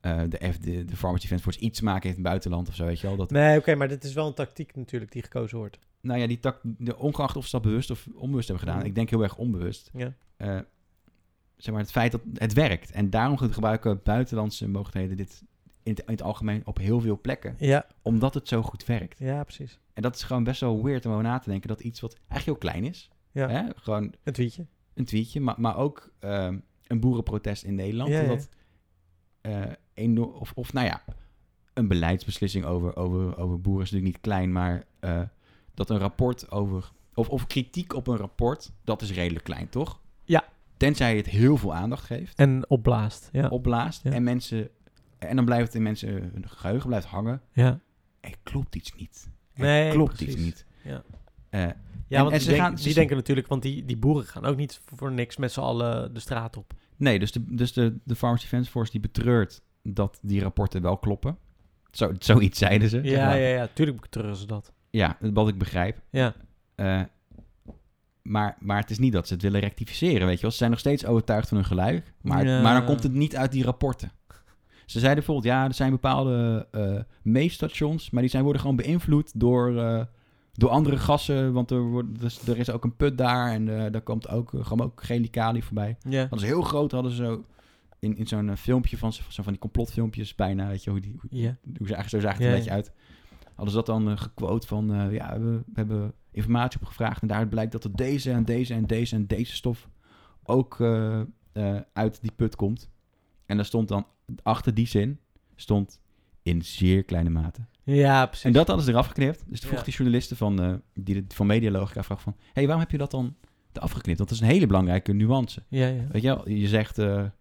eh, de, F, de, de Pharmacy Defense Force iets te maken heeft in het buitenland of zo, weet je wel. Dat,
Nee, oké, maar dit is wel een tactiek natuurlijk die gekozen wordt.
Nou ja, die tak, de, ongeacht of ze dat bewust of onbewust hebben gedaan.
Mhm.
Ik denk heel erg onbewust.
Ja.
Eh, zeg maar, het feit dat het werkt. En daarom gebruiken buitenlandse mogelijkheden dit in het, in het algemeen op heel veel plekken.
Ja,
Omdat het zo goed werkt.
ja precies.
En dat is gewoon best wel weird om over na te denken. Dat iets wat eigenlijk heel klein is.
Ja.
Hè? Gewoon
Een tweetje.
een tweetje. Maar, maar ook ehm, een boerenprotest in Nederland.
Ja, ja.
dat, eh, enorm, of, of nou ja, een beleidsbeslissing over, over, over boeren is natuurlijk niet klein. Maar eh, dat een rapport over... Of, of kritiek op een rapport, dat is redelijk klein, toch?
Ja.
Tenzij het heel veel aandacht geeft
En opblaast. Ja.
opblaast.
Ja.
En mensen. En dan blijft het in mensen hun geheugen blijft hangen.
ja.
Er klopt iets niet. Er
Nee,
klopt iets
precies.
niet.
Ja.
Eh,
Ja,
En-
want
en
die,
ze
denk-
gaan- ze-
die denken natuurlijk, want die, die boeren gaan ook niet voor niks met z'n allen de straat op.
nee, dus, de, dus de, de Farmers Defence Force die betreurt dat die rapporten wel kloppen. Zo, zoiets zeiden ze. zeg
Ja, ja,
maar.
ja, tuurlijk betreuren ze dat.
Ja, wat ik begrijp.
Ja,
Eh, maar, maar het is niet dat ze het willen rectificeren, weet je wel. Ze zijn nog steeds overtuigd van hun gelijk. Maar,
Ja.
maar dan komt het niet uit die rapporten. Ze zeiden bijvoorbeeld, ja, er zijn bepaalde eh meetstations... maar die zijn, worden gewoon beïnvloed door, eh, door andere gassen. Want er, wordt, dus er is ook een put daar en eh, daar komt ook, eh, gewoon ook chemicaliën voorbij.
ja.
Hadden ze heel groot, hadden ze zo... In, in zo'n eh, filmpje van, ze- zo van die complotfilmpjes bijna, weet je, hoe, die, hoe-
ja.
hoe ze eigenlijk zo zag het er
Ja,
een beetje uit. Hadden ze dat dan eh, gequote van, eh, ja, we, we hebben informatie opgevraagd en daaruit blijkt dat er deze en deze en deze en deze stof ook eh, eh, uit die put komt. En daar stond dan, achter die zin, stond in zeer kleine mate.
Ja, precies.
En dat hadden ze eraf geknipt. Dus toen vroeg
Ja.
die journalisten van, eh die de- van Medialogica vraag van, hé, hey, waarom heb je dat dan eraf geknipt? Want dat is een hele belangrijke nuance.
Ja, ja.
Weet je wel, je zegt, eh, er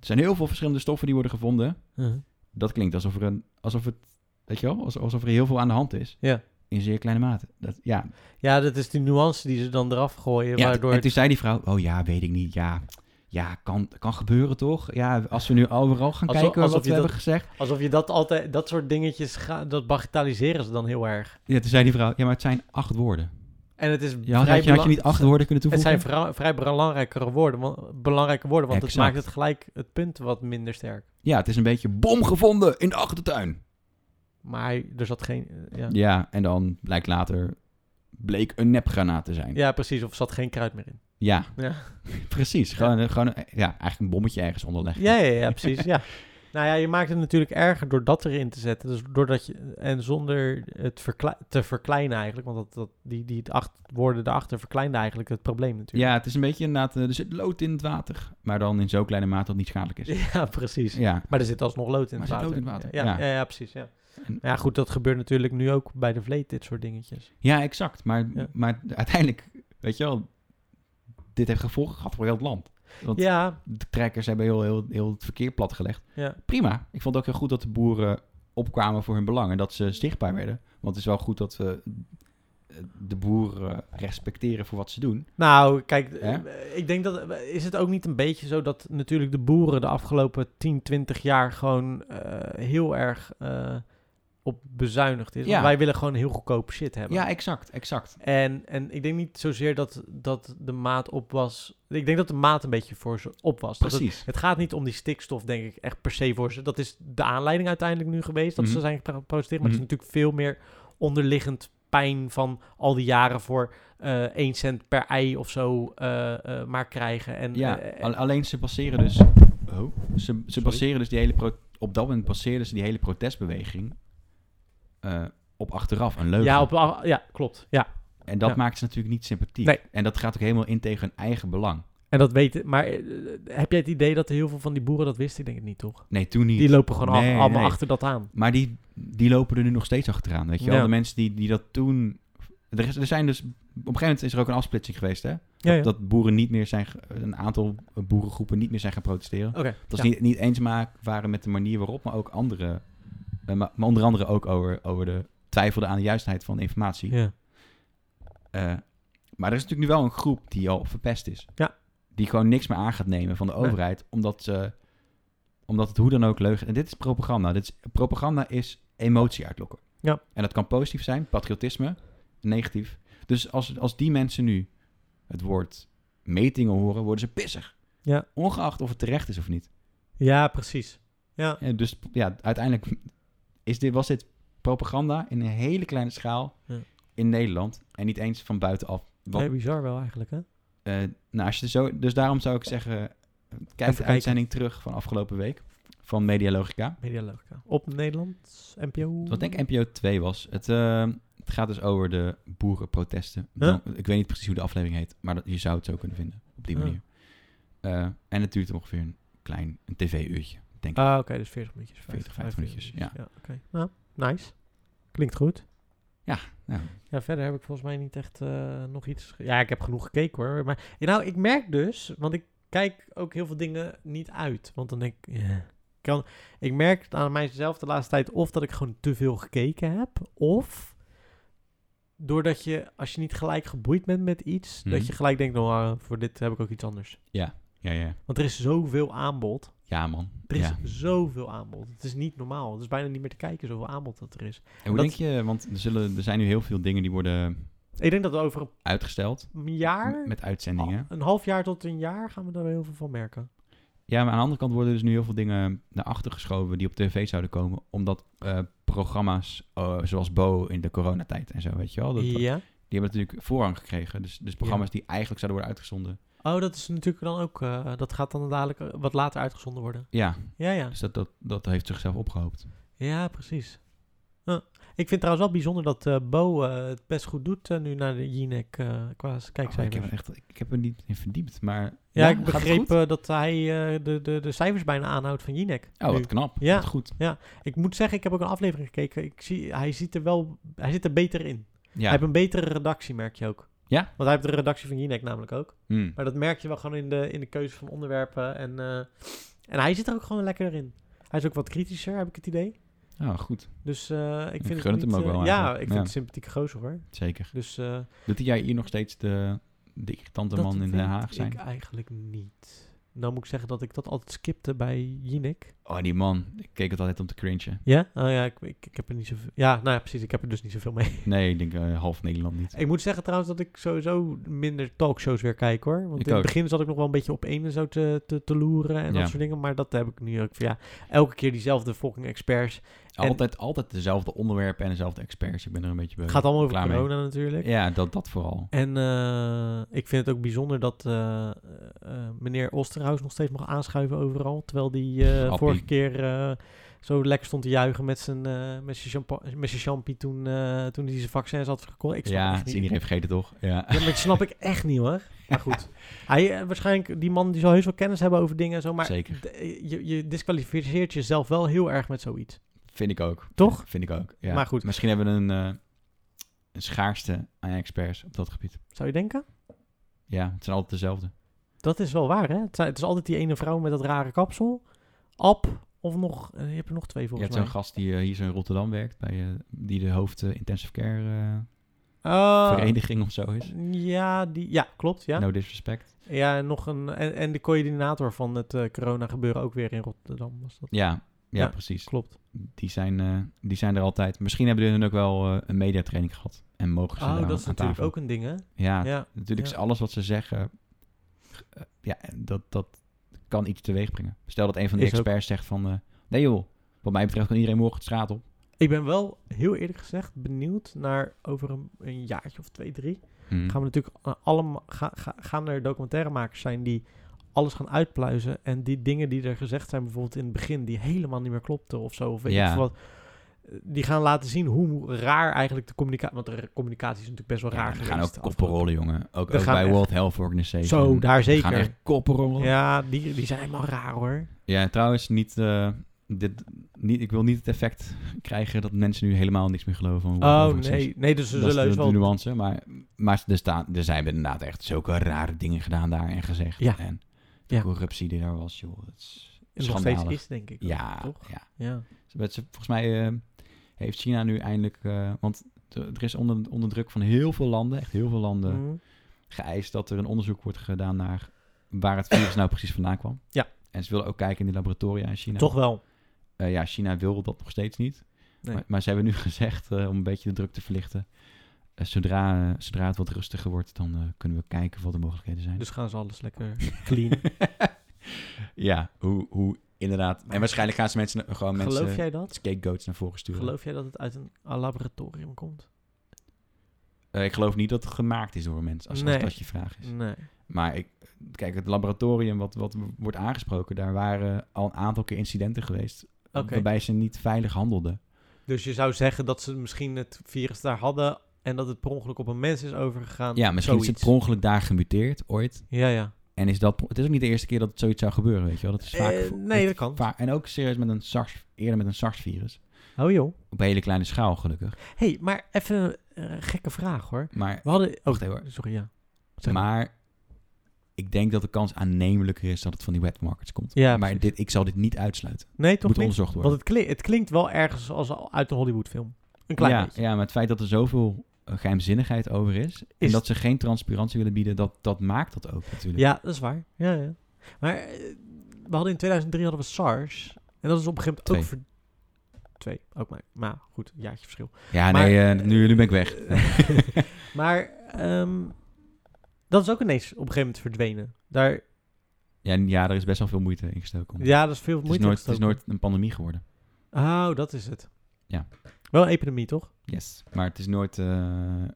zijn heel veel verschillende stoffen die worden gevonden
Uh-huh.
dat klinkt alsof er een, alsof het, weet je wel, als- alsof er heel veel aan de hand is.
Ja.
In zeer kleine mate. Dat, ja.
Ja, dat is die nuance die ze dan eraf gooien,
ja
waardoor...
En toen zei die vrouw, oh ja, weet ik niet, ja, ja, kan, kan gebeuren toch? Ja, als we nu overal gaan
Alsof-
kijken
alsof
wat
je
we
dat-
hebben gezegd.
het- Alsof je dat altijd, dat soort dingetjes, ga, dat bagatelliseren ze dan heel erg.
Ja, toen zei die vrouw, ja, maar het zijn acht woorden.
En het is
Ja, had, had je, had je niet
belang-
acht woorden kunnen
Het
toevoegen?
zijn vrou- vrij belangrijkere woorden, want, belangrijke woorden, want het
Exact.
maakt het gelijk het punt wat minder sterk.
Ja, het is een beetje bom gevonden in de achtertuin.
Maar hij- er zat geen... eh, Ja.
Ja, en dan blijkt later, bleek een nepgranaat te zijn. Ja,
ja, precies, of er zat geen kruid meer in. Ja.
precies. Gewoon, een- gewoon een- ja, eigenlijk een bommetje ergens onderleggen.
Ja, ja, ja, precies. ja. Nou ja, je maakt het natuurlijk erger door dat erin te zetten. Dus doordat je, en zonder het verkle- te verkleinen eigenlijk. Want dat, dat, die, die acht woorden daarachter verkleinde eigenlijk het probleem natuurlijk.
Ja, het is een beetje inderdaad, eh, er zit lood in het water. Maar dan in zo'n kleine mate dat het niet schadelijk is.
Ja, precies.
Ja,
Maar er zit alsnog lood in
Maar
het
er
water.
zit lood in het water,
Ja,
ja.
ja. ja, ja, precies. Ja.
En-
ja, goed, dat gebeurt natuurlijk nu ook bij de vleet, dit soort dingetjes.
ja exact. Maar,
Ja.
maar uiteindelijk, weet je wel, dit heeft gevolgen gehad voor heel het land. Want
Ja,
de trekkers hebben heel, heel, heel het verkeer platgelegd.
ja.
Prima. Ik vond het ook heel goed dat de boeren opkwamen voor hun belangen, dat ze zichtbaar werden. Want het is wel goed dat we eh, de boeren respecteren voor wat ze doen.
Nou, kijk,
Hè?
eh, ik denk dat. Is het ook niet een beetje zo dat natuurlijk de boeren de afgelopen 10, 20 jaar gewoon eh, heel erg eh, op bezuinigd is?
Ja.
Want wij willen gewoon heel goedkoop shit hebben.
Ja, exact, exact.
En, en ik denk niet zozeer dat, dat de maat op was. Ik denk dat de maat een beetje voor ze op was. Dat het,
Precies.
het gaat niet om die stikstof, denk ik, echt per se voor ze. Dat is de aanleiding uiteindelijk nu geweest. Dat
Mhm.
ze zijn geprotesteerd. Maar
Mhm.
het is natuurlijk veel meer onderliggend pijn van al die jaren voor eh 1 cent per ei of zo eh, eh, maar krijgen. En,
Ja,
eh, eh,
al- alleen ze baseren dus. Oh, ze ze baseren dus die hele. pro- op dat moment baseren ze die hele protestbeweging. eh, op achteraf een leugen.
ja, op, ah, ja, klopt. Ja.
en dat
ja.
maakt ze natuurlijk niet sympathiek.
Nee.
En dat gaat ook helemaal in tegen hun eigen belang.
En dat weten. Maar eh, heb jij het idee dat heel veel van die boeren dat wisten? Ik denk het niet, toch?
Nee, toen niet.
Die lopen gewoon al-
Nee,
allemaal
nee.
achter dat aan.
Maar die, die lopen er nu nog steeds achteraan. Weet je wel,
Ja.
de mensen die, die dat toen. Er, is, er zijn dus. Op een gegeven moment is er ook een afsplitsing geweest, hè?
Ja, ja.
Dat boeren niet meer zijn. ge- Een aantal boerengroepen niet meer zijn gaan protesteren.
Oké.
Dat
ja.
ze niet, niet eens maak waren met de manier waarop, maar ook andere. eh, Maar, maar onder andere ook over, over de twijfelden aan de juistheid van informatie.
Ja.
Eh, maar er is natuurlijk nu wel een groep die al verpest is.
Ja.
Die gewoon niks meer aan gaat nemen van de
Nee.
overheid, omdat, ze, omdat het hoe dan ook leugen. En dit is propaganda. Dit is, propaganda is emotie uitlokken.
Ja.
En dat kan positief zijn, patriotisme, negatief. Dus als, als die mensen nu het woord metingen horen, worden ze pissig.
Ja.
Ongeacht of het terecht is of niet.
ja, precies. Ja.
Ja, dus ja, uiteindelijk is dit, was dit propaganda in een hele kleine schaal
Ja.
in Nederland en niet eens van buitenaf. Wat,
Nee, bizar wel eigenlijk, hè?
eh, nou, als je zo, dus daarom zou ik zeggen, kijk de
kijken.
uitzending terug van afgelopen week van Media Logica.
Medialogica. Op Nederland, NPO.
Wat denk ik NPO 2 was. Het, eh, het gaat dus over de boerenprotesten.
Huh?
Dan- ik weet niet precies hoe de aflevering heet, maar dat, je zou het zo kunnen vinden op die
Huh.
manier. Eh, en het duurt ongeveer een klein een tv-uurtje.
Ah, oké, dus 40 minuutjes.
40, 50 minuutjes,
Ja, oké. Nou, nice. Klinkt goed.
Nou,
Ja, verder heb ik volgens mij niet echt eh, nog iets... ge- Ja, ik heb genoeg gekeken hoor. Maar ja, nou, ik merk dus, want ik kijk ook heel veel dingen niet uit. Want dan denk ik... ja, Kan, ik merk het aan mijzelf de laatste tijd of dat ik gewoon te veel gekeken heb, of doordat je, als je niet gelijk geboeid bent met iets,
Mhm.
dat je gelijk denkt, nou, ah, voor dit heb ik ook iets anders.
ja, ja.
Want er is zoveel aanbod.
ja, man.
Er is
ja.
zoveel aanbod. Het is niet normaal. Het is bijna niet meer te kijken zoveel aanbod dat er is.
En hoe
Dat-
denk je, want er, zullen, er zijn nu heel veel dingen die worden
Ik denk dat we over
uitgesteld
een
m-
jaar,
met uitzendingen.
een half jaar tot een jaar, gaan we daar heel veel van merken.
Ja, maar aan de andere kant worden dus nu heel veel dingen naar achter geschoven die op tv zouden komen, omdat eh, programma's eh, zoals Bo in de coronatijd en zo, weet
Oh,
je wel, dat, die
Ja.
hebben natuurlijk voorrang gekregen. Dus, dus programma's die eigenlijk zouden worden uitgezonden.
Oh, dat is natuurlijk dan ook. eh, dat gaat dan dadelijk eh, wat later uitgezonden worden.
Ja,
Ja, ja.
dus dat, dat, dat heeft zichzelf opgehoopt.
Ja, precies. Huh. Ik vind trouwens wel bijzonder dat eh, Bo eh, het best goed doet eh, nu naar de Jinek eh qua s-
Oh, ik,
kijkcijfers.
heb er echt, ik heb er niet in verdiept, maar...
ja, ik
gaat het
begreep
goed?
eh, dat hij eh, de, de, de cijfers bijna aanhoudt van Jinek.
oh,
eh, nu.
wat knap.
Ja.
Wat goed.
Ik moet zeggen, ik heb ook een aflevering gekeken. Ik zie, hij ziet er wel, hij zit er beter in.
Ja.
Hij heeft een betere redactie, merk je ook.
Ja?
Want hij heeft de redactie van Jinek namelijk ook.
Hmm.
Maar dat merk je wel gewoon in de, in de keuze van onderwerpen. En, eh, en hij zit er ook gewoon lekker in. Hij is ook wat kritischer, heb ik het idee.
Oh, goed.
Dus eh, ik vind
gun het
het
hem
niet,
ook
eh,
wel
Ja, ik
eigenlijk.
vind
Ja.
het een sympathieke gozer hoor.
Zeker.
Dus eh,
Doet hij jij hier nog steeds de, de irritante
dat
man in Den
weet
Haag zijn?
ik eigenlijk niet. Nou moet ik zeggen dat ik dat altijd skipte bij Jinek.
Oh, die man. Ik keek het altijd om te cringen.
Ja? Oh ja, ik, ik, ik heb er niet zoveel... Ja, nou ja, precies. Ik heb er dus niet zoveel mee.
Nee, ik denk eh, half Nederland niet.
Ik moet zeggen trouwens dat ik sowieso minder talkshows weer kijk hoor. Want
Ik
in
ook.
het begin zat ik nog wel een beetje op één en zo te, te, te loeren en
Ja.
dat soort dingen. Maar dat heb ik nu ook van ja, elke keer diezelfde fucking experts. En-
Altijd, altijd dezelfde onderwerpen en dezelfde experts. Ik ben er een beetje bij.
Het gaat allemaal over
Eh, klaar mee.
corona natuurlijk.
Ja, dat, dat vooral.
En eh, ik vind het ook bijzonder dat eh, eh, eh, meneer Osterhaus nog steeds mag aanschuiven overal. Terwijl die eh,
Appie.
vorige keer eh, zo lekker stond te juichen met zijn, eh, met zijn, champa- met zijn champie toen, eh, toen hij zijn vaccins had gekocht. Ik snap
Ja,
echt
dat is
niet.
iedereen vergeten toch? Ja.
Ja, maar dat snap ik echt niet hoor. Maar goed. Hij, eh, waarschijnlijk, die man die zal heus wel kennis hebben over dingen en zo. Maar
Zeker.
d- eh, je, je disqualificeert jezelf wel heel erg met zoiets.
Vind ik ook.
Toch?
Vind ik ook. Ja.
Maar goed.
Misschien hebben we een, eh, een schaarste aan experts op dat gebied.
Zou je denken?
Ja, het zijn altijd dezelfde.
Dat is wel waar hè. Het, zijn- het is altijd die ene vrouw met dat rare kapsel. Ab, Of nog, eh, je hebt er nog twee
Je
volgens
hebt
mij.
zo'n gast die eh, hier zo in Rotterdam werkt, bij, eh, die de hoofd eh, intensive care eh,
Oh,
vereniging of zo is.
Ja, die, ja, klopt. Ja.
No disrespect.
Ja, en nog een. En, en de coördinator van het eh corona-gebeuren ook weer in Rotterdam. Was dat
Ja, ja,
Ja.
precies.
klopt.
Die zijn, eh, die zijn er altijd. Misschien hebben hun ook wel eh, een mediatraining gehad. En mogen ze
Oh,
daar
dat is
aan
natuurlijk
tafel.
ook een ding, hè?
Ja,
Ja.
natuurlijk
ja.
is alles wat ze zeggen... eh, ja, dat, dat kan iets teweeg brengen. Stel dat een van de
Is ook.
experts zegt van... eh, nee joh, wat mij betreft kan iedereen morgen de straat op.
Ik ben wel heel eerlijk gezegd benieuwd naar over een, een jaartje of twee, drie.
Hm.
Gaan we natuurlijk eh, allemaal. Ga, ga, gaan er documentairemakers zijn die alles gaan uitpluizen. En die dingen die er gezegd zijn, bijvoorbeeld in het begin, die helemaal niet meer klopten of zo. Of weet
Ja.
ik veel wat. eh, Die gaan laten zien hoe raar eigenlijk de communicatie. Want de communicatie is natuurlijk best wel
Ja,
raar.
er gaan
geweest
ook
de afgelopen-
koppen rollen, jongen. Ook,
Er
ook
gaan
bij
echt-
World Health Organization.
Zo, daar
Er gaan
zeker.
echt koppen rollen. Ja.
Ja, die, die zijn helemaal raar hoor.
trouwens, niet, eh, dit, niet, ik wil niet het effect krijgen dat mensen nu helemaal niks meer geloven. van World Health
Oh
Organization.
nee, nee, dus ze
dat is
zullen heus
de, de
wel.
nuance. Maar, maar er, staan, er zijn inderdaad echt zulke rare dingen gedaan daar en gezegd.
Ja.
En de
Ja.
corruptie die daar was, joh. Het is
Nog steeds
schandalig.
is, denk ik.
ja,
toch?
ja.
Ja.
Ze- met ze- Volgens mij eh, heeft China nu eindelijk... eh, want t- er is onder, onder druk van heel veel landen, echt heel veel landen...
Mhm.
geëist dat er een onderzoek wordt gedaan naar waar het virus nou precies vandaan kwam.
Ja.
En ze willen ook kijken in die laboratoria in China.
Toch wel.
Eh, ja, China wil dat nog steeds niet.
Nee.
Maar, maar ze hebben nu gezegd, eh, om een beetje de druk te verlichten, eh, zodra, eh, zodra het wat rustiger wordt, dan eh, kunnen we kijken wat de mogelijkheden zijn.
Dus gaan ze alles lekker clean.
ja, hoe, hoe inderdaad. En waarschijnlijk gaan ze mensen eh, gewoon
Geloof
mensen
jij dat?
scapegoats naar voren sturen.
Geloof jij dat het uit een laboratorium komt?
Eh, ik geloof niet dat het gemaakt is door mensen, als,
Nee. Mm.
als dat je vraag is.
Nee.
Maar ik, kijk, het laboratorium wat, wat wordt aangesproken, daar waren al een aantal keer incidenten geweest.
Oké.
Waarbij ze niet veilig handelden.
Dus je zou zeggen dat ze misschien het virus daar hadden en dat het per ongeluk op een mens is overgegaan.
Ja, misschien is het
Zoiets.
per ongeluk daar gemuteerd ooit.
Ja, ja.
En is dat, het is ook niet de eerste keer dat het zoiets zou gebeuren, weet je wel. Dat is vaak,
Eh, nee, dat kan.
vaak- en ook serieus met een SARS, eerder met een SARS-virus.
Oh joh.
Op een hele kleine schaal, gelukkig.
hey, maar even een eh, gekke vraag hoor.
Maar,
We hadden... Oh,
wacht even hoor.
sorry, ja. Zeg maar.
Maar ik denk dat de kans aannemelijker is dat het van die webmarkets komt.
Ja,
maar
precies.
dit, ik zal dit niet uitsluiten.
Nee,
Het
toch
moet
niet?
onderzocht worden.
Want het, kli- het klinkt wel ergens als al- uit een Hollywoodfilm. Een klein
ja,
beetje.
ja, maar het feit dat er zoveel eh, geheimzinnigheid over is, en
Is-
dat ze geen transparantie willen bieden, dat, dat maakt dat ook natuurlijk.
Ja, dat is waar. Ja, ja. Maar eh, we hadden in 2003 hadden we SARS. En dat is op een gegeven moment ook...
Twee.
ver- Twee, ook maar. Maar goed, een jaartje verschil.
Ja,
Maar-
nee, eh, nu, nu ben ik weg.
Maar ehm, dat is ook ineens op een gegeven moment verdwenen. Daar,
ja, en ja, er is best wel veel moeite in gestoken. om-
ja, dat is veel
het, is
moeite
nooit, het is
gestoken.
nooit een pandemie geworden.
Oh, dat is het.
Ja.
Wel een epidemie, toch?
Yes. Maar het is nooit eh,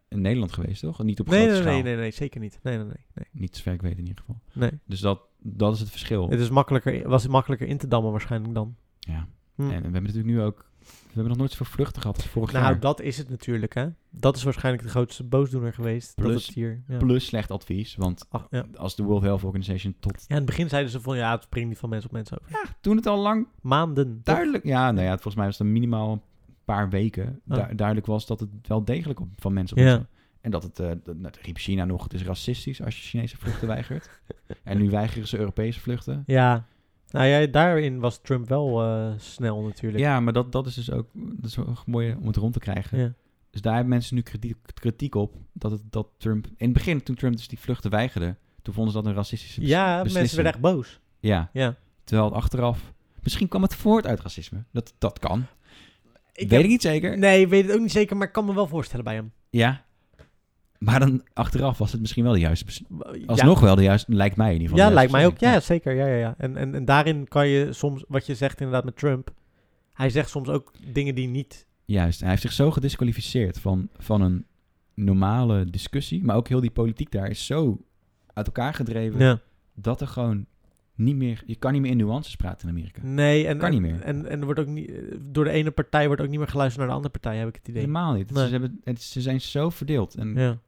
in Nederland geweest, toch? Niet op
Nee,
grote
nee,
schaal.
nee, nee, nee, zeker niet. Nee, nee, nee. nee.
Niet zover ik weet in ieder geval.
nee.
Dus dat, dat is het verschil.
Het is makkelijker, was makkelijker in te dammen waarschijnlijk dan.
Ja.
Hm.
En we hebben natuurlijk nu ook... We hebben nog nooit zoveel vluchten gehad als vorig
nou,
jaar.
dat is het natuurlijk, hè. Dat is waarschijnlijk de grootste boosdoener geweest.
Plus-
dat het hier, ja.
Plus slecht advies, want
Ach, ja.
als de World Health Organization tot...
ja, in het begin zeiden ze van, ja, het springt niet van mens op mens over.
Toen het al lang
Maanden. toch?
duidelijk... Ja, nou ja, het- volgens mij was het minimaal een paar weken
Oh.
du- duidelijk was dat het wel degelijk op, van mensen op
Ja.
mensen- En dat het, eh dat, dat riep China nog, het is racistisch als je Chinese vluchten weigert. En nu weigeren ze Europese vluchten.
Ja. Nou ja, daarin was Trump wel eh, snel natuurlijk.
Ja, maar dat, dat is dus ook dat is wel mooi om het rond te krijgen.
Ja.
Dus daar hebben mensen nu kritiek, kritiek op dat, het, dat Trump... In het begin, toen Trump dus die vluchten weigerde, toen vonden ze dat een racistische bes-
Ja, mensen
beslissing.
werden echt boos.
Ja,
Ja.
terwijl het achteraf... Misschien kwam het voort uit racisme. Dat, dat kan.
Ik
Weet ik niet zeker.
Nee, ik weet het ook niet zeker, maar ik kan me wel voorstellen bij hem.
Ja. Maar dan achteraf was het misschien wel de juiste bes-
Ja.
Alsnog wel de juiste... Lijkt mij in ieder geval.
Ja,
de
lijkt
juiste
mij ook. Ja,
beslissing.
zeker. Ja, ja, ja. En, en, en daarin kan je soms, wat je zegt inderdaad met Trump, hij zegt soms ook dingen die niet...
Juist. Hij heeft zich zo gedisqualificeerd van, van een normale discussie. Maar ook heel die politiek daar is zo uit elkaar gedreven...
Ja.
dat er gewoon niet meer... Je kan niet meer in nuances praten in Amerika.
Nee, en,
Kan niet meer.
En, en er wordt ook niet, door de ene partij wordt ook niet meer geluisterd naar de andere partij, heb ik het idee.
Helemaal niet.
Nee.
Ze, hebben, het, ze zijn zo verdeeld. En
Ja,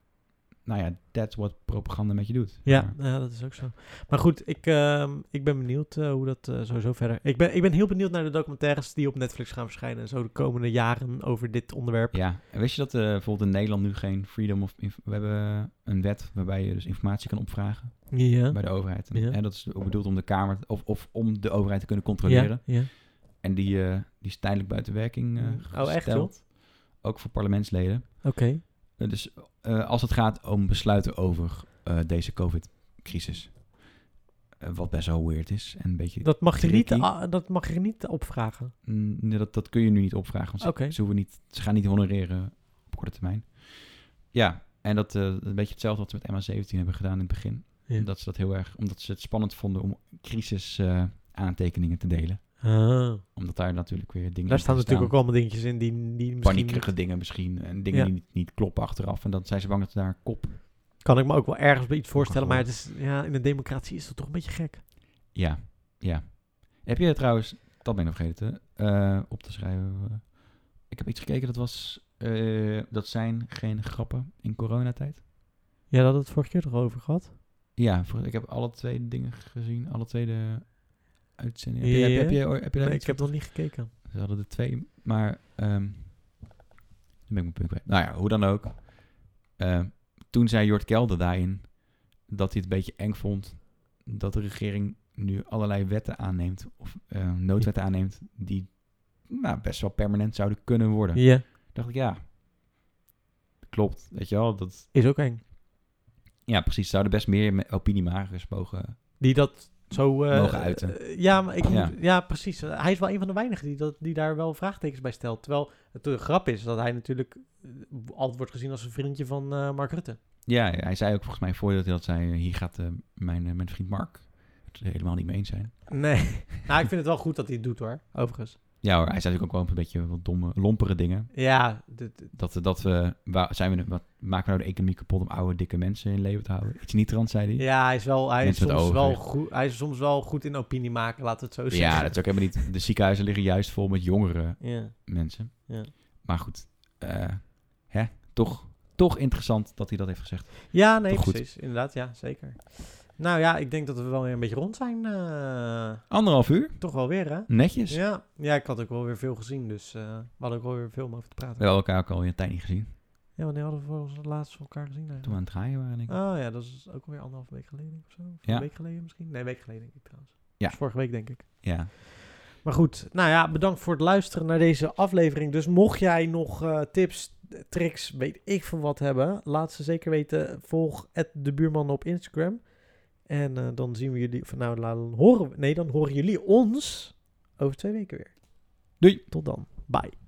nou ja, that's what propaganda met je doet.
ja,
Maar-
ja, dat is ook zo. Maar goed, ik, ehm, ik ben benieuwd eh, hoe dat eh, sowieso verder... Ik ben, ik ben heel benieuwd naar de documentaires die op Netflix gaan verschijnen. en Zo de komende jaren over dit onderwerp.
ja. En wist je dat eh, bijvoorbeeld in Nederland nu geen freedom of... inf- We hebben een wet waarbij je dus informatie kan opvragen
Ja.
bij de overheid. En,
Ja.
hè, dat is ook bedoeld om de Kamer... Of, of om de overheid te kunnen
Ja,
controleren.
ja.
En die, eh, die is tijdelijk buiten werking eh,
oh, echt joh?
gesteld.
Oké.
Ook voor parlementsleden. Eh, dus eh, als het gaat om besluiten over eh, deze COVID-crisis. Eh, wat best wel weird is. En een beetje
Dat mag, je niet,
Tricky.
ah, dat mag je niet opvragen.
Mm, nee, dat, dat kun je nu niet opvragen. Want ze,
Oké.
ze, hoeven niet, ze gaan niet honoreren op korte termijn. Ja, en dat eh, een beetje hetzelfde wat we met MA17 hebben gedaan in het begin.
Ja.
Dat ze dat heel erg, omdat ze het spannend vonden om crisis eh, aantekeningen te delen. Omdat daar natuurlijk weer dingen
Daar
in
Ah. staan natuurlijk ook
al
allemaal dingetjes in die, die misschien...
paniekerige dingen misschien. En dingen
Ja.
die niet, niet kloppen achteraf. En dan zijn ze bang dat ze daar kop.
Kan ik me ook wel ergens bij iets voorstellen,
Ook wel.
maar het is, ja, in een democratie is dat toch een beetje gek.
Ja, ja. Heb je trouwens, dat ben ik nog vergeten, eh, op te schrijven. eh, Ik heb iets gekeken, dat was, eh, dat zijn geen grappen in coronatijd.
Ja, dat had het vorige keer toch over gehad?
Ja, voor- ik heb alle twee de dingen gezien, alle twee de uitzendingen. Heb, je,
Ja.
heb, je, heb, je, heb je daar
Nee, ik
iets
heb
van-
nog niet gekeken.
Ze hadden er twee, maar... ehm dan ben ik mijn punt kwijt. Nou ja, hoe dan ook. Eh, toen zei Jort Kelder daarin dat hij het een beetje eng vond dat de regering nu allerlei wetten aanneemt, of eh, noodwetten aanneemt, die nou, best wel permanent zouden kunnen worden.
Ja.
dacht ik, ja, klopt. Weet je wel, dat...
Is ook eng.
Ja, precies. Zouden best meer me- opiniemakers mogen...
Die dat zo... eh,
Mogen uiten.
eh, ja, maar ik moet-
Ja.
ja. precies. Eh, Hij is wel een van de weinigen die, dat, die daar wel vraagtekens bij stelt. Terwijl het de grap is dat hij natuurlijk eh, altijd wordt gezien als een vriendje van eh, Mark Rutte.
Ja, hij zei ook volgens mij voordat hij dat zei, hier gaat eh, mijn, eh, mijn vriend Mark het helemaal niet mee eens zijn.
Nee. nou, ik vind het wel goed dat hij het doet hoor, overigens.
Ja hoor, hij zei natuurlijk ook wel een beetje wat domme, lompere dingen.
Ja, dit-
Dat, eh, dat we, waar, zijn we, wat, maken we nou de economie kapot om oude, dikke mensen in leven te houden? Iets niet trans, zei hij.
ja hij, is wel, hij, is
Mensen met
soms
ogen.
wel goed, hij is soms wel goed in opinie maken, laten we het zo zeggen.
Ja, dat is ook helemaal niet. De ziekenhuizen liggen juist vol met jongere
Ja.
mensen.
Ja.
Maar goed, eh, hè? Toch, toch interessant dat hij dat heeft gezegd.
Ja, nee,
Toch goed.
precies. Inderdaad, ja, zeker. Nou ja, ik denk dat we wel weer een beetje rond zijn. eh,
Anderhalf uur,
toch wel weer, hè?
netjes.
Ja. ja, ik had ook wel weer veel gezien, dus eh, we hadden ook wel weer veel om over te
We
praten.
hebben elkaar ook al een tijd niet gezien.
Ja, wanneer hadden we volgens het laatst voor elkaar gezien
Toen we
eigenlijk?
aan het draaien waren, denk ik.
Oh ja, dat is ook alweer anderhalve week geleden of zo. Of
Ja.
Een week geleden misschien? Nee, een week geleden denk ik trouwens.
Ja.
Dat was vorige week denk ik.
Ja.
Maar goed, nou ja, bedankt voor het luisteren naar deze aflevering. Dus mocht jij nog eh, tips, tricks, weet ik van wat hebben, laat ze zeker weten. Volg de buurman op Instagram. En eh, dan zien we jullie, of nou, la- dan horen we, nee, dan horen jullie ons over twee weken weer.
Doei.
Tot dan. Bye.